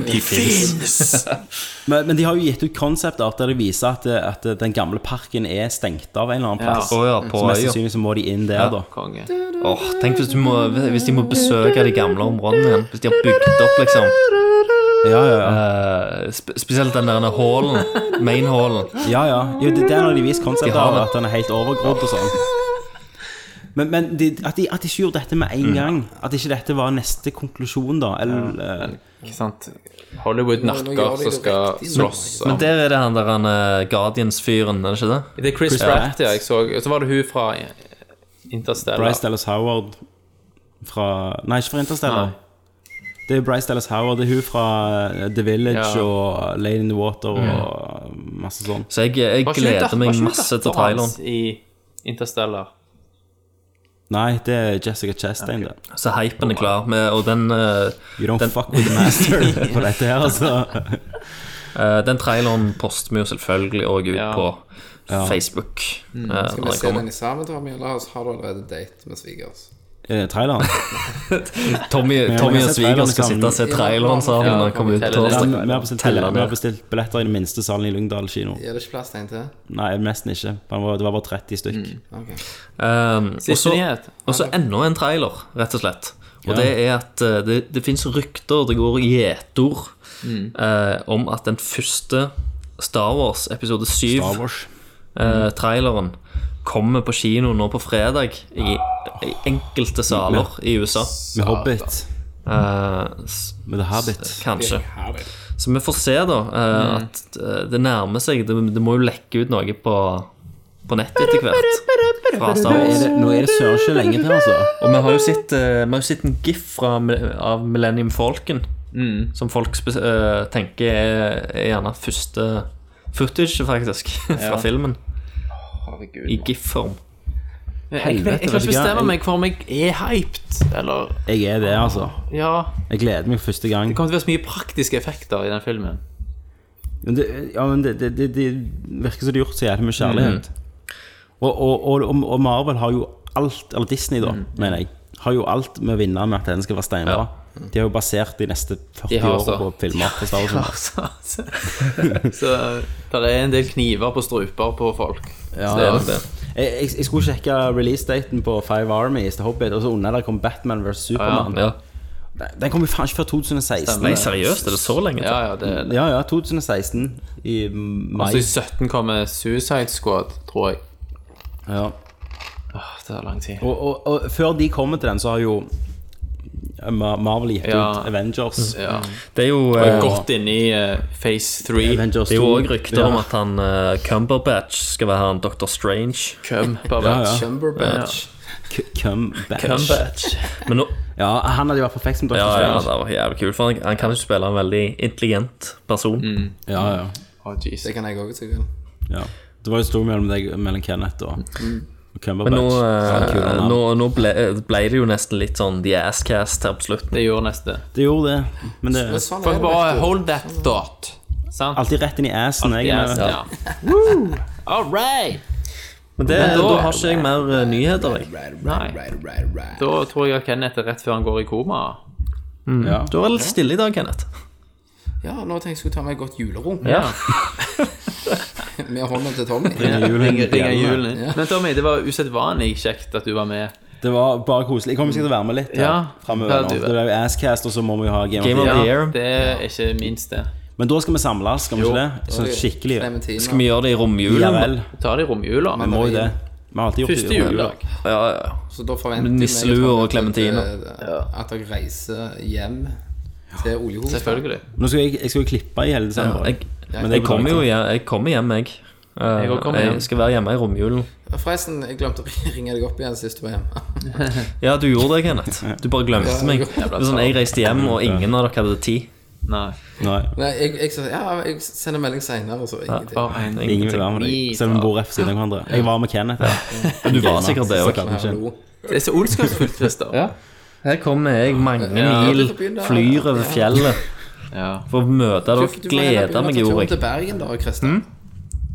[SPEAKER 1] men, men de har jo gitt ut konseptart der det viser at, eh, at den gamle parken er stengt av en eller annen
[SPEAKER 2] Ja.
[SPEAKER 1] plass.
[SPEAKER 7] Å ja, på
[SPEAKER 1] Så mest
[SPEAKER 7] øya.
[SPEAKER 1] sannsynlig så må de inn der, da.
[SPEAKER 2] Konge.
[SPEAKER 7] Åh, tenk hvis, du må, hvis de må besøke de gamle områdene igjen. Hvis de har bygd opp, liksom.
[SPEAKER 1] Ja, ja, ja.
[SPEAKER 7] eh, sp spesielt den der hallen. Main-hallen.
[SPEAKER 1] Ja, ja. Jo, det, det er når de viser konseptet
[SPEAKER 7] De har
[SPEAKER 1] av
[SPEAKER 7] det.
[SPEAKER 1] at den er helt overgrodd og sånn. Men, men de, at, de, at de ikke gjorde dette med en gang. At ikke dette var neste konklusjon, da. Eller eh,
[SPEAKER 2] Ikke sant? Hollywood-nakker
[SPEAKER 6] gjør de
[SPEAKER 2] som
[SPEAKER 6] det
[SPEAKER 2] skal
[SPEAKER 6] riktig nå.
[SPEAKER 2] slåss. om-
[SPEAKER 7] Men der er det han der han, eh, Guardians-fyren, er det ikke det?
[SPEAKER 2] Det er Chris,
[SPEAKER 1] Chris
[SPEAKER 2] Pratt,
[SPEAKER 1] Pratt.
[SPEAKER 2] ja. Jeg så, og så var det hun fra Interstellar.
[SPEAKER 1] Bryce Dallas Howard fra Nei, ikke fra Interstellar.
[SPEAKER 2] Nei.
[SPEAKER 1] Det er Bryce Dallas Howard. Det er hun fra eh, The Village
[SPEAKER 2] Ja.
[SPEAKER 1] og Lady in the Water og eh, masse sånn.
[SPEAKER 7] Så jeg, jeg
[SPEAKER 2] Var ikke hun
[SPEAKER 7] gleder
[SPEAKER 2] datter- var
[SPEAKER 7] meg
[SPEAKER 2] ikke hun
[SPEAKER 7] masse til
[SPEAKER 2] datteren hans
[SPEAKER 7] traileren.
[SPEAKER 2] I Interstellar.
[SPEAKER 1] Nei, det er Jessica Chastain, det.
[SPEAKER 7] Så hypen er klar. Med, og den, eh,
[SPEAKER 1] You don't
[SPEAKER 7] Den-
[SPEAKER 1] fuck with the master på dette her, altså.
[SPEAKER 7] eh, den traileren poster vi jo selvfølgelig òg ut
[SPEAKER 2] Ja. Mm,
[SPEAKER 7] på Facebook. eh,
[SPEAKER 6] Skal
[SPEAKER 7] når
[SPEAKER 6] vi
[SPEAKER 7] den
[SPEAKER 6] se
[SPEAKER 7] kommer.
[SPEAKER 6] den i sammen, Tommy, eller har du allerede date med svigers?
[SPEAKER 1] Eh, Traileren.
[SPEAKER 7] Tommy,
[SPEAKER 1] har
[SPEAKER 7] Tommy og
[SPEAKER 1] sett
[SPEAKER 7] sviger
[SPEAKER 1] traileren
[SPEAKER 7] skal
[SPEAKER 1] sammen.
[SPEAKER 7] sitte og se traileren sammen
[SPEAKER 6] Ja,
[SPEAKER 7] når han kommer ut på
[SPEAKER 2] teller
[SPEAKER 1] Ja,
[SPEAKER 7] torsdag.
[SPEAKER 1] vi vi har bestilt,
[SPEAKER 7] Teller
[SPEAKER 1] vi har
[SPEAKER 7] ned.
[SPEAKER 1] bestilt billetter i den minste salen i Lyngdal kino.
[SPEAKER 6] Gir det ikke plass til en til?
[SPEAKER 1] Nei, nesten ikke. Det var, det var bare 30 stykk.
[SPEAKER 6] Ok.
[SPEAKER 7] Um, og
[SPEAKER 2] Siste
[SPEAKER 7] så-
[SPEAKER 2] nyhet.
[SPEAKER 7] og så enda en trailer, rett og slett. Og det er at eh, det, det fins rykter, det går gjetord,
[SPEAKER 2] Mm.
[SPEAKER 7] eh, om at den første Star Wars episode 7
[SPEAKER 1] Star Wars.
[SPEAKER 7] eh, traileren kommer på kino nå på fredag i, i enkelte saler i USA.
[SPEAKER 1] Med Hobbit.
[SPEAKER 7] Eh, s-
[SPEAKER 1] Med The Habit.
[SPEAKER 7] kanskje. Så vi får se, da, eh, at eh, det nærmer seg. Det, det må jo lekke ut noe på, på nettet etter hvert. Fra Star
[SPEAKER 1] Er
[SPEAKER 7] Wars.
[SPEAKER 1] det, nå er det søren ikke lenge til, altså.
[SPEAKER 7] Og vi har jo sett, eh, vi har jo sett en gif fra, av Millennium Falcon, som folk spe- eh, tenker er, er gjerne første footage, faktisk, <laughs> fra filmen. I gif-form.
[SPEAKER 2] Jeg, jeg, jeg kan
[SPEAKER 1] vet du
[SPEAKER 2] ikke bestemme
[SPEAKER 1] hva?
[SPEAKER 2] meg for om jeg er hyped, eller
[SPEAKER 1] Jeg er det, altså.
[SPEAKER 2] Ja.
[SPEAKER 1] Jeg gleder meg for første gang.
[SPEAKER 2] Det kommer til å være så mye praktiske effekter i den filmen.
[SPEAKER 1] Men det, ja, men det, det, det, det virker som det er gjort så jævlig med kjærlighet. Og, og, og, og, og Marvel har jo alt, eller Disney, da, mener jeg, har jo alt med å vinne med at den skal være steinbra. De har jo basert de neste 40
[SPEAKER 2] har
[SPEAKER 1] årene
[SPEAKER 2] så.
[SPEAKER 1] på filmer. fra Star Wars.
[SPEAKER 2] <laughs> Altså, altså. Så det er en del kniver på struper på folk.
[SPEAKER 1] Ja,
[SPEAKER 2] det er
[SPEAKER 1] ja.
[SPEAKER 2] nok det.
[SPEAKER 1] Jeg, jeg, jeg skulle sjekke releasedaten på Five Armies The Hobbit, og så under der kom Batman vs. Supermann.
[SPEAKER 7] Ja.
[SPEAKER 1] Den- Den kom jo faen ikke før 2016.
[SPEAKER 7] Nei, seriøst, er det så lenge til?
[SPEAKER 2] Ja, ja, det er det.
[SPEAKER 1] Ja, ja, 2016 i mai.
[SPEAKER 2] Altså, I 17 kommer Suicide Squad, tror jeg.
[SPEAKER 1] ja.
[SPEAKER 2] Åh, Det er lang tid.
[SPEAKER 1] og, og, og før de kommer til den, så har jo Ma- Marvel gitt
[SPEAKER 2] Ja.
[SPEAKER 1] ut Avengers.
[SPEAKER 7] Mm.
[SPEAKER 2] Ja.
[SPEAKER 7] Det er jo eh,
[SPEAKER 2] Godt inne i eh, Phase 3.
[SPEAKER 1] Avengers
[SPEAKER 7] det er jo
[SPEAKER 1] 2.
[SPEAKER 7] òg rykter om at han eh, Cumberbatch skal være han Dr. Strange.
[SPEAKER 2] Køm, bare
[SPEAKER 1] Ja, ja.
[SPEAKER 6] Cumberbatch.
[SPEAKER 1] C- Cumberbatch.
[SPEAKER 7] Men nå,
[SPEAKER 1] Ja, han hadde vært perfekt som Dr.
[SPEAKER 7] ja, ja,
[SPEAKER 1] Strange.
[SPEAKER 7] det var jævlig kult, for han, han kan jo spille en veldig intelligent person.
[SPEAKER 1] Ja, ja.
[SPEAKER 2] Å, jeez.
[SPEAKER 6] Det kan jeg òg, sikkert.
[SPEAKER 1] ja. Det var jo stor mellom deg mellom Kenneth og og Cumberbatch.
[SPEAKER 7] Mm. Men nå,
[SPEAKER 1] Så han
[SPEAKER 7] eh,
[SPEAKER 1] kul han er.
[SPEAKER 7] nå, nå ble, ble det jo nesten litt sånn The Ass-cast her på slutten.
[SPEAKER 2] Det gjør neste.
[SPEAKER 1] Det gjorde det. Men det
[SPEAKER 6] Men
[SPEAKER 1] er
[SPEAKER 6] sånn er
[SPEAKER 2] Folk
[SPEAKER 6] det.
[SPEAKER 2] bare
[SPEAKER 6] vet du.
[SPEAKER 2] hold that thought. Sant?
[SPEAKER 1] alltid rett inn i assen. Jeg,
[SPEAKER 2] Yes,
[SPEAKER 1] er-
[SPEAKER 2] ja. All right!
[SPEAKER 7] Men det, da har ikke jeg mer eh, nyheter. Jeg.
[SPEAKER 2] Nei. Da tror jeg at Kenneth er rett før han går i koma.
[SPEAKER 1] ja.
[SPEAKER 7] Du var litt stille i dag, Kenneth.
[SPEAKER 6] Ja, nå tenkte jeg skulle ta meg et godt julerunk
[SPEAKER 7] Ja.
[SPEAKER 6] med hånda til Tommy.
[SPEAKER 1] Julen-
[SPEAKER 2] Ringer julen. Men Tommy, det var usedvanlig kjekt at du var med.
[SPEAKER 1] Det var bare koselig. Jeg kommer sikkert til å være med litt ja,
[SPEAKER 2] Ja,
[SPEAKER 1] fremover. nå.
[SPEAKER 2] det er du.
[SPEAKER 1] Det er jo Asscast, og så må vi jo ha Game,
[SPEAKER 7] Game
[SPEAKER 1] of
[SPEAKER 7] of
[SPEAKER 1] the
[SPEAKER 7] the
[SPEAKER 1] Year.
[SPEAKER 7] Year.
[SPEAKER 2] Det er ikke minst det.
[SPEAKER 1] Men da skal vi samles, skal vi ikke det? Sånn skikkelig.
[SPEAKER 6] Clementina.
[SPEAKER 7] Skal vi gjøre det i
[SPEAKER 1] Ja
[SPEAKER 7] romjulen?
[SPEAKER 1] vel.
[SPEAKER 2] Ta det i romjula.
[SPEAKER 1] Vi må jo det. Vi har alltid gjort
[SPEAKER 2] Første
[SPEAKER 1] det. i år.
[SPEAKER 2] juledag.
[SPEAKER 7] Ja, ja, ja.
[SPEAKER 6] Så da forventer jeg
[SPEAKER 7] Nisselue
[SPEAKER 6] meg sånn at-
[SPEAKER 7] og clementiner.
[SPEAKER 6] at- At dere reiser hjem til oljehovedstaden.
[SPEAKER 2] Selvfølgelig.
[SPEAKER 1] Nå skal jeg, jeg skal jo klippe i hele desember.
[SPEAKER 7] Jeg,
[SPEAKER 1] Men det
[SPEAKER 7] jeg
[SPEAKER 1] blir
[SPEAKER 7] kommer jo
[SPEAKER 1] ikke.
[SPEAKER 7] hjem, jeg. Kommer hjem, jeg. Eh,
[SPEAKER 2] også kommer hjem.
[SPEAKER 7] jeg skal være hjemme i romjulen.
[SPEAKER 6] Forresten, jeg glemte å <laughs> ringe deg opp igjen sist du var hjemme.
[SPEAKER 2] <laughs>
[SPEAKER 7] Ja, du gjorde det, Kenneth. Du bare glemte meg. Det er sånn, Jeg reiste hjem, og ingen av dere hadde tid.
[SPEAKER 2] Nei.
[SPEAKER 1] Nei,
[SPEAKER 6] Nei, jeg, jeg, sa- ja, jeg sender melding seinere, så ingenting.
[SPEAKER 2] Bare en
[SPEAKER 1] ingen vil være med deg. Selv om vi bor rett ved siden av hverandre. Jeg var med Kenneth. Ja.
[SPEAKER 7] Du var sikkert det òg.
[SPEAKER 6] Hallo.
[SPEAKER 2] Det er så ondskapsfullt, Christer. Ja.
[SPEAKER 7] Her kommer jeg mange mil, flyr over fjellet for å møte
[SPEAKER 6] Du- du
[SPEAKER 7] dere.
[SPEAKER 6] må heller begynne å
[SPEAKER 7] Gleder meg,
[SPEAKER 6] ta turen Til
[SPEAKER 7] gjorde jeg.
[SPEAKER 6] Bergen, da, Christian.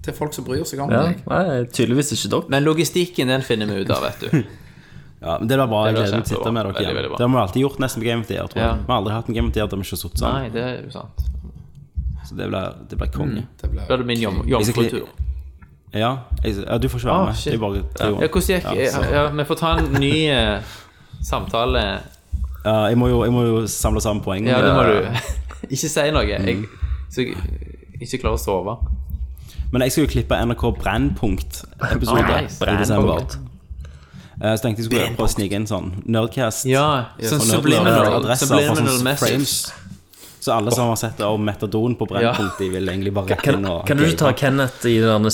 [SPEAKER 6] Til folk som bryr seg om
[SPEAKER 7] Ja,
[SPEAKER 6] deg.
[SPEAKER 7] nei, tydeligvis ikke dere.
[SPEAKER 2] Men logistikken, den finner vi ut av, vet du.
[SPEAKER 1] Ja, men det var bra. Jeg
[SPEAKER 2] Det var
[SPEAKER 1] gleder meg til å sitte med
[SPEAKER 2] kjempebra.
[SPEAKER 1] dere igjen.
[SPEAKER 2] Veldig, veldig bra.
[SPEAKER 1] Det har vi alltid gjort nesten på Game of the Year, tror
[SPEAKER 2] Ja.
[SPEAKER 1] jeg. Vi har aldri hatt en Game of the Year der vi ikke har sittet sammen.
[SPEAKER 2] Nei, det er jo sant.
[SPEAKER 1] Så det blir, det blir
[SPEAKER 2] Mm.
[SPEAKER 1] konge.
[SPEAKER 6] Det ble-
[SPEAKER 2] Da er det min jom-
[SPEAKER 1] Jeg skal-
[SPEAKER 2] jomfrutur.
[SPEAKER 1] Ja, jeg, ja, du får ikke være
[SPEAKER 2] Ah,
[SPEAKER 1] med.
[SPEAKER 2] shit.
[SPEAKER 1] Det er bare tre år.
[SPEAKER 2] Ja, hvordan gikk
[SPEAKER 1] Ja,
[SPEAKER 2] ja,
[SPEAKER 1] så-
[SPEAKER 2] ja, Vi får ta en ny eh, samtale.
[SPEAKER 1] Ja, jeg, må jo, jeg må jo samle sammen poeng. Eh,
[SPEAKER 2] Ja, det må du. <laughs> Ikke si noe. Jeg, så jeg ikke klarer å sove.
[SPEAKER 1] Men jeg skal jo klippe NRK Brennpunkt-episode
[SPEAKER 2] Ah, nice.
[SPEAKER 1] i desember.
[SPEAKER 2] Brennpunkt.
[SPEAKER 1] Eh, Så tenkte jeg skulle prøve å snike inn sånn Nerdcast.
[SPEAKER 2] Ja,
[SPEAKER 1] og
[SPEAKER 2] sånn
[SPEAKER 1] nerdlørdag-
[SPEAKER 2] subliminal,
[SPEAKER 1] adresser fra
[SPEAKER 2] subliminal
[SPEAKER 1] sånn
[SPEAKER 2] message.
[SPEAKER 1] frames. Så alle som har sett det om metadon på Brennpunkt, de vil egentlig bare rett
[SPEAKER 7] Kan,
[SPEAKER 1] inn og
[SPEAKER 7] kan du ikke ta Kenneth i det derne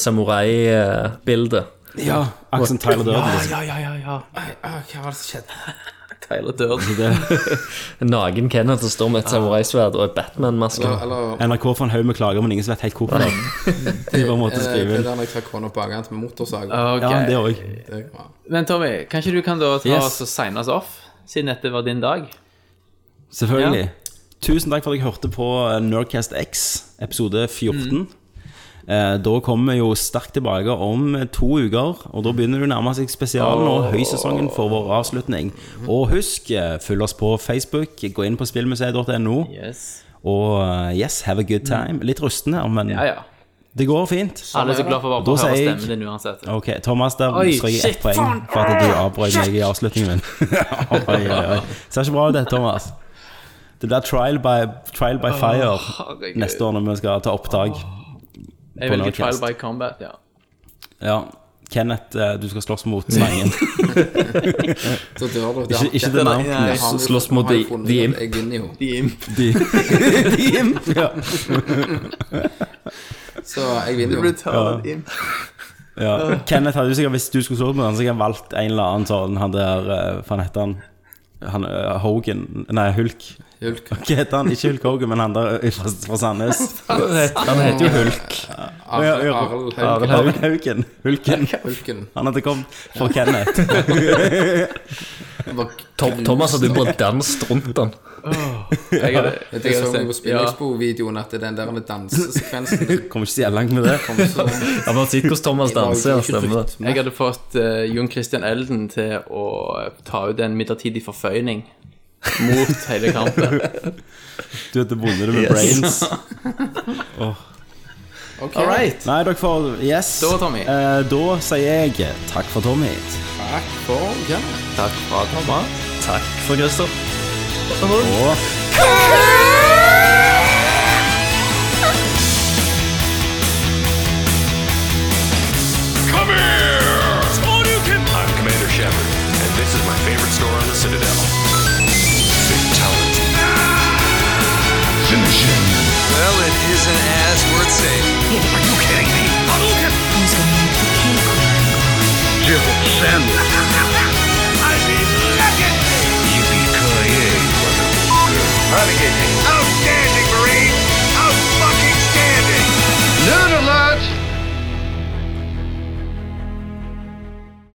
[SPEAKER 7] samurai-bildet?
[SPEAKER 1] Ja, Aksen Tyler Durden. liksom.
[SPEAKER 2] Ja, ja, ja, ja.
[SPEAKER 6] Ah, Hva var det som skjedde?
[SPEAKER 2] <laughs> Tyler Durden.
[SPEAKER 7] Nagen Kenneth som står med et samuraisverd og en Batman-maske.
[SPEAKER 6] Eller, eh, eller
[SPEAKER 1] NRK får en haug med klager, men ingen som vet helt hvorfor. De bare måtte
[SPEAKER 6] Eh,
[SPEAKER 1] skrive
[SPEAKER 2] <laughs>
[SPEAKER 6] Det
[SPEAKER 1] inn.
[SPEAKER 6] der når jeg tar kona på ankelen med
[SPEAKER 2] <laughs>
[SPEAKER 6] motorsag.
[SPEAKER 2] Ok.
[SPEAKER 1] Ja, det òg.
[SPEAKER 6] Det- ja.
[SPEAKER 2] Men Tommy, kanskje du kan da ta
[SPEAKER 1] Yes.
[SPEAKER 2] oss og signe oss off, siden dette var din dag?
[SPEAKER 1] Selvfølgelig. Tusen takk for at jeg hørte på eh, Nerdcast X, episode 14.
[SPEAKER 2] Mm.
[SPEAKER 1] Eh, Da kommer vi jo sterkt tilbake om to uker, og da begynner det å nærme seg spesialen og høysesongen for vår avslutning. Og husk, eh, følg oss på Facebook, gå inn på spillmuseet.no,
[SPEAKER 2] Yes.
[SPEAKER 1] og eh, yes, have a good time. Litt rustne, men
[SPEAKER 2] Ja, ja.
[SPEAKER 1] det går fint.
[SPEAKER 2] Alle er så glad for å
[SPEAKER 1] Da
[SPEAKER 2] bare få
[SPEAKER 1] sier
[SPEAKER 2] høre
[SPEAKER 1] jeg-
[SPEAKER 2] stemmen din uansett.
[SPEAKER 1] Ok, Thomas, der
[SPEAKER 2] Oi,
[SPEAKER 1] strøk jeg ett
[SPEAKER 2] shit,
[SPEAKER 1] poeng for at du avbrøt meg i avslutningen min. oi, oi, oi. Ser ikke bra ut, det, Thomas. Det blir trial by, trial by fire
[SPEAKER 2] herregud.
[SPEAKER 1] neste år når vi skal ta opptak.
[SPEAKER 2] Jeg velger
[SPEAKER 1] Nordcast.
[SPEAKER 2] Trial by Combat, ja.
[SPEAKER 1] Ja. Kenneth, eh, du skal slåss mot slangen.
[SPEAKER 6] Så dør du.
[SPEAKER 1] Ikke- ikke det navnet.
[SPEAKER 7] Slåss mot de- de imp.
[SPEAKER 6] Jeg vinner jo.
[SPEAKER 1] De, <laughs> de ja.
[SPEAKER 6] Så jeg vinner jo.
[SPEAKER 2] Du tar
[SPEAKER 1] <laughs>
[SPEAKER 2] inn
[SPEAKER 1] Ja. Kenneth hadde jo sikkert, hvis du skulle slått mot han, så hadde han valgt en eller annen sånn Han der, eh, hva heter han? han eh, Hogan Nei, Hulk.
[SPEAKER 6] Hulk.
[SPEAKER 1] Hva heter han? Ikke Hulk Hogan, men han der eh, fra, fra Sandnes.
[SPEAKER 7] Han heter jo Hulk.
[SPEAKER 1] Ja, ja.
[SPEAKER 6] Arild Hulken.
[SPEAKER 7] Arild Haug.
[SPEAKER 1] Haugen. Haugen. Hulken.
[SPEAKER 6] Hulken.
[SPEAKER 1] Han hadde kommet for Kenneth.
[SPEAKER 6] Var
[SPEAKER 7] Tom, Thomas hadde jo bare danset rundt den.
[SPEAKER 2] Jeg hadde
[SPEAKER 6] Det
[SPEAKER 2] jeg
[SPEAKER 6] er
[SPEAKER 2] hadde
[SPEAKER 6] sånn på
[SPEAKER 2] sett-
[SPEAKER 6] Spillekspo-videoen at den der med <laughs> dansesekvensen
[SPEAKER 1] Kommer ikke så jævlig langt med det.
[SPEAKER 6] kom så
[SPEAKER 7] Jeg har bare sett hvordan Thomas danser. Ja, stemmer det.
[SPEAKER 2] ja, Jeg hadde fått eh, Jon Christian Elden til å ta ut en midlertidig forføyning mot hele
[SPEAKER 1] <laughs>
[SPEAKER 2] kampen.
[SPEAKER 1] Du heter Bonde det med brains.
[SPEAKER 6] Ok,
[SPEAKER 2] All right.
[SPEAKER 1] Nei, dere får Yes.
[SPEAKER 2] Da, Tommy.
[SPEAKER 1] Eh, da sier jeg takk for Tommy.
[SPEAKER 6] Takk for Kenneth.
[SPEAKER 2] Takk for at du var med.
[SPEAKER 7] Takk for Christer.
[SPEAKER 1] Og
[SPEAKER 3] Come here! I'm Commander Shepard, and this is my favorite store on the Citadel.
[SPEAKER 5] Fatality.
[SPEAKER 3] Finish him.
[SPEAKER 8] Well, it isn't as worth saying.
[SPEAKER 3] Are you kidding me? Hadouken! Jibble sandwich.